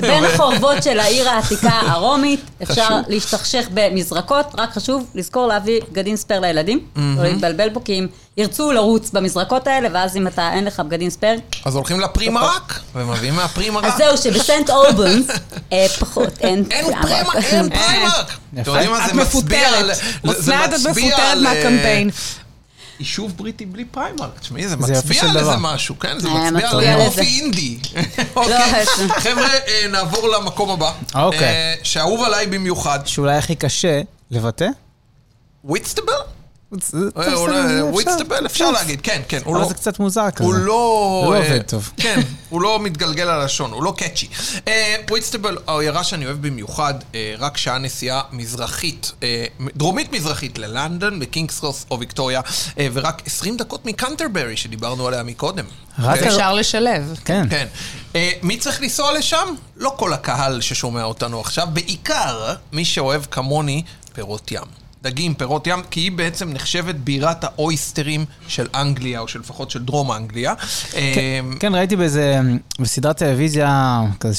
Speaker 5: בין החורבות של העיר העתיקה הרומית, אפשר להשתכשך במזרקות, רק חשוב לזכור להביא בגדים ספייר לילדים, לא להתבלבל פה, כי אם ירצו לרוץ במזרקות האלה, ואז אם אתה, אין לך בגדים ספייר,
Speaker 3: אז הולכים
Speaker 5: <laughs>
Speaker 3: לפרימרק, ומביאים מהפרימרק.
Speaker 5: אז זהו, שבסנט
Speaker 3: <laughs>
Speaker 5: אורבונס, אה, פחות, אין
Speaker 3: אה. אין פרימרק, אין פרימרק. אה, אתם יודעים מה
Speaker 4: את
Speaker 3: זה מצביע על...
Speaker 4: מפוטרת.
Speaker 3: זה- זה
Speaker 4: אסנת, את
Speaker 3: מצביע
Speaker 4: מפוטרת
Speaker 3: על, אה,
Speaker 4: מהקמפיין.
Speaker 3: יישוב בריטי בלי פריימרק. תשמעי, זה
Speaker 2: זה יופי
Speaker 3: מצביע
Speaker 2: של
Speaker 3: על
Speaker 2: דבר.
Speaker 3: איזה משהו, כן? זה
Speaker 5: אה,
Speaker 3: מצביע על
Speaker 5: מצביע
Speaker 3: אופי
Speaker 5: לזה.
Speaker 3: אינדי. אוקיי. חבר'ה, אה, נעבור למקום הבא.
Speaker 2: אוקיי.
Speaker 3: אה, שאהוב עליי במיוחד.
Speaker 2: שאולי הכי קשה לבטא?
Speaker 3: וויטסטבל?
Speaker 2: זה-
Speaker 3: אה,
Speaker 2: טוב,
Speaker 3: אולי-
Speaker 2: בסדר, אפשר.
Speaker 3: הוא
Speaker 2: אוקיי.
Speaker 3: הצטבל, אפשר להגיד, כן, כן. הוא
Speaker 2: אבל
Speaker 3: לא-
Speaker 2: זה קצת מוזר כזה.
Speaker 3: הוא לא...
Speaker 2: זה לא
Speaker 3: אה,
Speaker 2: עובד טוב.
Speaker 3: כן, הוא לא מתגלגל על הלשון, הוא לא קאצ'י. אה, וויטסטבל, העיירה שאני אוהב במיוחד, אה, רק שעה נסיעה מזרחית, אה, דרומית-מזרחית ללנדון, בקינגסקרוס או ויקטוריה, אה, ורק 20 דקות מקנטרברי, שדיברנו עליה מקודם.
Speaker 2: רק
Speaker 3: כן?
Speaker 4: אפשר לשלב.
Speaker 2: כן.
Speaker 3: כן. אה, מי צריך לנסוע לשם? לא כל הקהל ששומע אותנו עכשיו, בעיקר מי שאוהב כמוני פירות ים. דגים, פירות ים, כי היא בעצם נחשבת בירת האויסטרים של אנגליה, או שלפחות של דרום אנגליה. אה,
Speaker 2: כן, ראיתי באיזה, בסדרת טלוויזיה כזה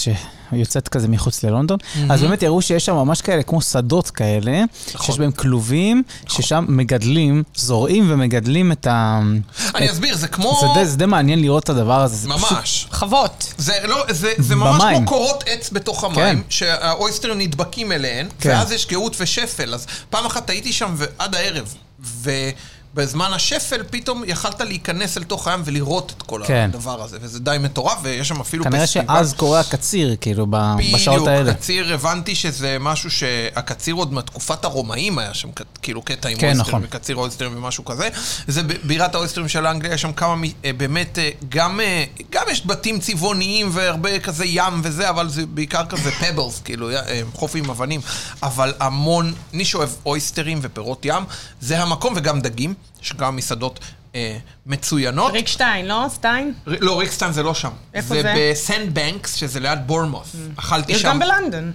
Speaker 2: שיוצאת כזה מחוץ ללונדון, אז באמת הראו שיש שם ממש כאלה, כמו שדות כאלה,
Speaker 3: נכון.
Speaker 2: שיש בהם כלובים, ששם מגדלים, זורעים ומגדלים את ה...
Speaker 3: אני
Speaker 2: את-
Speaker 3: אסביר, זה כמו...
Speaker 2: אה, זה די- זה די מעניין לראות את הדבר הזה. זה פשוט-
Speaker 3: ממש.
Speaker 4: חוות.
Speaker 3: זה, לא, זה, זה ממש
Speaker 2: במים.
Speaker 3: כמו קורות עץ בתוך המים,
Speaker 2: כן.
Speaker 3: שהאויסטרים נדבקים אליהן,
Speaker 2: כן.
Speaker 3: ואז יש גאות ושפל. אז פעם אחת הייתי שם ועד הערב, ובזמן השפל פתאום יכלת להיכנס אל תוך הים ולראות את כל
Speaker 2: כן.
Speaker 3: הדבר הזה, וזה די מטורף, ויש שם אפילו
Speaker 2: כנראה שאז קורה הקציר, כאילו, ב- בשעות האלה.
Speaker 3: בדיוק, קציר, הבנתי שזה משהו שהקציר עוד מתקופת הרומאים היה שם, כ- כאילו קטע עם
Speaker 2: כן,
Speaker 3: אויסטרים,
Speaker 2: נכון.
Speaker 3: וקציר אויסטרים ומשהו כזה. זה ב- בירת האויסטרים של אנגליה, יש שם כמה, מ- אה, באמת, אה, גם, אה, גם יש בתים צבעוניים והרבה כזה ים וזה, אבל זה בעיקר כזה <coughs> פבלס, כאילו י- אה, חוף עם אבנים. אבל המון, מי שאוהב אויסטרים ופירות ים, זה המקום, וגם דגים, יש גם מסעדות אה, מצוינות.
Speaker 4: ריק שטיין, לא? סטיין?
Speaker 3: ר- לא, ריקסטיין זה לא שם.
Speaker 4: איפה
Speaker 3: זה
Speaker 4: זה? Mm.
Speaker 3: בסנדבנקס, שזה ליד בורמוס. אכלתי שם. אה,
Speaker 4: יש גם בלונדון.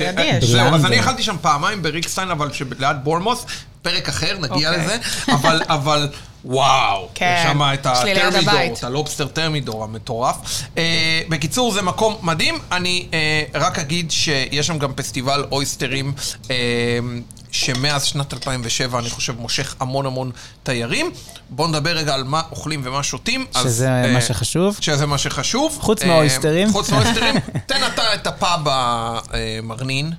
Speaker 4: לידי יש.
Speaker 3: כן, זהו, אז
Speaker 2: בלונדון.
Speaker 3: אני אכלתי שם פעמיים בריקסטיין, אבל שליד בורמוס, פרק אחר, נגיע
Speaker 4: אוקיי.
Speaker 3: לזה, אבל, אבל, וואו,
Speaker 4: <laughs> כן.
Speaker 3: יש שם את
Speaker 4: יש לי ליד
Speaker 3: הטרמידור,
Speaker 4: הבית.
Speaker 3: את הלובסטר טרמידור המטורף. אה, בקיצור, זה מקום מדהים, אני אה, רק אגיד שיש שם גם פסטיבל אויסטרים. אה, שמאז שנת 2007, אני חושב, מושך המון המון תיירים. בואו נדבר רגע על מה אוכלים ומה שותים. אז,
Speaker 2: שזה מה
Speaker 3: אה,
Speaker 2: שחשוב.
Speaker 3: שזה מה שחשוב.
Speaker 2: חוץ
Speaker 3: אה,
Speaker 2: מהאויסטרים.
Speaker 3: חוץ
Speaker 4: <laughs>
Speaker 3: מהאויסטרים. תן אתה את הפאב המרנין.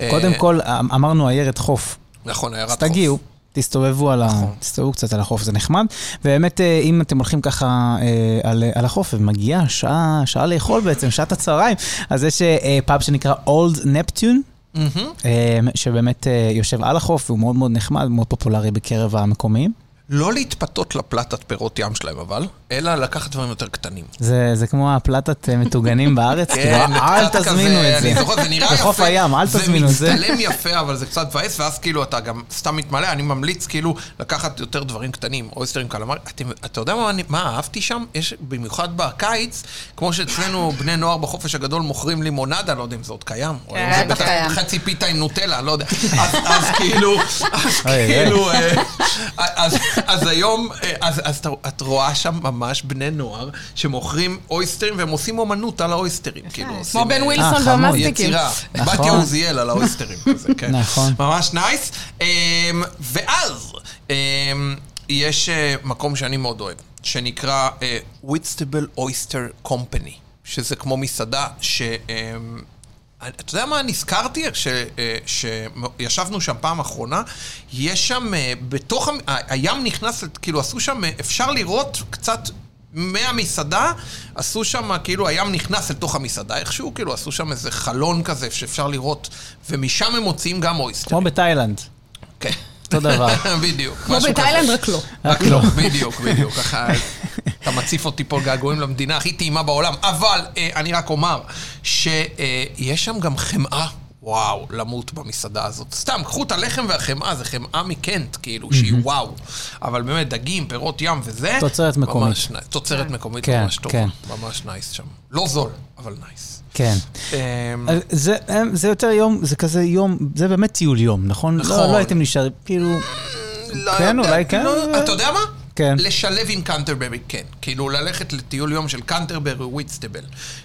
Speaker 3: אה,
Speaker 2: קודם כל, אמ, אמרנו עיירת חוף.
Speaker 3: נכון, עיירת
Speaker 2: אז
Speaker 3: חוף.
Speaker 2: תגיעו. תסתובבו, על ה...
Speaker 3: נכון.
Speaker 2: תסתובבו קצת על החוף, זה נחמד. ובאמת, אה, אם אתם הולכים ככה אה, על, על החוף, ומגיעה שעה, שעה לאכול בעצם, שעת הצהריים, אז יש אה, פאב שנקרא Old Neptune, אה, שבאמת אה, יושב על החוף, והוא מאוד מאוד נחמד, מאוד פופולרי בקרב המקומיים.
Speaker 3: לא להתפתות לפלטת פירות ים שלהם, אבל, אלא לקחת דברים יותר קטנים.
Speaker 2: זה, זה כמו הפלטת אה, מטוגנים בארץ, כאילו,
Speaker 3: כן,
Speaker 2: אל
Speaker 3: קצת
Speaker 2: תזמינו
Speaker 3: כזה,
Speaker 2: את זה.
Speaker 3: אני זוכר, זה נראה יפה.
Speaker 2: בחוף הים, אל תזמינו את זה.
Speaker 3: זה מצטלם יפה, אבל זה קצת מבאס, ואז כאילו אתה גם סתם מתמלא, אני ממליץ כאילו לקחת יותר דברים קטנים, אויסטרים קלמר. אתם- אתה יודע מה אני- מה אהבתי שם? יש במיוחד בקיץ, כמו שאצלנו בני נוער בחופש הגדול מוכרים לימונדה, לא יודע אם זה עוד קיים. או היום זה
Speaker 5: כן, בטח
Speaker 3: בטח
Speaker 5: קיים.
Speaker 3: חצי פיתה עם נוטלה, לא יודע. אז- אז כאילו, אז
Speaker 2: אוי,
Speaker 3: כאילו, אה, אז- אז היום, אה, אז אז אתה- את רואה שם ממש בני נוער שמוכרים אויסטרים, והם עושים אומנות על האויסטרים. כאילו,
Speaker 4: כמו
Speaker 3: עושים,
Speaker 4: בן
Speaker 3: אה,
Speaker 2: אה,
Speaker 4: ווילסון
Speaker 2: חמוד.
Speaker 4: והמאסטיקים.
Speaker 3: יצירה.
Speaker 2: נכון.
Speaker 3: בתיה עוזיאל על האויסטרים כזה, כן.
Speaker 2: נכון.
Speaker 3: ממש נייס. אמ, ואז אמ, יש אה, מקום שאני מאוד אוהב, שנקרא אה, וויטסטבל אויסטר קומפני, שזה כמו מסעדה ש... אמ, אתה יודע מה נזכרתי? ש- אה, שישבנו שם פעם אחרונה, יש שם, אה, בתוך, המ- ה- הים נכנס, כאילו עשו שם, אה, אפשר לראות קצת מהמסעדה, עשו שם, כאילו הים נכנס אל תוך המסעדה איכשהו, כאילו עשו שם איזה חלון כזה שאפשר לראות, ומשם הם מוציאים גם אויסטר.
Speaker 2: כמו בתאילנד,
Speaker 3: כן.
Speaker 2: אותו
Speaker 3: <laughs>
Speaker 2: דבר.
Speaker 3: בדיוק.
Speaker 4: כמו
Speaker 3: משהו
Speaker 4: בתאילנד,
Speaker 3: כזה.
Speaker 4: רק לא.
Speaker 3: רק לא. <laughs> בדיוק, בדיוק. ככה, אתה מציף אותי פה געגועים למדינה הכי טעימה בעולם. אבל אה, אני רק אומר שיש שם גם חמאה. וואו, למות במסעדה הזאת. סתם, קחו את הלחם והחמאה, זה חמאה מקנט, כאילו, שהיא וואו. אבל באמת, דגים, פירות ים וזה...
Speaker 2: תוצרת
Speaker 3: ממש
Speaker 2: מקומית.
Speaker 3: נייס. תוצרת מקומית
Speaker 2: כן,
Speaker 3: ממש טובה.
Speaker 2: כן.
Speaker 3: ממש נייס שם. לא זול, אבל נייס.
Speaker 2: כן.
Speaker 3: אמ,
Speaker 2: אבל זה, אמ, זה יותר יום, זה כזה יום, זה באמת טיול יום, נכון?
Speaker 3: נכון.
Speaker 2: לא, לא הייתם נשארים, כאילו...
Speaker 3: לא
Speaker 2: כן,
Speaker 3: יודע,
Speaker 2: אולי כן.
Speaker 3: לא, אתה יודע מה?
Speaker 2: כן.
Speaker 3: לשלב עם קנטרברי, כן. כאילו, ללכת לטיול יום של קנטרברי וויטסטבל.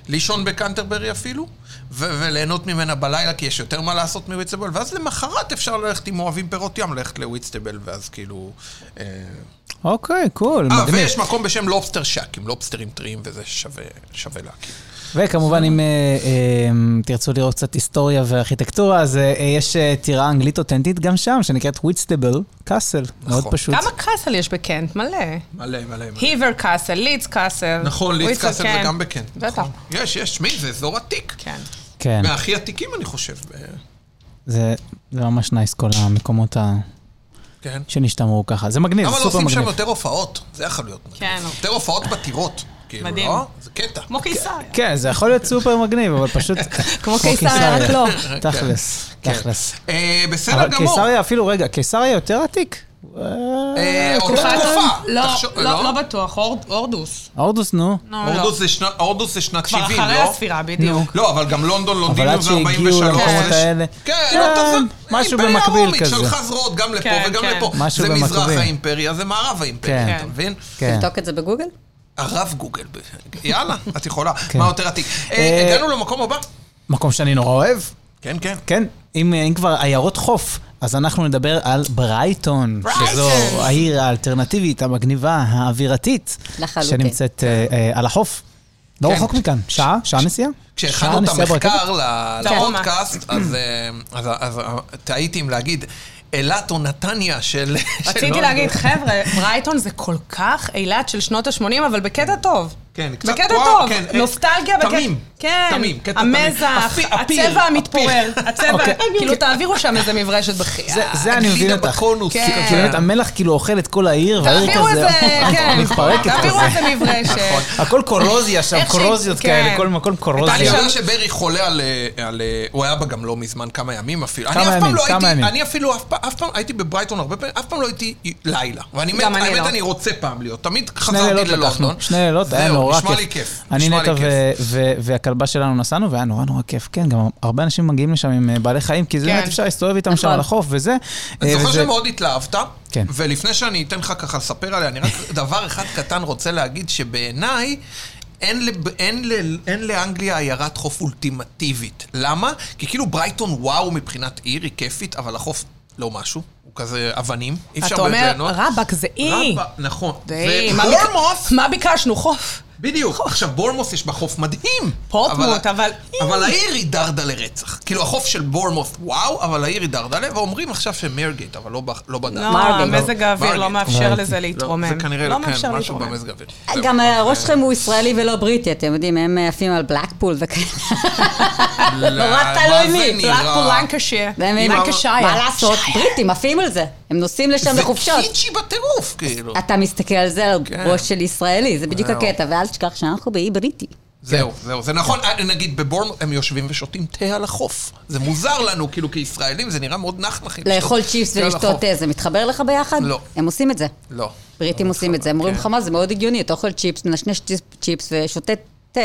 Speaker 3: לישון בקנטרברי אפילו, ו- וליהנות ממנה בלילה, כי יש יותר מה לעשות מוויטסטבל, ואז למחרת אפשר ללכת עם אוהבים פירות ים, ללכת לוויטסטבל, ואז כאילו... אה,
Speaker 2: אוקיי, קול,
Speaker 3: אה,
Speaker 2: מגניב.
Speaker 3: ויש מקום בשם לובסטר שק, עם לובסטרים טריים, וזה שווה, שווה להכיר.
Speaker 2: וכמובן, אם אה, אה, תרצו לראות קצת היסטוריה וארכיטקטורה, אז אה, יש אה, טירה אנגלית אותנטית גם שם, שנקראת וויטסטבל קאסל.
Speaker 3: נכון.
Speaker 2: מאוד פשוט.
Speaker 4: כמה קאסל יש בקנט? מלא.
Speaker 3: מלא, מלא, מלא.
Speaker 4: היבר קאסל, לידס קאסל.
Speaker 3: נכון, ליץ
Speaker 4: וויצר,
Speaker 3: קאסל זה
Speaker 4: כן.
Speaker 3: גם בקן.
Speaker 4: בטח.
Speaker 3: נכון. יש, יש, מי זה? אזור עתיק.
Speaker 4: כן.
Speaker 2: כן,
Speaker 3: מהכי אה, עתיקים, אני חושב. ב-
Speaker 2: זה זה ממש נייס, כל המקומות ה...
Speaker 3: כן.
Speaker 2: שנשתמרו ככה. זה מגניב,
Speaker 3: למה
Speaker 2: כן, זה
Speaker 3: לא
Speaker 2: סופר
Speaker 3: עושים שם
Speaker 2: מגניב.
Speaker 3: יותר הופעות? זה יכול להיות. מדהים.
Speaker 4: כן.
Speaker 3: יותר הופעות בטירות. כאילו,
Speaker 4: מדהים.
Speaker 3: לא? זה קטע.
Speaker 4: כמו קיסריה.
Speaker 2: כן, זה יכול להיות סופר מגניב, אבל
Speaker 3: <laughs>
Speaker 2: פשוט...
Speaker 4: כמו קיסריה, רק לא.
Speaker 2: תכלס,
Speaker 3: כן.
Speaker 2: תכלס.
Speaker 3: אה, בסדר
Speaker 2: אבל
Speaker 3: גמור.
Speaker 2: קיסריה אפילו, רגע, קיסריה יותר עתיק?
Speaker 3: אה, אותה
Speaker 4: תקופת-
Speaker 3: תקופה.
Speaker 4: לא,
Speaker 3: תחשוב-
Speaker 4: לא לא בטוח, הורד- הורדוס.
Speaker 2: הורדוס, נו.
Speaker 4: לא, לא.
Speaker 3: הורדוס זה שנת- הורדוס זה שנת 70,
Speaker 4: כבר
Speaker 3: לא?
Speaker 4: אחרי הספירה, בדיוק.
Speaker 3: לא, אבל גם לונדון,
Speaker 2: אבל
Speaker 3: לונדינים
Speaker 2: עד
Speaker 3: זה
Speaker 2: שהגיעו
Speaker 3: 43.
Speaker 2: למקומות
Speaker 3: זה-
Speaker 2: האלה...
Speaker 3: כן, לא תזם.
Speaker 2: משהו במקביל
Speaker 3: האימפריה
Speaker 2: כזה.
Speaker 3: הרומית שלחה זרועות גם לפה
Speaker 4: כן,
Speaker 3: וגם
Speaker 4: כן.
Speaker 3: לפה.
Speaker 2: משהו
Speaker 3: זה מזרח
Speaker 2: במקביל.
Speaker 3: האימפריה, זה מערב
Speaker 2: כן.
Speaker 3: האימפריה, אתה
Speaker 4: כן.
Speaker 3: מבין?
Speaker 2: כן.
Speaker 5: תבדוק את זה בגוגל?
Speaker 3: הרב גוגל. ב- יאללה, את יכולה. מה יותר עתיק? אה,
Speaker 2: כן. אה,
Speaker 3: הגענו למקום הבא?
Speaker 2: מקום שאני נורא אוהב.
Speaker 3: כן, כן.
Speaker 2: כן, אם, אם כבר עיירות חוף, אז אנחנו נדבר על ברייטון, שזו העיר האלטרנטיבית, המגניבה, האווירתית,
Speaker 5: לחלוטין.
Speaker 2: שנמצאת אה, אה, על החוף. לא
Speaker 3: כן.
Speaker 2: רחוק מכאן, שעה? שעה נסיעה?
Speaker 3: כשהכנו את
Speaker 2: שעה נסיעה ברכבת?
Speaker 3: המחקר ל-
Speaker 4: כן.
Speaker 3: לפודקאסט, אז, אה, אז- אז אה, תהיתי אם להגיד אילת או נתניה של... של
Speaker 4: רציתי
Speaker 3: לונדון.
Speaker 4: להגיד, חבר'ה, ברייטון זה כל כך אילת של שנות ה-80, אבל בקטע טוב.
Speaker 3: כן, קצת
Speaker 4: בקטע
Speaker 3: וואו,
Speaker 4: טוב,
Speaker 3: כן, אה,
Speaker 4: נוסטלגיה. בקטע-
Speaker 3: תמים,
Speaker 4: כן,
Speaker 3: תמים, קטע תמים.
Speaker 4: המזח,
Speaker 3: הפי- הפיל,
Speaker 4: הצבע המתפורר,
Speaker 3: הפיל.
Speaker 4: הצבע,
Speaker 2: אוקיי.
Speaker 4: כאילו תעבירו שם איזה מברשת אה,
Speaker 2: זה,
Speaker 4: בחייה.
Speaker 2: זה אני מבין
Speaker 3: הגלידה
Speaker 2: אותך.
Speaker 3: בקונוס. אה,
Speaker 2: כי-
Speaker 4: כן.
Speaker 2: כי באמת המלח כאילו אוכל את כל העיר, והעיר
Speaker 4: תעבירו
Speaker 2: כזה
Speaker 4: איזה,
Speaker 3: <laughs>
Speaker 4: כן,
Speaker 2: מתפרקת
Speaker 4: תעבירו
Speaker 2: כזה.
Speaker 4: איזה
Speaker 3: נכון.
Speaker 4: מברשת.
Speaker 2: הכל קורוזיה שם,
Speaker 4: איך שהיא-
Speaker 2: קורוזיות
Speaker 4: כן.
Speaker 2: כאלה, כל מקום
Speaker 3: אני
Speaker 2: קורוזיה.
Speaker 3: יודע שברי חולה על... אה, על- הוא היה בה גם לא מזמן, כמה ימים אפילו. אני
Speaker 2: כמה
Speaker 3: אף פעם
Speaker 2: ימים,
Speaker 3: לא
Speaker 2: כמה
Speaker 3: הייתי-
Speaker 2: ימים.
Speaker 3: אני אפילו אף פעם, אף פעם, הייתי בברייטון הרבה פעמים, אף פעם לא הייתי לילה. ואני מת,
Speaker 4: גם אני
Speaker 3: האמת,
Speaker 4: לא.
Speaker 3: אני רוצה פעם להיות. תמיד
Speaker 2: שני
Speaker 3: חזרתי
Speaker 2: לילות לקחנו,
Speaker 3: ללונדון.
Speaker 2: שני לילות, היה
Speaker 3: זהו,
Speaker 2: נורא כיף.
Speaker 3: נשמע לי כיף.
Speaker 2: אני
Speaker 3: נשמע לי
Speaker 2: נטע
Speaker 3: כיף.
Speaker 2: ו- ו- והכלבה שלנו נסענו, והיה נורא נורא כיף. כן, גם הרבה אנשים מגיעים לשם עם אה, בעלי חיים, כי זה
Speaker 4: כן.
Speaker 2: באמת אפשר להסתובב איתם שם
Speaker 5: נכון.
Speaker 2: על החוף וזה.
Speaker 3: אני
Speaker 2: אה,
Speaker 3: זוכר
Speaker 2: וזה-
Speaker 3: שמאוד התלהבת,
Speaker 2: כן.
Speaker 3: ולפני שאני אתן לך ככה לספר עליה, אני רק <laughs> דבר אחד קטן רוצה להגיד, שבעיניי... אין, לב, אין, ל, אין לאנגליה עיירת חוף אולטימטיבית. למה? כי כאילו ברייטון וואו מבחינת עיר, היא כיפית, אבל החוף לא משהו, הוא כזה אבנים, אי אפשר
Speaker 4: אתה
Speaker 3: באמת
Speaker 4: אומר,
Speaker 3: ליהנות.
Speaker 4: רבאק זה אי.
Speaker 3: רבא, נכון.
Speaker 4: זה אי. מה ביק-
Speaker 3: ובורמוס,
Speaker 4: מה ביקשנו? חוף.
Speaker 3: בדיוק. עכשיו, בורמוס יש בה חוף מדהים.
Speaker 4: פורטמוט, אבל-
Speaker 3: אבל העיר היא דרדה לרצח. כאילו, החוף של בורמוס, וואו, אבל העיר היא דרדלה, ואומרים עכשיו שמרגייט, אבל לא ב- לא בדרדה.
Speaker 4: לא,
Speaker 5: מרגי.
Speaker 4: המזג האוויר
Speaker 3: מרגי.
Speaker 4: לא מאפשר
Speaker 2: מרגי.
Speaker 4: לזה להתרומם.
Speaker 3: זה כנראה,
Speaker 4: לא
Speaker 3: לא
Speaker 4: מאפשר
Speaker 3: כן, משהו
Speaker 4: להתרומם.
Speaker 3: במזג האוויר.
Speaker 5: גם הראש שלכם הוא ישראלי ולא בריטי, אתם יודעים, הם אה, עפים על בלקפול וכאלה.
Speaker 3: אה,
Speaker 5: נורא תלוי מי.
Speaker 4: בלאקפול לנקשיר.
Speaker 5: והם- מה
Speaker 4: לנקשייר.
Speaker 5: לעשות, בריטים עפים על זה. הם נוסעים לשם
Speaker 3: זה
Speaker 5: לחופשות.
Speaker 3: קיצ'י בטירוף, כאילו.
Speaker 5: אתה מסתכל על זה על ראש של ישראלי, זה בדיוק
Speaker 3: וואו.
Speaker 5: הקטע, ואל תשכח שאנחנו באי בריטי.
Speaker 3: זהו, זהו, זה נכון. אה, נגיד בבורמוס הם יושבים ושותים תה על החוף. זה מוזר לנו, כאילו, כישראלים, זה נראה מאוד נחנכים.
Speaker 5: לאכול
Speaker 3: לשתות
Speaker 5: צ'יפס
Speaker 3: תה על
Speaker 5: ולשתות
Speaker 3: החוף.
Speaker 5: תה, זה מתחבר לך ביחד?
Speaker 3: כן, לא.
Speaker 5: הם עושים את זה.
Speaker 3: לא.
Speaker 5: בריטים עושים את זה, הם אומרים
Speaker 3: כן.
Speaker 5: לך מה, זה מאוד הגיוני, אתה אוכל צ'יפס, מנשנש צ'יפ- צ'יפס ושותה תה.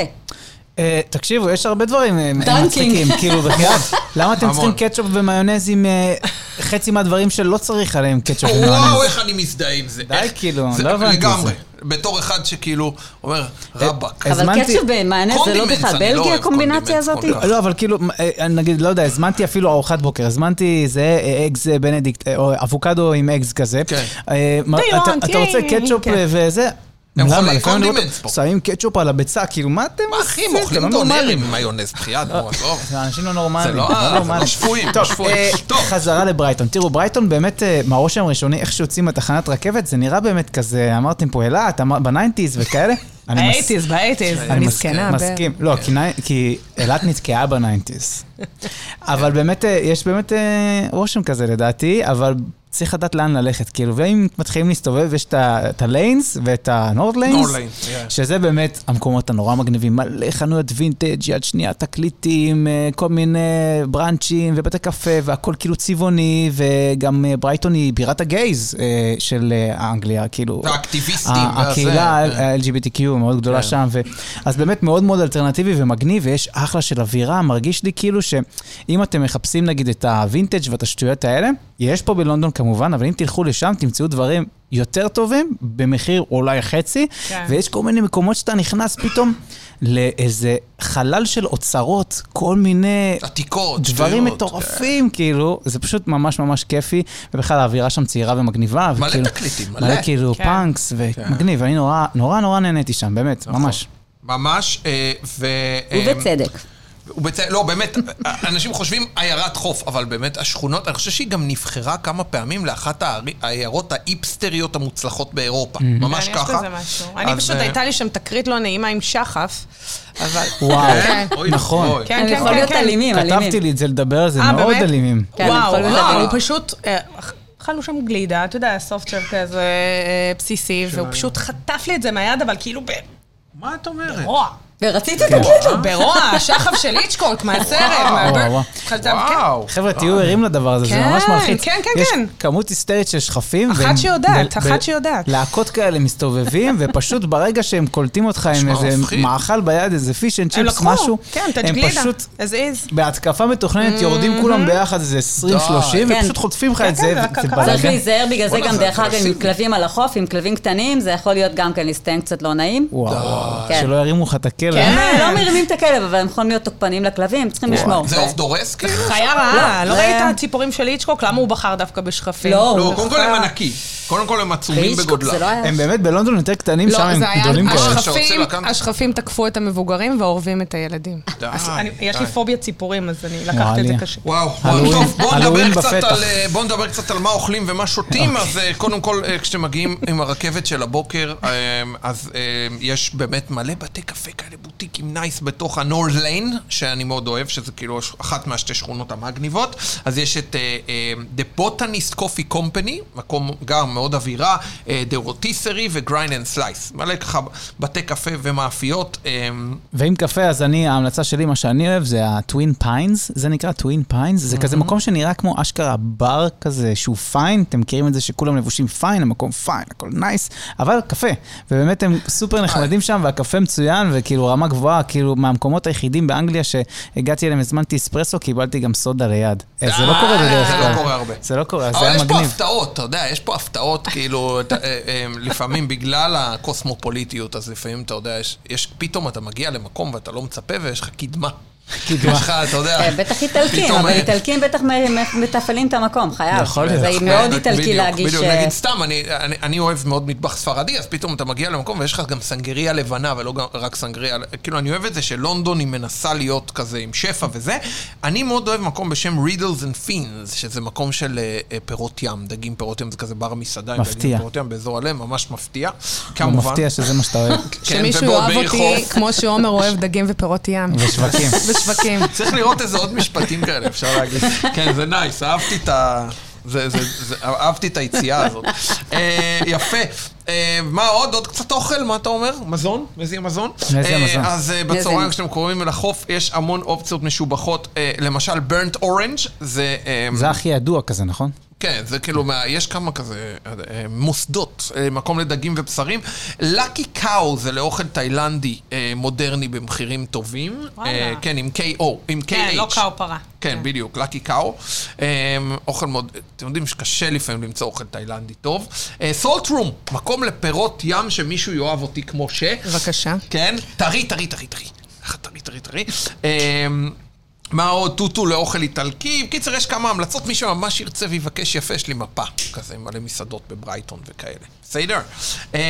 Speaker 2: אה, תקשיבו, יש הרבה דברים אה,
Speaker 5: דנקינג.
Speaker 2: מצחיקים, כאילו,
Speaker 3: <laughs>
Speaker 2: בחייאת. למה אתם צריכים
Speaker 3: המון.
Speaker 2: קטשופ ומיונז עם אה, חצי מהדברים שלא צריך עליהם קטשופ ומיונז?
Speaker 3: וואו, איך אני מזדהה עם זה.
Speaker 2: די,
Speaker 3: איך-
Speaker 2: כאילו,
Speaker 3: זה-
Speaker 2: לא הבנתי
Speaker 3: לגמרי.
Speaker 2: את
Speaker 3: בתור אחד שכאילו אומר, רבאק.
Speaker 2: אה,
Speaker 5: אבל
Speaker 2: הזמנתי-
Speaker 5: קצב במענה זה לא
Speaker 3: קונדימנטס,
Speaker 5: בכלל
Speaker 3: אני לא
Speaker 5: בלגיה
Speaker 3: אוהב
Speaker 5: הקומבינציה
Speaker 3: קונדימנטס
Speaker 5: הזאת?
Speaker 3: כל כך.
Speaker 2: לא, אבל כאילו, אה, נגיד, לא יודע, הזמנתי אפילו ארוחת בוקר, הזמנתי זה אה, אגז אה, בנדיקט, אה, או אבוקדו עם אגז כזה.
Speaker 3: כן.
Speaker 2: אה, מה-
Speaker 4: דיון,
Speaker 2: אתה- אתה
Speaker 4: כן,
Speaker 2: רוצה קטשופ
Speaker 4: כן.
Speaker 2: אה, וזה?
Speaker 3: הם
Speaker 2: למה?
Speaker 3: חולי
Speaker 2: לפעמים אני רואה
Speaker 3: קונדימנטס
Speaker 2: אותם
Speaker 3: פה.
Speaker 2: שמים קטשופ על הביצה, כאילו, מה אתם
Speaker 3: מה אחי, הם
Speaker 2: אתם לא
Speaker 3: אוכלים
Speaker 2: נורמלים.
Speaker 3: דונרים עם מיונז, בחייאת, נו, עזוב.
Speaker 2: זה אנשים לא נורמליים.
Speaker 3: זה לא-
Speaker 2: לא
Speaker 3: אה, זה לא
Speaker 2: נורמליים.
Speaker 3: שפויים,
Speaker 2: טוב,
Speaker 3: שפויים.
Speaker 2: אה,
Speaker 3: טוב.
Speaker 2: חזרה לברייטון. תראו, ברייטון באמת, אה, מהרושם הראשוני, איך שיוצאים מהתחנת רכבת, זה נראה באמת כזה, אמרתם פה אילת, אמר- בניינטיז וכאלה. אני מס-
Speaker 4: באייטיז, באייטיז.
Speaker 2: אני
Speaker 4: מסכנה.
Speaker 2: מסכים,
Speaker 4: ב-
Speaker 2: מסכים. לא, כי ני- כי אילת נתקעה בניינטיז. אבל באמת, אה, יש באמת אה, רושם כזה לדעתי, אבל צריך לדעת לאן ללכת, כאילו, ואם מתחילים להסתובב, יש את ה- את הליינס ואת הנורד ליינס,
Speaker 3: Nord Lanes, yeah.
Speaker 2: שזה באמת המקומות הנורא מגניבים, מלא חנויות וינטג' יד שנייה, תקליטים, אה, כל מיני בראנצ'ים ובתי קפה, והכל כאילו צבעוני, וגם אה, ברייטון היא בירת הגייז אה, של אה, אנגליה, כאילו.
Speaker 3: והאקטיביסטים,
Speaker 2: ה-
Speaker 3: והזה,
Speaker 2: הקהילה
Speaker 3: כן.
Speaker 2: ה-LGBTQ מאוד גדולה שם, ו... אז באמת מאוד מאוד אלטרנטיבי ומגניב, ויש אחלה של אווירה, מרגיש לי כאילו שאם אתם מחפשים נגיד את הווינטג' ואת השטויות האלה, יש פה בלונדון כמובן, אבל אם תלכו לשם, תמצאו דברים יותר טובים, במחיר אולי חצי,
Speaker 4: כן.
Speaker 2: ויש כל מיני מקומות שאתה נכנס פתאום לאיזה חלל של אוצרות, כל מיני...
Speaker 3: עתיקות,
Speaker 2: דברים
Speaker 3: שטויות. אה,
Speaker 2: מטורפים, כאילו, זה פשוט ממש ממש כיפי, ובכלל האווירה שם צעירה ומגניבה.
Speaker 3: מלא
Speaker 2: וכאילו-
Speaker 3: תקליטים, מלא.
Speaker 2: מלא כאילו
Speaker 4: כן.
Speaker 2: פאנקס ומגניב, אני נורא נורא נורא נהניתי שם, באמת,
Speaker 3: נכון.
Speaker 2: ממש.
Speaker 3: ממש, אה, ו... אה,
Speaker 5: ובצדק.
Speaker 3: ובצ- לא, באמת, אנשים חושבים עיירת חוף, אבל באמת, השכונות, אני חושב שהיא גם נבחרה כמה פעמים לאחת הערי- העיירות האיפסטריות המוצלחות באירופה. ממש
Speaker 4: כן, יש
Speaker 3: ככה.
Speaker 4: בזה משהו. אני
Speaker 3: אז,
Speaker 4: פשוט,
Speaker 3: אה,
Speaker 4: הייתה לי שם תקרית לא נעימה עם שחף, אבל...
Speaker 2: וואו,
Speaker 3: כן, אוי,
Speaker 2: נכון.
Speaker 3: אוי.
Speaker 4: כן,
Speaker 5: הם
Speaker 4: כן,
Speaker 5: יכולים
Speaker 4: כן,
Speaker 5: להיות
Speaker 4: כן.
Speaker 5: אלימים, אלימים.
Speaker 2: כתבתי לי את זה לדבר על זה,
Speaker 4: אה,
Speaker 2: מאוד
Speaker 4: באמת?
Speaker 2: אלימים.
Speaker 5: כן, הם
Speaker 4: וואו,
Speaker 5: יכולים
Speaker 4: וואו,
Speaker 5: לדבר.
Speaker 4: הוא פשוט... אה, אכלנו שם גלידה, אתה יודע, סופטשל כזה אה, בסיסי, והוא פשוט חטף לי את זה מהיד, אבל כאילו
Speaker 6: מה את אומרת?
Speaker 4: ברוע.
Speaker 5: ורצית את הגלידה?
Speaker 4: <laughs> ברוע, שחף של איצ'קוק, מהסרט,
Speaker 2: וואו, וואו.
Speaker 4: מהבר... חטף, כן.
Speaker 3: וואו.
Speaker 2: חבר'ה, תהיו
Speaker 3: אה.
Speaker 2: ערים לדבר הזה, זה
Speaker 4: כן,
Speaker 2: ממש מלחיץ.
Speaker 4: כן, כן,
Speaker 2: יש
Speaker 4: כן.
Speaker 2: כמות היסטרית של שחפים.
Speaker 4: אחת
Speaker 2: והם
Speaker 4: שיודעת,
Speaker 2: ב-
Speaker 4: אחת
Speaker 2: ב-
Speaker 4: שיודעת.
Speaker 2: להקות כאלה מסתובבים, <laughs> ופשוט ברגע שהם קולטים אותך עם
Speaker 3: נשמע
Speaker 2: איזה
Speaker 3: מפחיד.
Speaker 2: מאכל ביד, איזה פיש אנד
Speaker 4: הם
Speaker 2: צ'יפס,
Speaker 4: לקחו,
Speaker 2: משהו,
Speaker 4: כן, תג'
Speaker 2: הם
Speaker 4: גלידה,
Speaker 2: פשוט
Speaker 4: as is.
Speaker 2: בהתקפה מתוכננת יורדים כולם ביחד איזה 20-30,
Speaker 5: די.
Speaker 2: ופשוט חוטפים לך את
Speaker 4: Mm-hmm.
Speaker 2: זה, וזה
Speaker 4: כן, זה הקרקרה.
Speaker 5: צריך
Speaker 2: בלאגן.
Speaker 5: להיזהר, בגלל זה
Speaker 3: בואנה,
Speaker 5: גם,
Speaker 3: זה
Speaker 5: דרך אגב, עם
Speaker 3: אגרסיבי.
Speaker 5: כלבים על החוף, עם כלבים קטנים, זה יכול להיות גם כן להסתיים קצת לא נעים.
Speaker 2: וואו,
Speaker 5: כן.
Speaker 2: שלא ירימו לך את הכלא.
Speaker 4: כן.
Speaker 5: הם לא מרימים את הכלב, אבל הם יכולים להיות תוקפנים לכלבים, צריכים
Speaker 4: כן.
Speaker 5: לשמור.
Speaker 3: זה
Speaker 5: ו-
Speaker 3: עוף דורס כאילו?
Speaker 4: חיה רעה, לא
Speaker 5: זה-
Speaker 4: ראית הציפורים של איצ'קוק? למה הוא בחר דווקא בשכפים?
Speaker 5: לא, הוא
Speaker 3: לא, קודם כל הם ענקי. קודם כל הם עצומים
Speaker 5: באיצ'קוק זה
Speaker 3: בגודלם.
Speaker 5: לא היה...
Speaker 2: הם באמת בלונדון יותר קטנים, שם
Speaker 4: לא,
Speaker 2: הם
Speaker 4: זה היה...
Speaker 2: גדולים כאלה.
Speaker 3: השכפ- שרוצה
Speaker 4: השכפים,
Speaker 3: לקחת.
Speaker 4: השכפים תקפו את המבוגרים והאורבים את הילדים.
Speaker 3: די,
Speaker 4: אז אני-
Speaker 3: אה, די. כן,
Speaker 4: יש לי פוביית ציפורים, אז אני לקחתי
Speaker 2: וואלה.
Speaker 4: את זה קשה.
Speaker 3: וואו,
Speaker 2: הלואוין-
Speaker 3: וואו, טוב, בואו
Speaker 2: הלואוין
Speaker 3: נדבר, קצת
Speaker 2: בפתח.
Speaker 3: על, אה, בואו נדבר קצת על מה אוכלים ומה שותים. אז אה, קודם כל, אה, כשאתם מגיעים עם הרכבת של הבוקר, אה, אז אה, יש באמת מלא בתי קפה כאלה, בוטיקים נייס בתוך הנורד ליין, שאני מאוד אוהב, שזה כאילו הש- אחת מהשתי שכונות המגניבות. אז יש את אה, אה, The Botanist Coffee Company, מקום גם מאוד אווירה, אה, The Rotisserie ו-Grind and Slice. מלא ככה בתי קפה ומאפיות. אה,
Speaker 2: ועם קפה, אז אני, ההמלצה שלי, מה שאני אוהב, זה הטווין פיינס, זה נקרא טווין פיינס, זה כזה מקום שנראה כמו אשכרה בר כזה, שהוא פיין, אתם מכירים את זה שכולם לבושים פיין, המקום פיין, הכל נייס, אבל קפה, ובאמת הם סופר נחמדים שם, והקפה מצוין, וכאילו רמה גבוהה, כאילו מהמקומות היחידים באנגליה שהגעתי אליהם, הזמנתי אספרסו, קיבלתי גם סודה ליד. אה, זה לא קורה
Speaker 3: אה,
Speaker 2: בדרך
Speaker 3: זה
Speaker 2: כלל.
Speaker 3: לא קורה הרבה.
Speaker 2: זה לא קורה, אז זה
Speaker 3: אבל
Speaker 2: היה
Speaker 3: יש פה
Speaker 2: מגניב.
Speaker 3: הפתעות, אתה יודע, יש פה הפתעות, כאילו, אתה- אה, אה, לפעמים בגלל הקוסמופוליטיות, אז לפעמים, אתה יודע, יש- יש, פתאום אתה מגיע למקום ואתה לא מצפה ויש לך קדמה. קדמה. יש לך, אתה יודע...
Speaker 5: אה, בטח איטלקים,
Speaker 3: פתאום,
Speaker 5: אבל
Speaker 3: אה,
Speaker 5: איטלקים בטח מ- מ- מתפעלים את המקום, חייב.
Speaker 2: יכול
Speaker 5: זה
Speaker 2: להיות.
Speaker 5: מאוד
Speaker 3: בדיוק,
Speaker 5: איטלקי
Speaker 3: כן, בדיוק,
Speaker 5: להגיש...
Speaker 3: בדיוק,
Speaker 5: אה,
Speaker 3: נגיד סתם, אני- אני- אני אוהב מאוד מטבח ספרדי, אז פתאום אתה מגיע למקום ויש לך גם סנגריה לבנה ולא גם- רק סנגריה, כאילו אני אוהב את זה שלונדון היא מנסה להיות כזה עם שפע וזה. אני מאוד אוהב מקום בשם רידלס אנד פינס, שזה מקום של אה, אה, פירות ים, דגים פירות ים, זה כזה בר מסעדה עם
Speaker 2: מפתיע.
Speaker 3: דגים פירות ים באזור הלב, ממש מפתיע,
Speaker 2: הוא
Speaker 3: כמובן.
Speaker 2: מפתיע שזה מה שאתה אוהב,
Speaker 3: כן,
Speaker 4: שמישהו
Speaker 3: ובעוד
Speaker 4: יאהב
Speaker 3: בעיר
Speaker 4: אותי
Speaker 3: חוף.
Speaker 4: כמו שעומר אוהב דגים ופירות ים.
Speaker 2: בשווקים.
Speaker 4: בשווקים.
Speaker 3: <laughs> צריך לראות איזה עוד משפטים כאלה, אפשר להגיד. <laughs> כן, זה נייס, אהבתי את ה... זה, זה, זה, אהבתי את היציאה <laughs> הזאת. אה, יפה. אה, מה עוד? עוד קצת אוכל, מה אתה אומר? מזון? מזיע מזון?
Speaker 2: מזיע
Speaker 3: אה,
Speaker 2: מזון.
Speaker 3: אז אה,
Speaker 5: מזיע.
Speaker 3: בצהריים כשאתם קרובים אל החוף, יש המון אופציות משובחות. אה, למשל, ברנט אורנג' זה... אה,
Speaker 2: זה הכי ידוע כזה, נכון?
Speaker 3: כן, זה כאילו, מה, יש כמה כזה אה, אה, מוסדות, אה, מקום לדגים ובשרים. לקי קאו זה לאוכל תאילנדי אה, מודרני במחירים טובים.
Speaker 4: וואלה.
Speaker 3: אה, כן, עם KO, עם KH.
Speaker 4: כן, לא קאו פרה.
Speaker 3: כן, בדיוק, לקי קאו. אמ, אוכל מאוד, אתם יודעים שקשה לפעמים למצוא אוכל תאילנדי טוב. סולט רום, מקום לפירות ים שמישהו יאהב אותי כמו ש...
Speaker 4: בבקשה.
Speaker 3: כן, טרי, טרי, טרי, טרי. אה, טרי, טרי, טרי. אמ, מה עוד? טוטו לאוכל איטלקי. בקיצר, יש כמה המלצות. מי שממש ירצה ויבקש יפה, יש לי מפה כזה, עם מלא מסעדות בברייטון וכאלה. בסדר? אמ,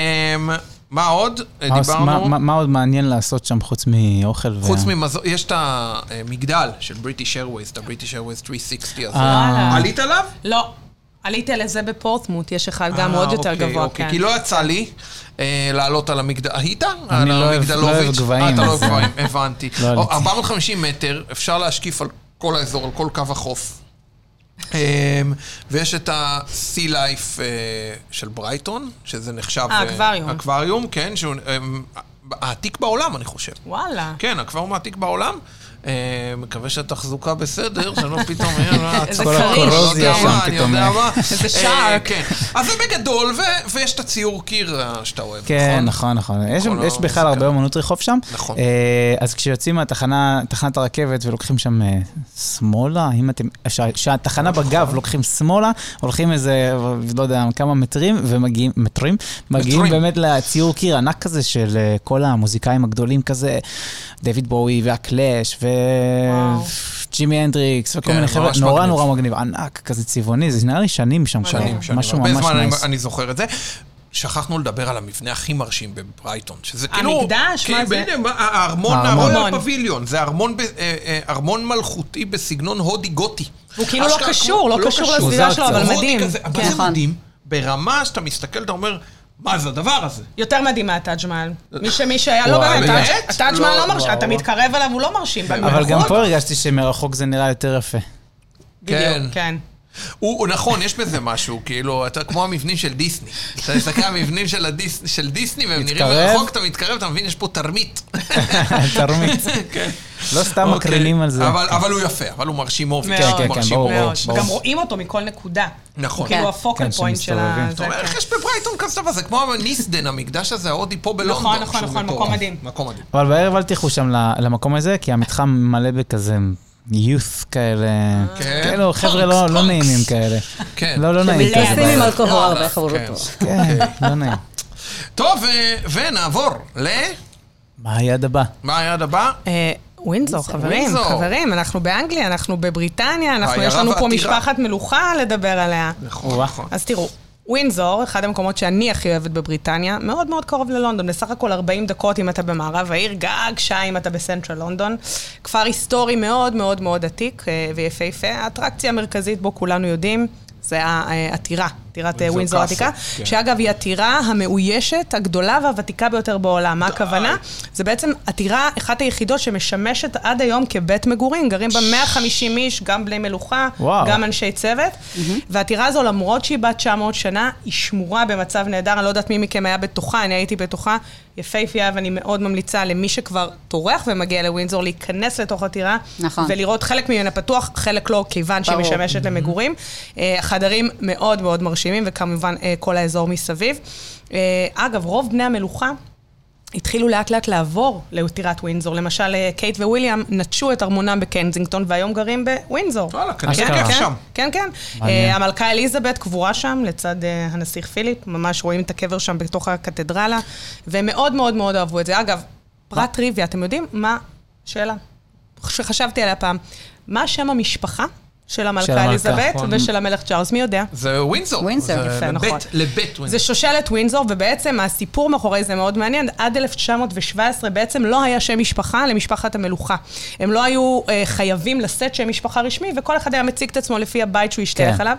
Speaker 3: מה עוד? אה,
Speaker 2: מה-
Speaker 3: דיברנו...
Speaker 2: מה- אה. מה- מה עוד מעניין לעשות שם חוץ מאוכל? ו-
Speaker 3: חוץ ממזון, יש את המגדל של בריטיש איירווייז, את הבריטיש איירווייז 360 הזה.
Speaker 2: אה.
Speaker 4: וואלה.
Speaker 3: עלית עליו?
Speaker 4: לא. עליתי על זה בפורטמוט, יש אחד גם
Speaker 3: אה,
Speaker 4: עוד יותר
Speaker 3: אוקיי,
Speaker 4: גבוה,
Speaker 3: אוקיי,
Speaker 4: כן.
Speaker 3: כי לא יצא לי אה, לעלות על המגדל... היית?
Speaker 2: אני לא אוהב- לא אוהב גבהים,
Speaker 3: אה, אתה לא
Speaker 2: אז-
Speaker 3: אוהב גבהים, הבנתי.
Speaker 2: לא עליתי.
Speaker 3: או, 450 מטר, אפשר להשקיף על כל האזור, על כל קו החוף. אמ, ויש את ה-Sea Life אה, של ברייטון, שזה נחשב... אה,
Speaker 4: האקווריום.
Speaker 3: אקווריום, כן, שהוא אמ, העתיק בעולם, אני חושב.
Speaker 4: וואלה.
Speaker 3: כן, הקוורום העתיק בעולם. אה, מקווה שהתחזוקה בסדר, שלא פתאום אה, יהיה לה...
Speaker 4: איזה
Speaker 3: הצפות,
Speaker 4: כריש,
Speaker 3: לא יודע
Speaker 4: כן.
Speaker 3: מה, אני
Speaker 2: פתאום,
Speaker 3: יודע
Speaker 2: אה.
Speaker 3: מה.
Speaker 4: איזה
Speaker 3: אה,
Speaker 4: שער.
Speaker 3: כן. אז זה בגדול, ו- ויש את הציור קיר אה, שאתה אוהב,
Speaker 2: כן, נכון, נכון. יש-
Speaker 3: נכון,
Speaker 2: יש
Speaker 3: לא,
Speaker 2: בכלל
Speaker 3: זה
Speaker 2: הרבה
Speaker 3: גם-
Speaker 2: אומנות רחוב שם.
Speaker 3: נכון.
Speaker 2: אה, אז כשיוצאים מהתחנה, תחנת הרכבת ולוקחים שם אה, שמאלה, אם אתם, שה- שהתחנה
Speaker 3: נכון.
Speaker 2: בגב לוקחים שמאלה, הולכים איזה, לא יודע, כמה מטרים, ומגיעים, מטרים? מגיעים
Speaker 3: מטרים.
Speaker 2: באמת לציור קיר ענק כזה של אה, כל המוזיקאים הגדולים כזה, דויד בואי והקלאש, ו...
Speaker 4: וואו.
Speaker 2: ג'ימי הנדריקס וכל
Speaker 3: כן,
Speaker 2: מיני
Speaker 3: ממש
Speaker 2: חבר'ה, נורא
Speaker 3: מגניב.
Speaker 2: נורא מגניב, ענק, כזה צבעוני, זה נראה לי שנים שם,
Speaker 3: שנים,
Speaker 2: כבר,
Speaker 3: שנים.
Speaker 2: משהו
Speaker 3: הרבה
Speaker 2: ממש
Speaker 3: זמן אני-
Speaker 2: נייס.
Speaker 3: אני זוכר את זה. שכחנו לדבר על המבנה הכי מרשים בברייטון, שזה כאילו...
Speaker 4: המקדש? מה
Speaker 3: כן,
Speaker 4: זה?
Speaker 3: בדיוק, הארמון,
Speaker 2: הארמון.
Speaker 3: הארמון פביליון, זה ארמון ב- אה, אה, ארמון מלכותי בסגנון הודי גותי.
Speaker 4: הוא כאילו לא
Speaker 3: אשכרה
Speaker 4: קשור,
Speaker 3: כמו-
Speaker 4: לא קשור
Speaker 2: קשור.
Speaker 4: לסביבה
Speaker 2: מוזר
Speaker 4: שלו,
Speaker 2: קצת.
Speaker 4: אבל
Speaker 3: הודי
Speaker 4: מדהים.
Speaker 3: כזה, אבל
Speaker 4: כן.
Speaker 3: זה מדהים, ברמה שאתה מסתכל, אתה אומר, מה זה הדבר הזה?
Speaker 4: יותר מדהים מהטאג' מעל. מי שמי שהיה, לא
Speaker 2: וואי,
Speaker 4: באמת,
Speaker 3: באמת?
Speaker 4: הטאג'- הטאג' מעל
Speaker 3: לא,
Speaker 4: לא מרשים,
Speaker 3: וואו.
Speaker 4: אתה מתקרב אליו, הוא לא מרשים.
Speaker 2: אבל גם
Speaker 4: במרחוק,
Speaker 2: פה הרגשתי שמרחוק זה נראה יותר יפה.
Speaker 4: בדיוק,
Speaker 3: כן.
Speaker 4: כן.
Speaker 3: הוא, הוא נכון, יש בזה משהו, כאילו, אתה כמו המבנים של דיסני. אתה מסתכל על המבנים של, הדיס, של דיסני, והם נראים
Speaker 2: מתקרב.
Speaker 3: מרחוק, אתה מתקרב, אתה מבין, יש פה תרמית.
Speaker 2: תרמית.
Speaker 3: כן.
Speaker 2: לא סתם מקרינים על זה.
Speaker 3: אבל, אבל הוא יפה, אבל הוא מרשים אופי.
Speaker 4: מאוד,
Speaker 2: כן, כן,
Speaker 3: מרשים
Speaker 2: ברור,
Speaker 3: אופי.
Speaker 4: מאוד.
Speaker 2: ברור.
Speaker 4: גם רואים אותו מכל נקודה.
Speaker 3: נכון.
Speaker 4: כאילו
Speaker 2: כן,
Speaker 4: הפוקל פוינט של ה...
Speaker 2: שמסתובבים.
Speaker 3: אתה
Speaker 4: זה,
Speaker 3: אומר, איך
Speaker 4: כן.
Speaker 3: יש בברייטון כזה דבר? זה כמו ניסדן, המקדש הזה, ההודי פה בלונדון.
Speaker 4: נכון, נכון,
Speaker 3: שהוא
Speaker 4: נכון,
Speaker 3: מטורף.
Speaker 4: מקום מדהים.
Speaker 3: מקום מדהים.
Speaker 2: אבל בערב אל תלכו שם ל- למקום הזה, כי המתחם מלא בכזה youth כאלה.
Speaker 3: כן.
Speaker 2: כאילו, חבר'ה לא-
Speaker 3: פאנקס,
Speaker 2: לא
Speaker 3: פאנקס.
Speaker 2: נעימים כאלה.
Speaker 3: כן.
Speaker 2: לא, לא נעים כזה.
Speaker 5: שמתייחסים עם
Speaker 2: בערב.
Speaker 5: אלכוהול
Speaker 3: כן.
Speaker 5: וחבורתו.
Speaker 2: כן, לא נעים.
Speaker 3: טוב, אה, ונעבור ל...
Speaker 2: מה היד הבא?
Speaker 3: מה היעד הבא?
Speaker 4: אה, ווינזור, חברים,
Speaker 3: ווינזור.
Speaker 4: חברים, אנחנו באנגליה, אנחנו בבריטניה, אנחנו, יש
Speaker 3: העיירה
Speaker 4: לנו פה
Speaker 3: והטירה.
Speaker 4: משפחת מלוכה לדבר עליה.
Speaker 3: נכון,
Speaker 4: אז תראו, ווינזור, אחד המקומות שאני הכי אוהבת בבריטניה, מאוד מאוד קרוב ללונדון, בסך הכל 40 דקות אם אתה במערב העיר, גג שעה אם אתה בסנטרל לונדון. כפר היסטורי מאוד מאוד מאוד עתיק אה, ויפהפה. האטרקציה המרכזית בו כולנו יודעים. זה העתירה, עתירת
Speaker 3: ווינזור
Speaker 4: אה, ווינזור העתיקה,
Speaker 3: קאסל, כן.
Speaker 4: שאגב היא עתירה המאוישת, הגדולה והוותיקה ביותר בעולם. מה הכוונה? זה בעצם עתירה, אחת היחידות שמשמשת עד היום כבית מגורים, גרים בה 150 איש, גם בני מלוכה,
Speaker 2: וואו.
Speaker 4: גם אנשי צוות. והעתירה הזו, למרות שהיא בת 900 שנה, היא שמורה במצב נהדר, אני לא יודעת מי מכם היה בתוכה, אני הייתי בתוכה. יפהפייה, ואני מאוד ממליצה למי שכבר טורח ומגיע לווינזור להיכנס לתוך עתירה.
Speaker 5: נכון.
Speaker 4: ולראות חלק ממנה פתוח, חלק לא, כיוון שהיא
Speaker 5: ברור.
Speaker 4: משמשת למגורים. אה, החדרים מאוד מאוד מרשימים, וכמובן אה, כל האזור מסביב. אה, אגב, רוב בני המלוכה... התחילו לאט לאט לעבור לטירת ווינזור. למשל, אה, קייט וויליאם נטשו את ארמונם בקנזינגטון והיום גרים בווינזור.
Speaker 3: וואלה, כנראה
Speaker 2: אשכרה.
Speaker 3: כיף שם.
Speaker 4: כן, כן.
Speaker 2: מעניין.
Speaker 4: אה, המלכה אליזבת קבורה שם, לצד אה, הנסיך פיליפ, ממש רואים את הקבר שם בתוך הקתדרלה, והם מאוד מאוד מאוד אהבו את זה. אגב, פרט טריוויה, אתם יודעים מה? שאלה שחשבתי עליה פעם. מה שם המשפחה של
Speaker 2: של
Speaker 4: המלכה
Speaker 2: המלכה,
Speaker 4: אליזבת
Speaker 2: נכון.
Speaker 4: ושל המלך צ'ארלס? מי יודע?
Speaker 3: זה ווינזור.
Speaker 5: ווינזור,
Speaker 3: זה
Speaker 4: יפה, נכון.
Speaker 3: לבית, לבית
Speaker 4: זה
Speaker 3: ווינזור.
Speaker 4: שושלת ווינזור, ובעצם הסיפור מאחורי זה מאוד מעניין. עד 1917 בעצם לא היה שם משפחה למשפחת המלוכה. הם לא היו אה, חייבים לשאת שם משפחה רשמי, וכל אחד היה מציג את עצמו לפי הבית שהוא השתייך
Speaker 2: כן.
Speaker 4: אליו.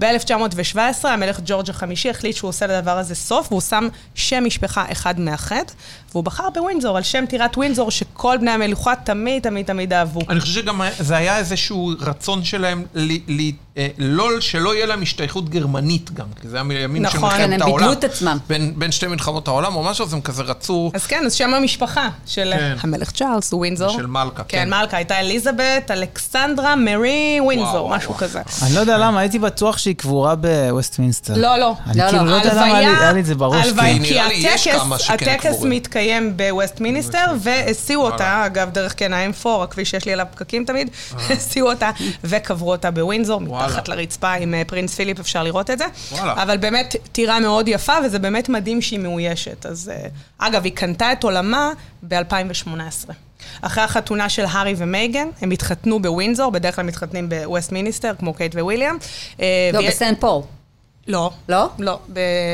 Speaker 4: ב-1917 המלך ג'ורג' החמישי החליט שהוא עושה לדבר הזה סוף, והוא שם שם משפחה אחד מאחד, והוא בחר בווינזור, על שם טירת ווינזור, שכל בני המלוכה תמיד תמיד תמיד אהבו.
Speaker 3: אני חושב שגם זה היה איזשהו רצון שלהם ל- ל- אה, לא, שלא יהיה להם השתייכות גרמנית גם, כי זה היה מימים של
Speaker 4: נכון,
Speaker 3: מלחמת
Speaker 4: כן,
Speaker 3: העולם.
Speaker 5: הם בידלו את עצמם.
Speaker 3: בין- בין שתי מלחמות העולם או משהו, אז הם כזה רצו...
Speaker 4: אז כן, אז שם המשפחה של
Speaker 3: כן.
Speaker 4: המלך צ'ארלס הוא ווינזור.
Speaker 3: של מלכה, כן.
Speaker 4: כן, מלכה. הייתה אליזבת, אלכסנדרה, מרי
Speaker 3: וואו,
Speaker 4: ווינזור,
Speaker 3: וואו,
Speaker 4: משהו
Speaker 3: וואו.
Speaker 4: כזה.
Speaker 2: אני לא יודע למה, הייתי בטוח שהיא קבורה בווסטמינסטר.
Speaker 4: לא, לא.
Speaker 2: אני
Speaker 5: לא,
Speaker 2: כאילו
Speaker 5: לא,
Speaker 2: לא יודע למה היה לי- היה לי את זה בראש.
Speaker 4: הלוויה,
Speaker 2: כאילו.
Speaker 3: כי
Speaker 4: כי
Speaker 3: נראה לי יש
Speaker 4: הטקס,
Speaker 3: כמה שכן
Speaker 4: הטקס
Speaker 3: קבורים.
Speaker 4: מתקיים בווסט מיניסטר, והסיעו אותה, אגב, דרך כן ה-M4, הכביש שיש לי עליו פקקים תמיד, <laughs> הסיעו אותה וקברו אותה בווינזור,
Speaker 3: אה. וואלה.
Speaker 4: מתחת לרצפה עם אה, פרינס פיליפ, אפשר לראות את זה.
Speaker 3: וואלה.
Speaker 4: אבל באמת טירה מאוד יפה, וזה באמת מדהים שהיא מאוישת. אז אה, אגב, היא קנתה את עולמה ב-2018. אחרי החתונה של הארי ומייגן, הם התחתנו בווינזור, בדרך כלל מתחתנים בווסט מיניסטר, כמו קייט וויליאם. אה,
Speaker 5: לא,
Speaker 4: ויה-
Speaker 5: בסנט פול.
Speaker 4: לא.
Speaker 5: לא?
Speaker 4: לא,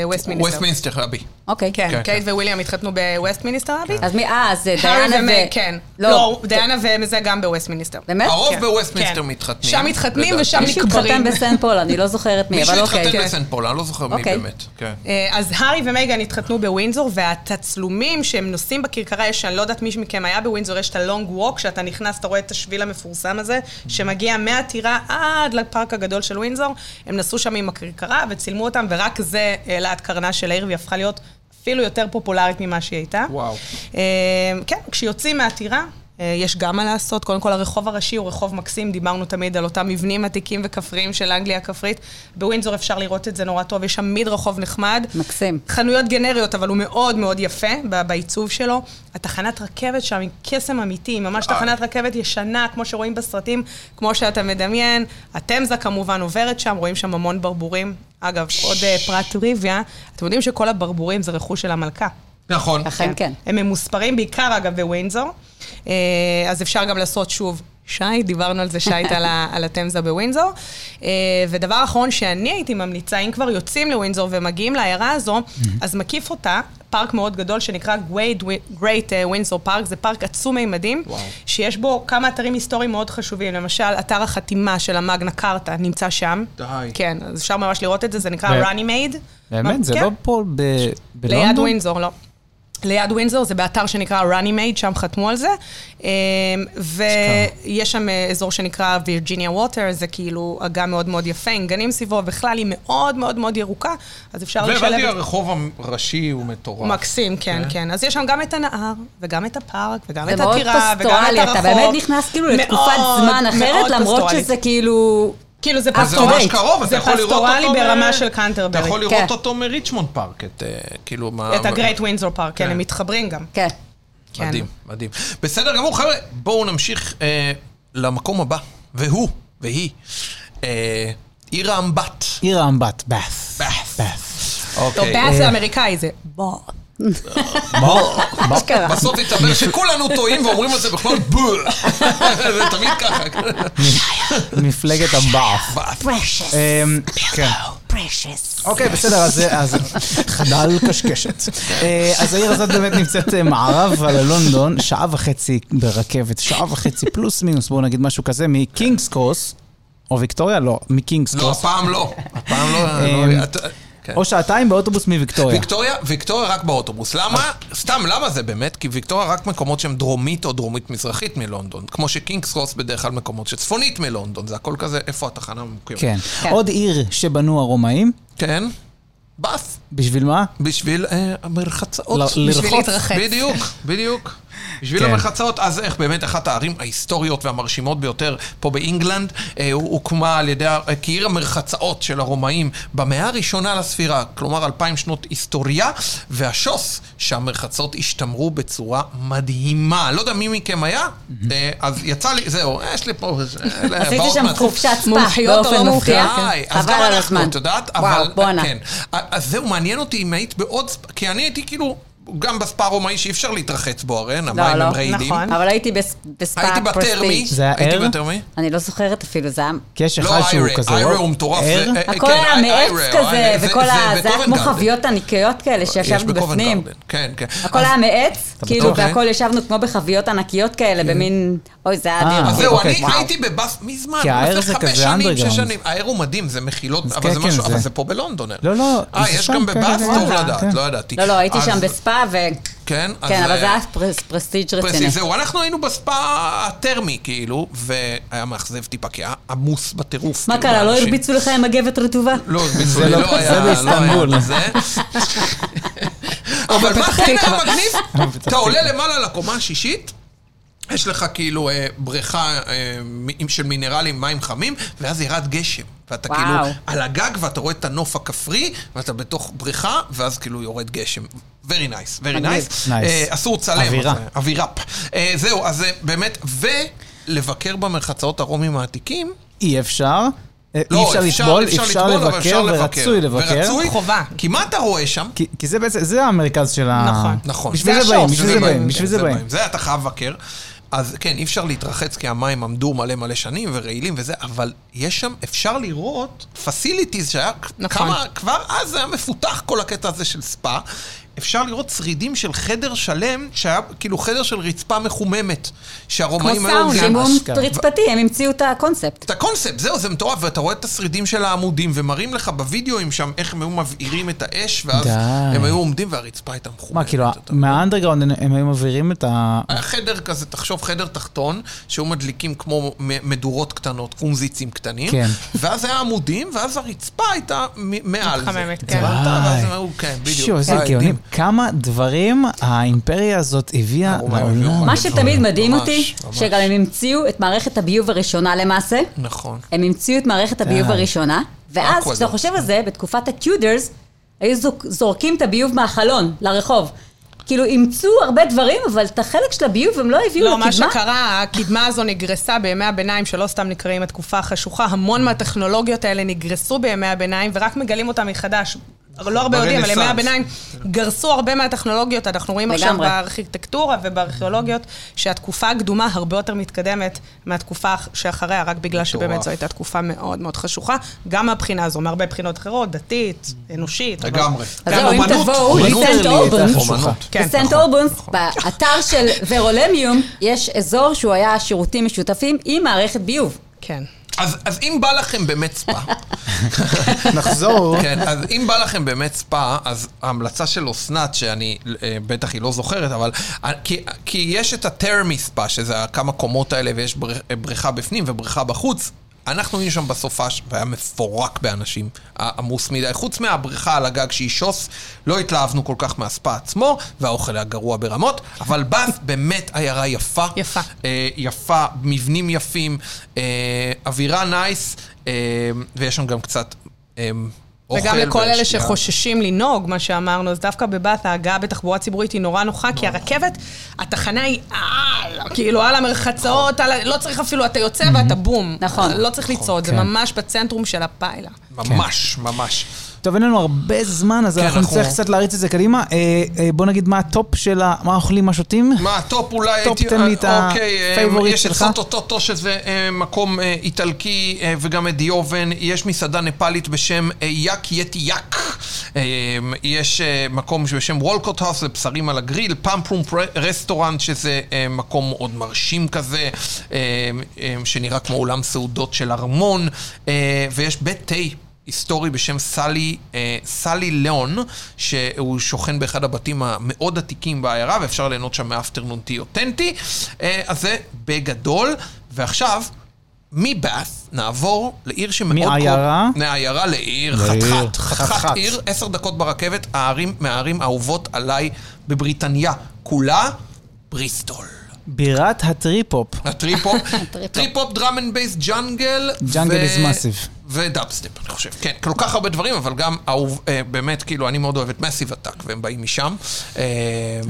Speaker 4: בווסט מיניסטר.
Speaker 3: ווסטמינסטר רבי.
Speaker 5: אוקיי.
Speaker 4: כן,
Speaker 3: כן,
Speaker 4: קייט וויליאם התחתנו בווסטמיניסטר אבי.
Speaker 5: אז מי, אה, אז אה,
Speaker 4: הארי
Speaker 5: דיינה
Speaker 4: ומיי,
Speaker 5: ו...
Speaker 4: כן. לא, דיאנה וזה גם בווסטמיניסטר.
Speaker 5: באמת?
Speaker 3: הרוב
Speaker 4: כן,
Speaker 3: בווסטמינסטר
Speaker 4: כן.
Speaker 3: מתחתנים.
Speaker 4: שם מתחתנים
Speaker 3: לדעתי.
Speaker 4: ושם
Speaker 5: מישהו
Speaker 4: נקברים.
Speaker 5: התחתן בסנט פול, אני לא זוכרת מי,
Speaker 3: מישהו
Speaker 5: אבל אוקיי.
Speaker 3: התחתן
Speaker 4: כן.
Speaker 3: בסנט פול, אני לא זוכר מי
Speaker 5: אוקיי.
Speaker 3: באמת. כן.
Speaker 4: אה, אז הארי ומייגן התחתנו בווינזור, והתצלומים שהם נוסעים בכרכרה, יש, אני לא יודעת מי מכם היה בווינזור, יש את הלונג ווק, שאתה נכנס, אתה רואה את השביל המפורסם הזה, שמגיע מהטירה עד לפארק הגדול של ווינזור. הם נסעו שם עם הכרכרה וצילמו אותם, ורק זה העלה את קרנה של העיר, והיא הפכה להיות אפילו יותר פופולרית ממה שהיא הייתה.
Speaker 3: וואו.
Speaker 4: אה, כן, כשיוצאים מהטירה... אה, יש גם מה לעשות, קודם כל הרחוב הראשי הוא רחוב מקסים, דיברנו תמיד על אותם מבנים עתיקים וכפריים של אנגליה הכפרית. בווינזור אפשר לראות את זה נורא טוב, יש שם מיד רחוב נחמד.
Speaker 5: מקסים.
Speaker 4: חנויות גנריות, אבל הוא מאוד מאוד יפה ב- בעיצוב שלו. התחנת רכבת שם היא קסם אמיתי, היא ממש
Speaker 3: אה.
Speaker 4: תחנת רכבת ישנה, כמו שרואים בסרטים, כמו שאתה מדמיין. התמזה כמובן עוברת שם, רואים שם המון ברבורים. אגב, עוד אה, פרט טריוויה, אתם יודעים שכל הברבורים זה רכוש של המלכה.
Speaker 3: נכון.
Speaker 5: אכן כן.
Speaker 4: הם ממוספרים בעיקר, אגב, בווינזור. אה, אז אפשר גם לעשות שוב שייט, דיברנו על זה שייט על, ה- על התמזה בווינזור. אה, ודבר אחרון שאני הייתי ממליצה, אם כבר יוצאים לווינזור ומגיעים לעיירה הזו, אז מקיף אותה פארק מאוד גדול שנקרא Great Wi- Great אה, Windsor Park, זה פארק עצום מימדים, שיש בו כמה אתרים היסטוריים מאוד חשובים, למשל, אתר החתימה של המאגנה קארטה נמצא שם.
Speaker 3: די.
Speaker 4: כן, אז אפשר ממש לראות את זה, זה נקרא
Speaker 2: ב-
Speaker 4: Runny Made.
Speaker 2: באמת, זה
Speaker 4: כן.
Speaker 2: לא פה ב-
Speaker 4: ליד
Speaker 2: בלונדון?
Speaker 4: ווינזור, לא. ליד ווינזור, זה באתר שנקרא Runny Made, שם חתמו על זה. אמ, ויש שם אה, אזור שנקרא וירג'יניה ווטר, זה כאילו אגם מאוד מאוד יפה, עם גנים סביבו, בכלל היא מאוד מאוד מאוד ירוקה, אז אפשר לשלב...
Speaker 3: והבנתי,
Speaker 4: את-
Speaker 3: הרחוב הראשי הוא מטורף.
Speaker 4: מקסים, כן, כן. אז יש שם גם את הנהר, וגם את הפארק, וגם
Speaker 5: זה
Speaker 4: את
Speaker 5: מאוד
Speaker 4: הטירה, וגם את
Speaker 5: פסטורלי,
Speaker 4: הרחוב.
Speaker 5: אתה באמת נכנס כאילו לתקופת
Speaker 4: מאוד,
Speaker 5: זמן אחרת,
Speaker 4: מאוד
Speaker 5: למרות
Speaker 4: פסטורלית.
Speaker 5: שזה כאילו...
Speaker 4: כאילו זה
Speaker 5: אז
Speaker 3: זה ממש
Speaker 5: פסטורלי.
Speaker 4: פסטורלי.
Speaker 3: קרוב, אתה
Speaker 4: זה
Speaker 3: יכול לראות אותו...
Speaker 4: פסטורלי
Speaker 3: ב-
Speaker 4: ברמה של קנטרברי.
Speaker 3: אתה יכול
Speaker 5: כן.
Speaker 3: לראות אותו מריצ'מונד פארק, את אה, כאילו מה...
Speaker 4: את הגרייט ווינזור פארק, כן,
Speaker 3: כן.
Speaker 4: הם מתחברים גם.
Speaker 5: כן.
Speaker 4: כן.
Speaker 3: מדהים, מדהים. בסדר גמור, חבר'ה, בואו נמשיך אה, למקום הבא, והוא, והיא, אה, עיר האמבט.
Speaker 2: עיר האמבט, באס.
Speaker 3: באס.
Speaker 2: באס.
Speaker 4: טוב,
Speaker 3: אוקיי.
Speaker 4: באס זה אמריקאי זה. בוא.
Speaker 5: אשכרה.
Speaker 3: בסוף התאבר שכולנו טועים ואומרים את זה בכל בול. זה תמיד ככה.
Speaker 2: מפלגת הבאס.
Speaker 5: precious,
Speaker 2: אמ, כן.
Speaker 5: precious.
Speaker 2: אוקיי, בסדר, אז, אז חדל קשקשת. אה, אז העיר הזאת באמת נמצאת אה, מערב על לונדון, שעה וחצי ברכבת, שעה וחצי פלוס מינוס, בואו נגיד משהו כזה, מקינגס קרוס, או ויקטוריה? לא, מקינגס
Speaker 3: לא,
Speaker 2: קרוס.
Speaker 3: הפעם לא. הפעם לא.
Speaker 2: אמ,
Speaker 3: לא, אתה- כן.
Speaker 2: או שעתיים באוטובוס מוויקטוריה.
Speaker 3: ויקטוריה, ויקטוריה רק באוטובוס. למה? סתם, למה זה באמת? כי ויקטוריה רק מקומות שהם דרומית או דרומית-מזרחית מלונדון. כמו שקינגס רוס בדרך כלל מקומות שצפונית מלונדון. זה הכל כזה, איפה התחנה ממוקמת?
Speaker 2: כן.
Speaker 5: כן.
Speaker 2: עוד עיר שבנו הרומאים,
Speaker 3: כן? באס.
Speaker 2: בשביל מה?
Speaker 3: בשביל אה, המרחצאות.
Speaker 5: לא,
Speaker 2: ל-
Speaker 4: בשביל
Speaker 2: לרחוץ.
Speaker 4: להתרחץ.
Speaker 3: בדיוק, בדיוק. בשביל
Speaker 2: כן.
Speaker 3: המרחצאות, אז איך באמת אחת הערים ההיסטוריות והמרשימות ביותר פה באינגלנד, אה, הוא- הוקמה על ידי, ה- אה, כעיר המרחצאות של הרומאים במאה הראשונה לספירה, כלומר אלפיים שנות היסטוריה, והשוס שהמרחצאות השתמרו בצורה מדהימה. לא יודע מי מכם היה, אה, אז יצא לי, זהו, אה, יש לי פה... אה,
Speaker 5: עשיתי
Speaker 3: באות
Speaker 5: שם
Speaker 3: מה-
Speaker 5: חופשת ספא
Speaker 4: מומחיות או
Speaker 5: באופן
Speaker 4: לא
Speaker 5: מפתיע. כן.
Speaker 3: די, אז
Speaker 5: חבל
Speaker 3: גם
Speaker 5: על
Speaker 3: כן. אנחנו,
Speaker 5: הזמן.
Speaker 3: את יודעת?
Speaker 5: וואו,
Speaker 3: אבל-
Speaker 5: בואנה.
Speaker 3: כן. אז זהו, מעניין אותי אם היית בעוד, ספ- כי אני הייתי כאילו, גם בספא הרומאי שאי אפשר להתרחץ בו הרי, המים
Speaker 5: לא,
Speaker 3: הם רעידים.
Speaker 4: נכון.
Speaker 5: אבל הייתי בס- בספא
Speaker 3: הייתי בטרמי,
Speaker 5: פרסטיג'.
Speaker 2: זה היה
Speaker 3: הייתי
Speaker 2: ער?
Speaker 3: בטרמי.
Speaker 5: אני לא זוכרת אפילו, זה היה...
Speaker 2: כי יש
Speaker 3: לא
Speaker 2: אחד שהוא
Speaker 3: איירה,
Speaker 2: כזה...
Speaker 3: איירה
Speaker 2: לא?
Speaker 3: הוא מטורף.
Speaker 2: ער?
Speaker 3: זה- אה,
Speaker 5: הכל
Speaker 3: כן,
Speaker 5: היה
Speaker 3: אי-
Speaker 5: מעץ
Speaker 3: איירה,
Speaker 5: כזה,
Speaker 3: איירה, זה-
Speaker 5: וכל ה... זה היה כמו
Speaker 3: בקובנט גארדן.
Speaker 5: חביות ענקיות כאלה
Speaker 3: יש
Speaker 5: שישבנו
Speaker 3: בקובנט
Speaker 5: בפנים.
Speaker 3: גארדן, כן, כן.
Speaker 5: הכל
Speaker 3: אז-
Speaker 5: היה מעץ, כאילו,
Speaker 3: בטוח, אה?
Speaker 5: והכל ישבנו כמו בחביות ענקיות כאלה, במין... אוי, זה היה
Speaker 2: אה,
Speaker 5: אדיר.
Speaker 3: אז זהו,
Speaker 2: אוקיי,
Speaker 3: אני
Speaker 2: וואו.
Speaker 3: הייתי בבאס מזמן,
Speaker 2: כי האר
Speaker 3: לפני
Speaker 2: זה
Speaker 3: חמש
Speaker 2: כזה
Speaker 3: שנים,
Speaker 2: underground.
Speaker 3: שש שנים. האר הוא מדהים, זה מחילות,
Speaker 2: אז
Speaker 3: אבל
Speaker 2: כן,
Speaker 3: זה
Speaker 2: כן,
Speaker 3: משהו, אבל
Speaker 2: זה-
Speaker 3: זה פה בלונדון. אה.
Speaker 2: לא, לא,
Speaker 3: אה,
Speaker 2: זה
Speaker 3: יש
Speaker 2: שם,
Speaker 3: גם
Speaker 2: כן,
Speaker 3: בבאס?
Speaker 2: כן,
Speaker 3: טוב
Speaker 2: כן.
Speaker 3: לדעת, לא ידעתי.
Speaker 5: לא, לא, הייתי
Speaker 3: אז-
Speaker 5: שם בספא, ו...
Speaker 3: כן, אז,
Speaker 5: כן, אבל זה
Speaker 3: אה,
Speaker 5: היה פרס- פרסטיג' רציני.
Speaker 3: פרסי, זהו, אנחנו היינו בספא הטרמי, כאילו, והיה מאכזב טיפה, כי היה עמוס בטירוף.
Speaker 5: מה
Speaker 3: כאילו,
Speaker 5: קרה, לא
Speaker 3: באנשים.
Speaker 5: הרביצו לך עם מגבת רטובה?
Speaker 3: לא הרביצו
Speaker 2: זה
Speaker 3: לי,
Speaker 2: לא-
Speaker 3: לא
Speaker 2: זה
Speaker 3: היה, לא היה
Speaker 2: באיסטנבול.
Speaker 3: בזה. אבל מה כן היה
Speaker 2: לא,
Speaker 3: מגניב? אתה עולה למעלה לקומה השישית, יש לך כאילו אה, בריכה אה, מ- של מינרלים, מים חמים, ואז ירד גשם. ואתה
Speaker 5: וואו.
Speaker 3: כאילו על הגג, ואתה רואה את הנוף הכפרי, ואתה בתוך בריכה, ואז כאילו יורד גשם. Very nice, very
Speaker 5: מגניב.
Speaker 3: nice.
Speaker 2: Nice.
Speaker 3: אה, אסור לצלם.
Speaker 2: אווירה.
Speaker 3: אז, אה, אוויראפ. אה, זהו, אז אה, באמת, ולבקר במרחצאות הרומים העתיקים.
Speaker 2: אי אפשר. אה,
Speaker 3: לא,
Speaker 2: אי אפשר לטבול, אפשר
Speaker 3: אבל
Speaker 2: לבקר, ורצוי לבקר.
Speaker 3: ורצוי,
Speaker 4: חובה.
Speaker 3: כי מה אתה רואה שם?
Speaker 2: כי, כי זה בעצם, זה המרכז של ה...
Speaker 4: נכון.
Speaker 3: נכון.
Speaker 2: בשביל
Speaker 4: זה
Speaker 2: זה באים,
Speaker 4: השוס,
Speaker 2: בשביל
Speaker 4: זה
Speaker 2: זה
Speaker 4: באים,
Speaker 2: באים, בשביל זה באים.
Speaker 3: זה אתה חייב לבקר. אז כן, אי אפשר להתרחץ כי המים עמדו מלא מלא שנים ורעילים וזה, אבל יש שם, אפשר לראות פסיליטיז שהיה
Speaker 4: נכון.
Speaker 3: כמה, כבר אז היה מפותח כל הקטע הזה של ספא. אפשר לראות שרידים של חדר שלם, שהיה כאילו חדר של רצפה מחוממת,
Speaker 5: כמו
Speaker 3: שהרומאים היו...
Speaker 5: סאונד,
Speaker 3: עושים.
Speaker 5: חימום
Speaker 2: אשכרה.
Speaker 5: רצפתי, הם המציאו את הקונספט.
Speaker 3: את הקונספט, זהו, זה מטורף, ואתה רואה את השרידים של העמודים, ומראים לך בווידאוים שם איך הם היו מבעירים את האש, ואז
Speaker 2: די.
Speaker 3: הם היו עומדים והרצפה הייתה
Speaker 2: מה,
Speaker 3: מחוממת.
Speaker 2: כאילו,
Speaker 3: אתה-
Speaker 2: מהאנדרגראונד הם- הם היו מבהירים את ה...
Speaker 3: היה חדר כזה, תחשוב, חדר תחתון, שהיו מדליקים כמו מ- מדורות קטנות, קומזיצים קטנים,
Speaker 2: כן.
Speaker 3: ואז היה עמודים, ואז הרצפה הייתה מ- מעל זה.
Speaker 4: מתחממת,
Speaker 3: הבנת?
Speaker 4: כן.
Speaker 3: ואז הם
Speaker 2: די.
Speaker 3: היו, כן, בדיוק.
Speaker 2: שוב, איזה
Speaker 3: היה
Speaker 2: גאונים.
Speaker 3: מדהים.
Speaker 2: כמה דברים האימפריה הזאת הביאה
Speaker 3: הרומאים הביאו
Speaker 2: לעולם.
Speaker 3: מלא
Speaker 5: מה
Speaker 3: <laughs>
Speaker 5: שתמיד מדהים
Speaker 3: ממש,
Speaker 5: אותי,
Speaker 3: ממש.
Speaker 5: שגם הם המציאו את מערכת הביוב הראשונה למעשה.
Speaker 3: נכון.
Speaker 5: הם המציאו את מערכת הביוב
Speaker 2: די.
Speaker 5: הראשונה, ואז
Speaker 3: אקוודור.
Speaker 5: כשאתה חושב על זה, בתקופת הטיודרס, היו זוק- זורקים את הביוב מהחלון, לרחוב. כאילו, אימצו הרבה דברים, אבל את החלק של הביוב הם לא הביאו
Speaker 4: לא, מה
Speaker 5: לקדמה.
Speaker 4: שקרה, הקדמה הזו נגרסה בימי הביניים, שלא סתם נקראים התקופה החשוכה. המון מהטכנולוגיות האלה נגרסו בימי הביניים, ורק מגלים אותן מחדש. לא הרבה יודעים, אבל ימי
Speaker 3: ברנסאנס.
Speaker 4: הביניים גרסו הרבה מהטכנולוגיות. אנחנו רואים עכשיו
Speaker 5: לגמרי.
Speaker 4: בארכיטקטורה ובארכיאולוגיות, שהתקופה הקדומה הרבה יותר מתקדמת מהתקופה שאחריה, רק בגלל שבאמת
Speaker 3: מטורף.
Speaker 4: זו הייתה תקופה מאוד מאוד חשוכה. גם מהבחינה הזו, מהרבה בחינות אחרות, דתית, אנושית. אבל-
Speaker 3: לגמרי.
Speaker 5: אז
Speaker 3: גם
Speaker 5: זהו, אם
Speaker 3: אומנות,
Speaker 5: תבואו
Speaker 2: אומנות
Speaker 5: לסנט
Speaker 2: שלי הייתה
Speaker 5: אורבנס,
Speaker 2: חשוכה.
Speaker 3: אומנות.
Speaker 4: כן,
Speaker 5: בסנט
Speaker 3: נכון,
Speaker 5: אורבונס,
Speaker 3: נכון.
Speaker 5: באתר של
Speaker 3: <laughs>
Speaker 5: ורולמיום, יש אזור שהוא היה שירותים משותפים עם מערכת ביוב.
Speaker 4: כן.
Speaker 3: אז, אז אם בא לכם באמת ספא,
Speaker 2: <laughs> נחזור.
Speaker 3: כן, אז אם בא לכם באמת ספא, אז ההמלצה של אסנת, שאני אה, בטח היא לא זוכרת, אבל... אה, כי, כי יש את הטרמי ספא, שזה הכמה קומות האלה, ויש בר, אה, בריכה בפנים ובריכה בחוץ. אנחנו היינו שם בסופש, והיה מפורק באנשים, היה עמוס מדי. חוץ מהבריכה על הגג שהיא שוס, לא התלהבנו כל כך מהספא עצמו, והאוכל היה גרוע ברמות, אבל באס באמת עיירה יפה.
Speaker 4: יפה.
Speaker 3: אה, יפה, מבנים יפים, אה, אווירה נייס, אה, ויש שם גם קצת אה, אוכל.
Speaker 4: וגם לכל אלה
Speaker 3: ושתייה.
Speaker 4: שחוששים לנהוג, מה שאמרנו, אז דווקא בבת ההגעה בתחבורה ציבורית היא נורא נוחה, כי הרכבת, התחנה היא על, כאילו על המרחצאות, על ה- לא צריך אפילו, אתה יוצא ואתה בום.
Speaker 5: נכון.
Speaker 4: לא צריך לצעוד, זה
Speaker 2: כן.
Speaker 4: ממש בצנטרום של הפיילה.
Speaker 3: ממש, ממש.
Speaker 2: טוב, אין לנו הרבה זמן, אז
Speaker 3: כן,
Speaker 2: אנחנו
Speaker 3: אנחנו-
Speaker 2: נצטרך קצת להריץ את זה קדימה. אה, אה, בוא נגיד מה הטופ של ה... מה אוכלים, מה שותים?
Speaker 3: מה, הטופ אולי...
Speaker 2: טופ,
Speaker 3: הייתי-
Speaker 2: תן לי את
Speaker 3: אה, אוקיי, אה,
Speaker 2: הפייבוריט
Speaker 3: יש את
Speaker 2: שלך.
Speaker 3: סוטו טוטו, שזה אה, מקום אה, איטלקי, אה, וגם את דיובן. יש מסעדה נפאלית בשם אה, יאק יטי יאק. אה, יש אה, מקום בשם וולקוט האוס, זה בשרים על הגריל. פאמפרום רסטורנט, שזה אה, מקום מאוד מרשים כזה, אה, אה, שנראה כמו אולם סעודות של ארמון. אה, ויש בית תה. היסטורי בשם סלי, אה, סלי ליאון, שהוא שוכן באחד הבתים המאוד עתיקים בעיירה, ואפשר ליהנות שם מאפטרנון טי אותנטי. אה, אז זה בגדול. ועכשיו, מבאס נעבור לעיר שמאוד...
Speaker 2: מעיירה?
Speaker 3: קור... מעיירה לעיר,
Speaker 2: לעיר.
Speaker 3: חתיכת, חתיכת
Speaker 2: חתיכת.
Speaker 3: עיר, עשר דקות ברכבת, הערים, מהערים האהובות עליי בבריטניה כולה, בריסטול.
Speaker 2: בירת הטריפ-הופ.
Speaker 3: הטריפ-הופ,
Speaker 5: הטריפ-הופ.
Speaker 3: טריפ-הופ, דראם אנד בייס, ג'אנגל.
Speaker 2: ג'אנגל is massive.
Speaker 3: ודאפסטפ, אני חושב. כן, כל כך הרבה דברים, אבל גם אהוב, אה, באמת, כאילו, אני מאוד אוהב את מסיב עתק, והם באים משם. אה,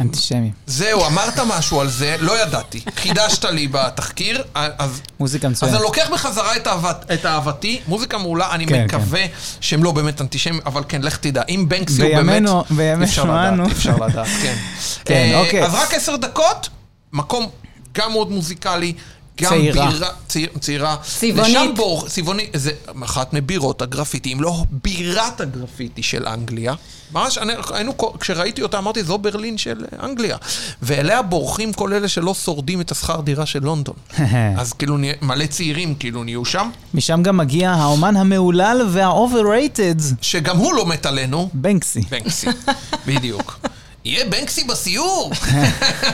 Speaker 2: אנטישמי.
Speaker 3: זהו, אמרת משהו על זה, לא ידעתי. חידשת לי בתחקיר, אה, אז...
Speaker 2: מוזיקה
Speaker 3: אז
Speaker 2: מצוינת.
Speaker 3: אני לא- לוקח בחזרה את, אהבת, את אהבתי, מוזיקה מעולה, אני
Speaker 2: כן,
Speaker 3: מקווה שהם לא באמת אנטישמים, אבל כן, לך תדע, אם בנקסי הוא באמת...
Speaker 2: בימינו- בימינו
Speaker 3: אפשר לדעת,
Speaker 2: אנו.
Speaker 3: אפשר לדעת, כן.
Speaker 2: <laughs> כן,
Speaker 3: אה,
Speaker 2: אוקיי.
Speaker 3: אז רק עשר דקות, מקום גם מאוד מוזיקלי. גם
Speaker 2: צעירה.
Speaker 3: בירה, צעיר, צעירה.
Speaker 5: צבעונית.
Speaker 3: לשם בור, צבעונית, זה אחת מבירות הגרפיטי, אם לא בירת הגרפיטי של אנגליה. ממש, אני- היינו, כל- כשראיתי אותה אמרתי, זו ברלין של אנגליה. ואליה בורחים כל אלה שלא שורדים את השכר דירה של
Speaker 5: <laughs>
Speaker 3: לונדון. אז כאילו, נה- מלא צעירים כאילו נהיו שם,
Speaker 2: משם גם מגיע האומן המהולל וה-overrated,
Speaker 3: שגם הוא לא מת עלינו. <laughs>
Speaker 2: בנקסי.
Speaker 3: בנקסי, בדיוק. יהיה בנקסי
Speaker 5: <laughs>
Speaker 3: בסיור!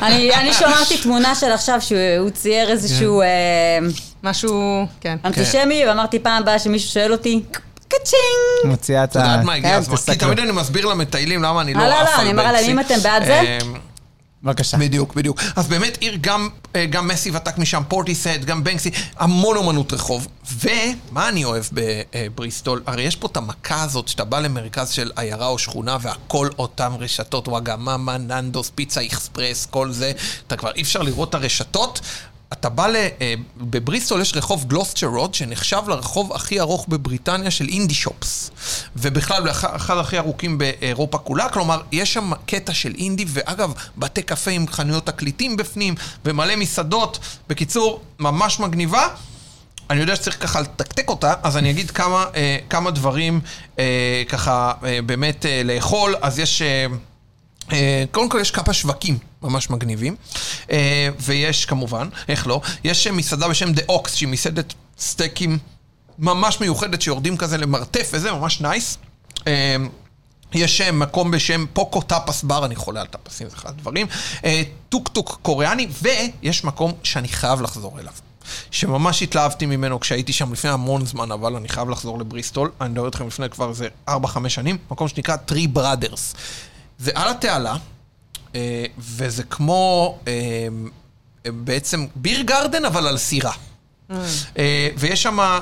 Speaker 5: אני אני שמרתי תמונה של עכשיו שהוא צייר
Speaker 3: כן.
Speaker 5: איזשהו אה,
Speaker 4: משהו, כן.
Speaker 5: אנטישמי, ואמרתי פעם הבאה שמישהו שואל אותי, קצ'ינג!
Speaker 2: מוציאה את
Speaker 3: את
Speaker 2: ה...
Speaker 3: יודעת מה הגיע
Speaker 2: כן,
Speaker 3: הזמן? כי
Speaker 2: תסתכל.
Speaker 3: תמיד אני מסביר למטיילים למה אני לא עף
Speaker 5: אה,
Speaker 3: על
Speaker 5: לא,
Speaker 3: בנקסי.
Speaker 5: לא, אני מראה להם, אם אתם בעד זה?
Speaker 3: אמ,
Speaker 2: בבקשה.
Speaker 3: בדיוק, בדיוק. אז באמת עיר גם, אה, גם מסי ותק משם, פורטיסט, גם בנקסי, המון אומנות רחוב. ומה אני אוהב בבריסטול? הרי יש פה את המכה הזאת, שאתה בא למרכז של עיירה או שכונה, והכל אותן רשתות, וואגממה, ננדוס, פיצה אקספרס, כל זה. אתה כבר אי אפשר לראות את הרשתות. אתה בא ל... אה, בבריסטול יש רחוב גלוסצ'ר רוד, שנחשב לרחוב הכי ארוך בבריטניה של אינדי שופס. ובכלל, אחד אחד הכי ארוכים באירופה כולה. כלומר, יש שם קטע של אינדי, ואגב, בתי קפה עם חנויות תקליטים בפנים, ומלא מסעדות. בקיצור, ממש מגניבה. אני יודע שצריך ככה לתקתק אותה, אז אני אגיד כמה, אה, כמה דברים אה, ככה אה, באמת אה, לאכול. אז יש... אה, אה, קודם כל יש כמה שווקים ממש מגניבים, אה, ויש כמובן, איך לא, יש אה, מסעדה בשם דה אוקס, שהיא מסעדת סטייקים ממש מיוחדת, שיורדים כזה למרתף וזה, ממש נייס. אה, יש אה, מקום בשם פוקו טאפס בר, אני חולה על טאפסים, זה אחד הדברים. אה, טוק טוק קוריאני, ויש מקום שאני חייב לחזור אליו. שממש התלהבתי ממנו כשהייתי שם לפני המון זמן, אבל אני חייב לחזור לבריסטול. אני מדבר איתכם לפני כבר איזה 4-5 שנים, מקום שנקרא טרי בראדרס. זה על התעלה, אה, וזה כמו אה, אה, בעצם ביר גרדן, אבל על סירה.
Speaker 2: Mm.
Speaker 3: אה, ויש שם, אה,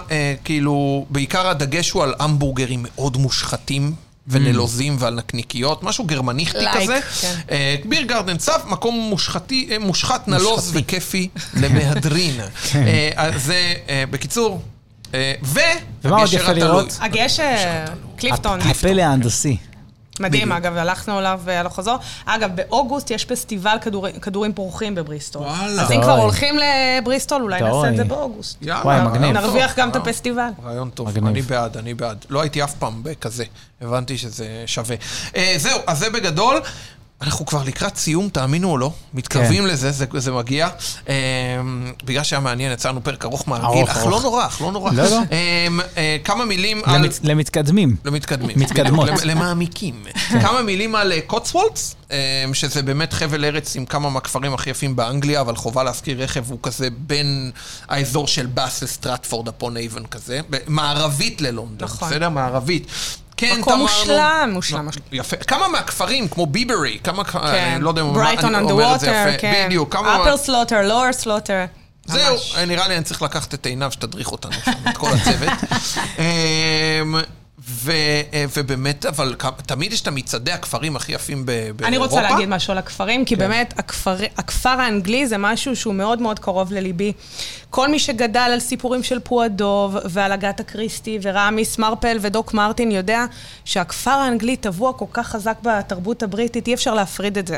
Speaker 3: כאילו, בעיקר הדגש הוא על המבורגרים מאוד מושחתים.
Speaker 2: Mm.
Speaker 3: ונלוזים ועל נקניקיות, משהו גרמניכטי
Speaker 4: לייק,
Speaker 3: כזה.
Speaker 4: כן.
Speaker 3: אה, ביר גרדן צף, מקום מושחתי, אה, מושחת, נלוז וכיפי
Speaker 2: <laughs>
Speaker 3: למהדרין.
Speaker 2: כן.
Speaker 3: אה, אז זה, אה, בקיצור, אה, ו...
Speaker 2: ומה עוד
Speaker 3: הגשר
Speaker 2: יפה
Speaker 3: התלוי.
Speaker 2: לראות?
Speaker 4: הגשר, אה, קליפטון.
Speaker 2: הפלא ההנדסי.
Speaker 4: מדהים,
Speaker 3: בדיוק.
Speaker 4: אגב, הלכנו אליו והלוך חזור. אגב, באוגוסט יש פסטיבל כדורי- כדורים פורחים בבריסטול.
Speaker 3: וואלה.
Speaker 4: אז אם
Speaker 2: די.
Speaker 4: כבר הולכים לבריסטול, אולי נעשה
Speaker 2: די.
Speaker 4: את זה באוגוסט.
Speaker 3: יאללה,
Speaker 2: וואי,
Speaker 3: רעיון
Speaker 2: מגניב.
Speaker 3: טוב,
Speaker 4: נרוויח גם את
Speaker 3: רעיון.
Speaker 4: הפסטיבל.
Speaker 3: רעיון טוב,
Speaker 2: מגניב.
Speaker 3: אני בעד, אני בעד. לא הייתי אף פעם בכזה, הבנתי שזה שווה. אה, זהו, אז זה בגדול. אנחנו כבר לקראת סיום, תאמינו או לא,
Speaker 2: כן.
Speaker 3: מתקרבים לזה, זה, זה מגיע. אה, בגלל שהיה מעניין, יצרנו פרק ארוך מהרגיל,
Speaker 2: ארוך,
Speaker 3: אך
Speaker 2: ארוך.
Speaker 3: לא נורא, אך לא נורא.
Speaker 2: לא, לא.
Speaker 3: אה, אה, כמה מילים על...
Speaker 2: למצ- למתקדמים.
Speaker 3: למתקדמים.
Speaker 2: מתקדמות.
Speaker 3: בדיוק, לא למעמיקים. כמה מילים על אה, קוטסוולדס, אה, שזה באמת חבל ארץ עם כמה מהכפרים הכי יפים באנגליה, אבל חובה להזכיר רכב הוא כזה בין האזור של באס לסטרטפורד אפון אייבן כזה, ב- מערבית ללונדון,
Speaker 4: נכון.
Speaker 3: בסדר? מערבית. כן,
Speaker 4: מקום
Speaker 3: תמרנו-
Speaker 4: מושלם, מושלם, מושלם.
Speaker 3: יפה. כמה מהכפרים, כמו ביברי, כמה... כן. אני לא יודע אם
Speaker 4: ברייטון
Speaker 3: אני
Speaker 4: אנד
Speaker 3: אומר את זה
Speaker 4: ווטר,
Speaker 3: יפה.
Speaker 4: כן.
Speaker 3: בדיוק, כמה...
Speaker 4: upper slaughter, lower slaughter.
Speaker 3: זהו, אה,
Speaker 4: ממש.
Speaker 3: נראה לי אני צריך לקחת את עינב שתדריך אותנו שם, את כל
Speaker 4: <laughs>
Speaker 3: הצוות. אמ, ו- אה, ובאמת, אבל כ- תמיד יש את מצעדי הכפרים הכי יפים ב- באירופה.
Speaker 4: אני רוצה להגיד משהו על הכפרים,
Speaker 3: כן.
Speaker 4: כי באמת, הכפר, הכפר האנגלי זה משהו שהוא מאוד מאוד קרוב לליבי. כל מי שגדל על סיפורים של פועדוב, ועל הגת הקריסטי, ורמיס מרפל ודוק מרטין, יודע שהכפר האנגלי טבוע כל כך חזק בתרבות הבריטית, אי אפשר להפריד את זה.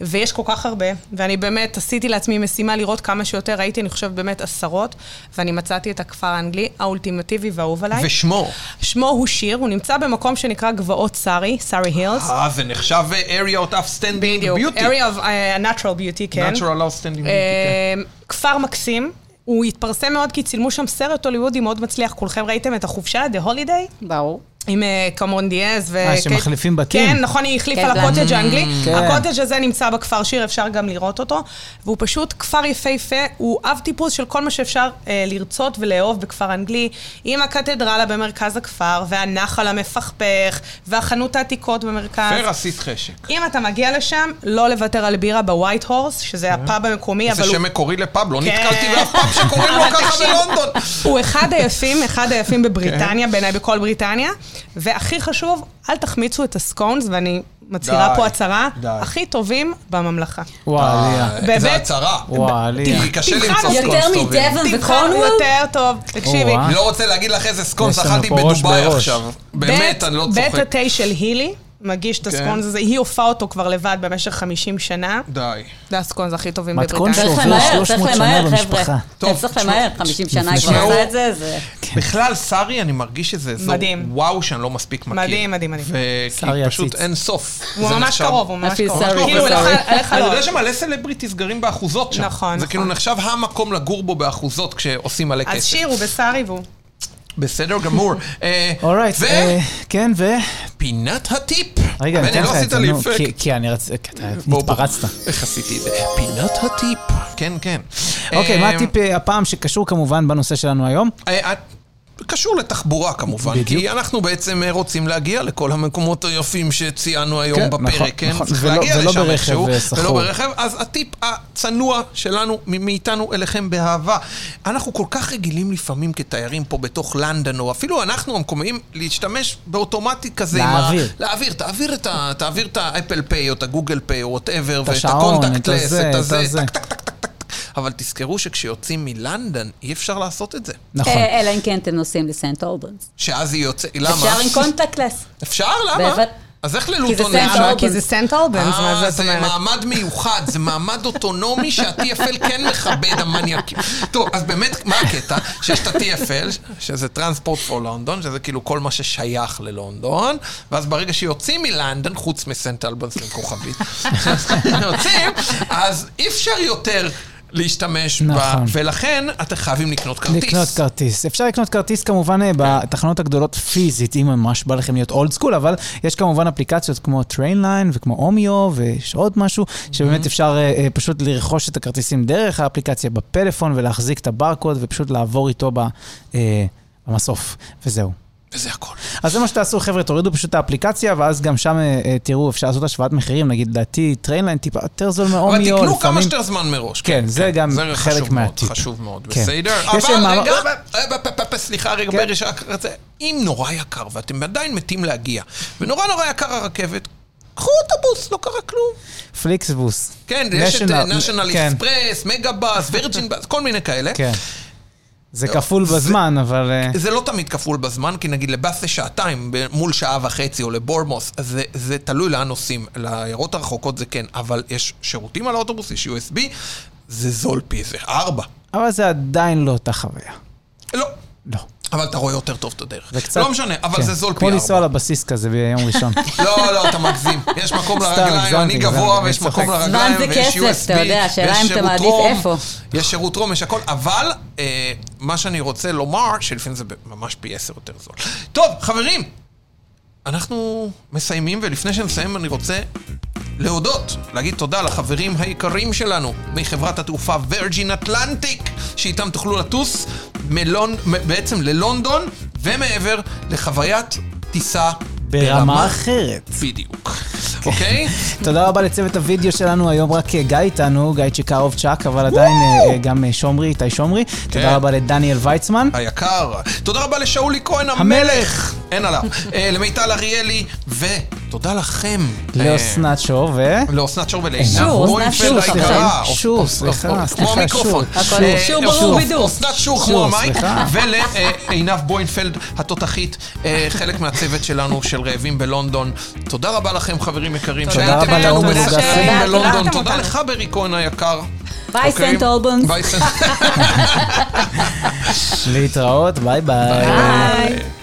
Speaker 4: ויש כל כך הרבה, ואני באמת עשיתי לעצמי משימה לראות כמה שיותר, ראיתי, אני חושבת, באמת עשרות, ואני מצאתי את הכפר האנגלי, האולטימטיבי והאהוב עליי.
Speaker 3: ושמו.
Speaker 4: שמו הוא שיר, הוא נמצא במקום שנקרא גבעות סארי, סארי הילס.
Speaker 3: אה, זה נחשב אה, area of outstanding
Speaker 4: בדיוק,
Speaker 3: beauty.
Speaker 4: area of uh, natural beauty, כן.
Speaker 3: natural outstanding beauty. כן.
Speaker 4: אה, כפר מקסים. הוא התפרסם מאוד כי צילמו שם סרט הוליוודי מאוד מצליח. כולכם ראיתם את החופשה, The Holiday?
Speaker 5: ברור.
Speaker 4: עם אה, קמרון דיאז ו...
Speaker 2: אה, שמחליפים בתים.
Speaker 4: כן, נכון, היא החליפה
Speaker 5: כן,
Speaker 4: לקוטג'
Speaker 5: בלאנד.
Speaker 4: האנגלי.
Speaker 2: כן.
Speaker 4: הקוטג' הזה נמצא בכפר שיר, אפשר גם לראות אותו. והוא פשוט כפר יפהפה, הוא אב טיפוס של כל מה שאפשר אה, לרצות ולאהוב בכפר אנגלי, עם הקתדרלה במרכז הכפר, והנחל המפכפך, והחנות העתיקות במרכז.
Speaker 3: פר עשית חשק.
Speaker 4: אם אתה מגיע לשם, לא לוותר על בירה בווייט הורס, שזה הפאב המקומי,
Speaker 3: זה
Speaker 4: אבל
Speaker 3: שם
Speaker 4: הוא...
Speaker 3: מקורי לפאב, לא
Speaker 4: כן.
Speaker 3: נתקלתי באף פאב שקוראים לו
Speaker 4: אבל
Speaker 3: ככה
Speaker 4: תקשיב,
Speaker 3: בלונדון.
Speaker 4: הוא אחד היפים, אחד
Speaker 3: כן.
Speaker 4: היפים בבריטניה, בעיניי בכל בריטניה. והכי חשוב, אל תחמיצו את הסקונס, ואני מצהירה
Speaker 3: די,
Speaker 4: פה הצהרה,
Speaker 3: די.
Speaker 4: הכי טובים בממלכה.
Speaker 2: וואליה.
Speaker 3: אה, זה
Speaker 4: באמת?
Speaker 3: הצהרה.
Speaker 2: וואו, עלייה.
Speaker 3: כי קשה
Speaker 4: תבחר
Speaker 3: למצוא
Speaker 4: יותר
Speaker 3: סקונס טובים.
Speaker 5: מדבן
Speaker 4: תבחר
Speaker 5: וקורנוול?
Speaker 4: יותר טוב, תקשיבי.
Speaker 5: אה.
Speaker 2: או-אה.
Speaker 3: לא רוצה להגיד לך איזה סקונס
Speaker 2: יש לנו
Speaker 3: אכלתי
Speaker 2: פה ראש
Speaker 3: בדובאי
Speaker 2: בראש.
Speaker 3: עכשיו. באמת,
Speaker 4: בית-
Speaker 3: אני לא
Speaker 4: בית
Speaker 3: צוחק.
Speaker 4: התה של הילי. מגיש את
Speaker 3: כן.
Speaker 4: הסקונס הזה, היא הופעה אותו כבר לבד במשך 50 שנה.
Speaker 3: די.
Speaker 4: זה הסקונס הכי טובים
Speaker 2: מתכון
Speaker 4: בבריטניה.
Speaker 5: צריך
Speaker 2: שעובר
Speaker 5: למהר, צריך
Speaker 2: 300 שנה
Speaker 5: למהר,
Speaker 2: במשפחה.
Speaker 5: חבר'ה. כן,
Speaker 3: טוב,
Speaker 5: צריך
Speaker 3: תשמעו,
Speaker 5: למהר, 50 שנה היא כבר
Speaker 3: תשמעו.
Speaker 5: עושה את זה, זה...
Speaker 2: כן.
Speaker 3: בכלל, סארי, אני מרגיש שזה אזור
Speaker 4: מדהים.
Speaker 3: וואו שאני לא מספיק מכיר.
Speaker 4: מדהים, מדהים, מדהים.
Speaker 3: וכי
Speaker 2: סארי
Speaker 3: פשוט
Speaker 2: עציץ.
Speaker 3: אין סוף.
Speaker 4: הוא
Speaker 3: זה
Speaker 4: ממש
Speaker 3: נחשב-
Speaker 4: קרוב, הוא ממש
Speaker 5: אפילו
Speaker 4: קרוב.
Speaker 5: סארי.
Speaker 4: כאילו,
Speaker 5: סארי.
Speaker 4: לך- לך
Speaker 3: אני
Speaker 4: לא.
Speaker 3: יודע שמלא סלבריטיס גרים באחוזות שם.
Speaker 4: נכון,
Speaker 3: זה
Speaker 4: נכון.
Speaker 3: כאילו נחשב המקום לגור בו באחוזות כשעושים מלא
Speaker 4: אז
Speaker 3: כסף.
Speaker 4: שיר הוא בסארי והוא.
Speaker 3: בסדר
Speaker 4: <laughs>
Speaker 3: גמור. אה,
Speaker 2: אורייט, אה, כן, ו...
Speaker 3: ופינת הטיפ.
Speaker 2: רגע, אני
Speaker 3: בני,
Speaker 2: אתן
Speaker 3: לא
Speaker 2: לך את
Speaker 3: עשית
Speaker 2: זה,
Speaker 3: לי
Speaker 2: נו,
Speaker 3: אפקט.
Speaker 2: כי- כי אני רציתי... אתה
Speaker 3: בוא, בוא.
Speaker 2: התפרצת.
Speaker 3: איך עשיתי את זה? פינת הטיפ. כן, כן.
Speaker 2: אוקיי, מה
Speaker 3: אה,
Speaker 2: הטיפ אה, הפעם שקשור כמובן בנושא שלנו היום?
Speaker 3: אה, את- קשור לתחבורה כמובן, בדיוק. כי אנחנו בעצם אה, רוצים להגיע לכל המקומות היפים שציינו היום כן,
Speaker 2: כן,
Speaker 3: בפרק,
Speaker 2: נכון,
Speaker 3: כן?
Speaker 2: נכון.
Speaker 3: צריך
Speaker 2: ולא-
Speaker 3: להגיע
Speaker 2: ולא
Speaker 3: לשם
Speaker 2: ברכב,
Speaker 3: איכשהו,
Speaker 2: אה, סחור.
Speaker 3: ולא ברכב, אז הטיפ הצנוע שלנו, מ- מאיתנו אליכם באהבה. אנחנו כל כך רגילים לפעמים כתיירים פה בתוך לנדון, או אפילו אנחנו המקומיים, להשתמש באוטומטי כזה. עם ה-
Speaker 2: להעביר.
Speaker 3: להעביר, תעביר את ה- תעביר את האפל פיי, או את הגוגל פיי, או וואטאבר, ואת
Speaker 2: השעון, את
Speaker 3: הקונטקטלס,
Speaker 2: הזה,
Speaker 3: את
Speaker 2: את
Speaker 3: הזה,
Speaker 2: הזה.
Speaker 3: טק, טק, טק, טק, טק. אבל תזכרו שכשיוצאים מלנדון, אי אפשר לעשות את זה.
Speaker 2: נכון.
Speaker 5: אה, אלא אם כן אתם נוסעים לסנט אולברנס.
Speaker 3: שאז היא יוצאת, למה?
Speaker 5: אפשר עם קונטקטלס.
Speaker 3: אפשר? למה?
Speaker 5: בבת-
Speaker 3: אז איך
Speaker 5: כי זה
Speaker 3: ללוטון
Speaker 5: סנט
Speaker 3: אפשר?
Speaker 5: אולברנס.
Speaker 4: למה? כי זה סנט אולבנס, מה
Speaker 3: אה,
Speaker 4: זאת
Speaker 3: זה
Speaker 4: אומרת?
Speaker 3: מעמד מיוחד, זה מעמד אוטונומי שה-TFL כן מכבד המניאקים. טוב, אז באמת, מה הקטע? שיש את ה-TFL, שזה טרנספורט פור לונדון, שזה כאילו כל מה ששייך ללונדון, ואז ברגע שיוצאים מלנדון, חוץ מסנט אלבנס עם כוכבית, <laughs> יוצאים, אז אי אפשר יותר להשתמש בה,
Speaker 2: נכון.
Speaker 3: ולכן אתם חייבים לקנות כרטיס.
Speaker 2: לקנות כרטיס. אפשר לקנות כרטיס כמובן אה, בתחנות הגדולות פיזית, אם ממש בא לכם להיות אולד סקול, אבל יש כמובן אפליקציות כמו טריינליין וכמו אומיו, ויש עוד משהו,
Speaker 3: Mhm.
Speaker 2: שבאמת אפשר אה, אה, פשוט לרכוש את הכרטיסים דרך האפליקציה בפלאפון ולהחזיק את הברקוד ופשוט לעבור איתו ב- אה, במסוף, וזהו.
Speaker 3: וזה הכל.
Speaker 2: אז זה מה שתעשו, חבר'ה, תורידו פשוט את האפליקציה, ואז גם שם אה, אה, תראו, אפשר לעשות השוואת מחירים, נגיד, לדעתי, טריינליין טיפה יותר זול מאומיו,
Speaker 3: אבל
Speaker 2: לפעמים...
Speaker 3: תקנו כמה שיותר זמן מראש.
Speaker 2: כן, זה גם
Speaker 3: זה
Speaker 2: חלק
Speaker 3: חשוב מאוד,
Speaker 2: מהטיפ.
Speaker 3: חשוב מאוד,
Speaker 2: כן.
Speaker 3: בסדר?
Speaker 2: יש
Speaker 3: אבל
Speaker 2: מאמר-
Speaker 3: רגע, אה, פ- פ- פ- סליחה רגע,
Speaker 2: כן.
Speaker 3: ברי, שרק רצה- אם נורא יקר ואתם עדיין מתים להגיע, ונורא נורא יקר הרכבת, קחו אוטובוס, לא קרה כלום.
Speaker 2: פליקסבוס.
Speaker 3: כן, יש את
Speaker 2: National-
Speaker 3: נשיונל
Speaker 2: כן,
Speaker 3: אקספרס, מגה בס, וירג'ין בס, כל מיני כאלה.
Speaker 2: כן. זה כפול בזמן, אבל... אה,
Speaker 3: אה, זה לא תמיד כפול בזמן, כי נגיד לבאס זה שעתיים ב- מול שעה וחצי, או לבורמוס, אז זה, זה תלוי לאן נוסעים. לעיירות הרחוקות זה כן, אבל יש שירותים על האוטובוס, יש USB, זה זול פי איזה ארבע.
Speaker 2: אבל זה עדיין לא אותה חוויה.
Speaker 3: לא,
Speaker 2: לא.
Speaker 3: אבל אתה רואה יותר טוב את הדרך.
Speaker 2: זה קצת...
Speaker 3: לא משנה, אבל
Speaker 2: כן.
Speaker 3: זה זול פי
Speaker 2: כמו לנסוע
Speaker 3: ארבע.
Speaker 2: לבסיס כזה ביום
Speaker 3: <laughs>
Speaker 2: ראשון.
Speaker 3: לא, לא, אתה מגזים. יש מקום
Speaker 2: סתם,
Speaker 3: לרגליים,
Speaker 2: הגזמתי,
Speaker 3: אני גבוה,
Speaker 2: הגזמתי,
Speaker 3: ויש
Speaker 2: אני
Speaker 3: מקום
Speaker 2: צוחק.
Speaker 3: לרגליים,
Speaker 5: זמן זה
Speaker 3: ויש
Speaker 5: כסף,
Speaker 3: USB,
Speaker 5: אתה יודע, השאלה
Speaker 3: ויש
Speaker 5: אם אתה
Speaker 3: שירות
Speaker 5: מעדיף
Speaker 3: רום,
Speaker 5: איפה.
Speaker 3: יש שירות רום, יש הכל, אבל אה, מה שאני רוצה לומר, שלפעמים זה ממש פי עשר יותר זול. טוב, חברים, אנחנו מסיימים, ולפני שנסיים אני רוצה להודות, להגיד תודה לחברים היקרים שלנו מחברת התעופה וירג'ין אטלנטיק, שאיתם תוכלו לטוס מלונ... מ- בעצם ללונדון ומעבר לחוויית טיסה
Speaker 2: ברמה אחרת.
Speaker 3: בדיוק, אוקיי?
Speaker 2: תודה רבה לצוות הוידאו שלנו, היום רק אה, גיא איתנו, גיא צ'יקרוב צ'אק, אבל עדיין אה, אה, גם אה, שומרי, איתי שומרי. תודה רבה לדניאל ויצמן.
Speaker 3: אה, היקר. תודה רבה לשאולי כהן המלך. אין עליו. אה, למיטל אריאלי, ותודה לכם. אה,
Speaker 2: לאסנת שור ו...
Speaker 3: לאסנת שור ולעינב
Speaker 5: שור,
Speaker 3: רוינפלד
Speaker 5: אסנת שור,
Speaker 3: היקרה.
Speaker 2: סליחה. שור, סליחה, סליחה,
Speaker 3: כמו
Speaker 2: שור.
Speaker 3: המיקרופון.
Speaker 2: הכל
Speaker 3: אה,
Speaker 5: שור ברור בידור.
Speaker 3: אסנת שור כמו
Speaker 2: שור,
Speaker 3: המים.
Speaker 2: סליחה.
Speaker 3: ולעינב בוינפלד התותחית, אה, חלק מהצוות שלנו של רעבים בלונדון. תודה רבה לכם, חברים יקרים,
Speaker 4: תודה
Speaker 3: שהייתם
Speaker 4: רבה
Speaker 3: איתנו
Speaker 4: לעומר
Speaker 3: מספרים
Speaker 5: גסי.
Speaker 3: בלונדון.
Speaker 4: תודה,
Speaker 3: תודה
Speaker 4: תודה.
Speaker 3: לך, ברי כהן היקר.
Speaker 5: ביי,
Speaker 3: אוקיי?
Speaker 5: סנט אולבונס.
Speaker 3: ביי, סנט-
Speaker 2: להתראות, ביי ביי.
Speaker 5: ביי.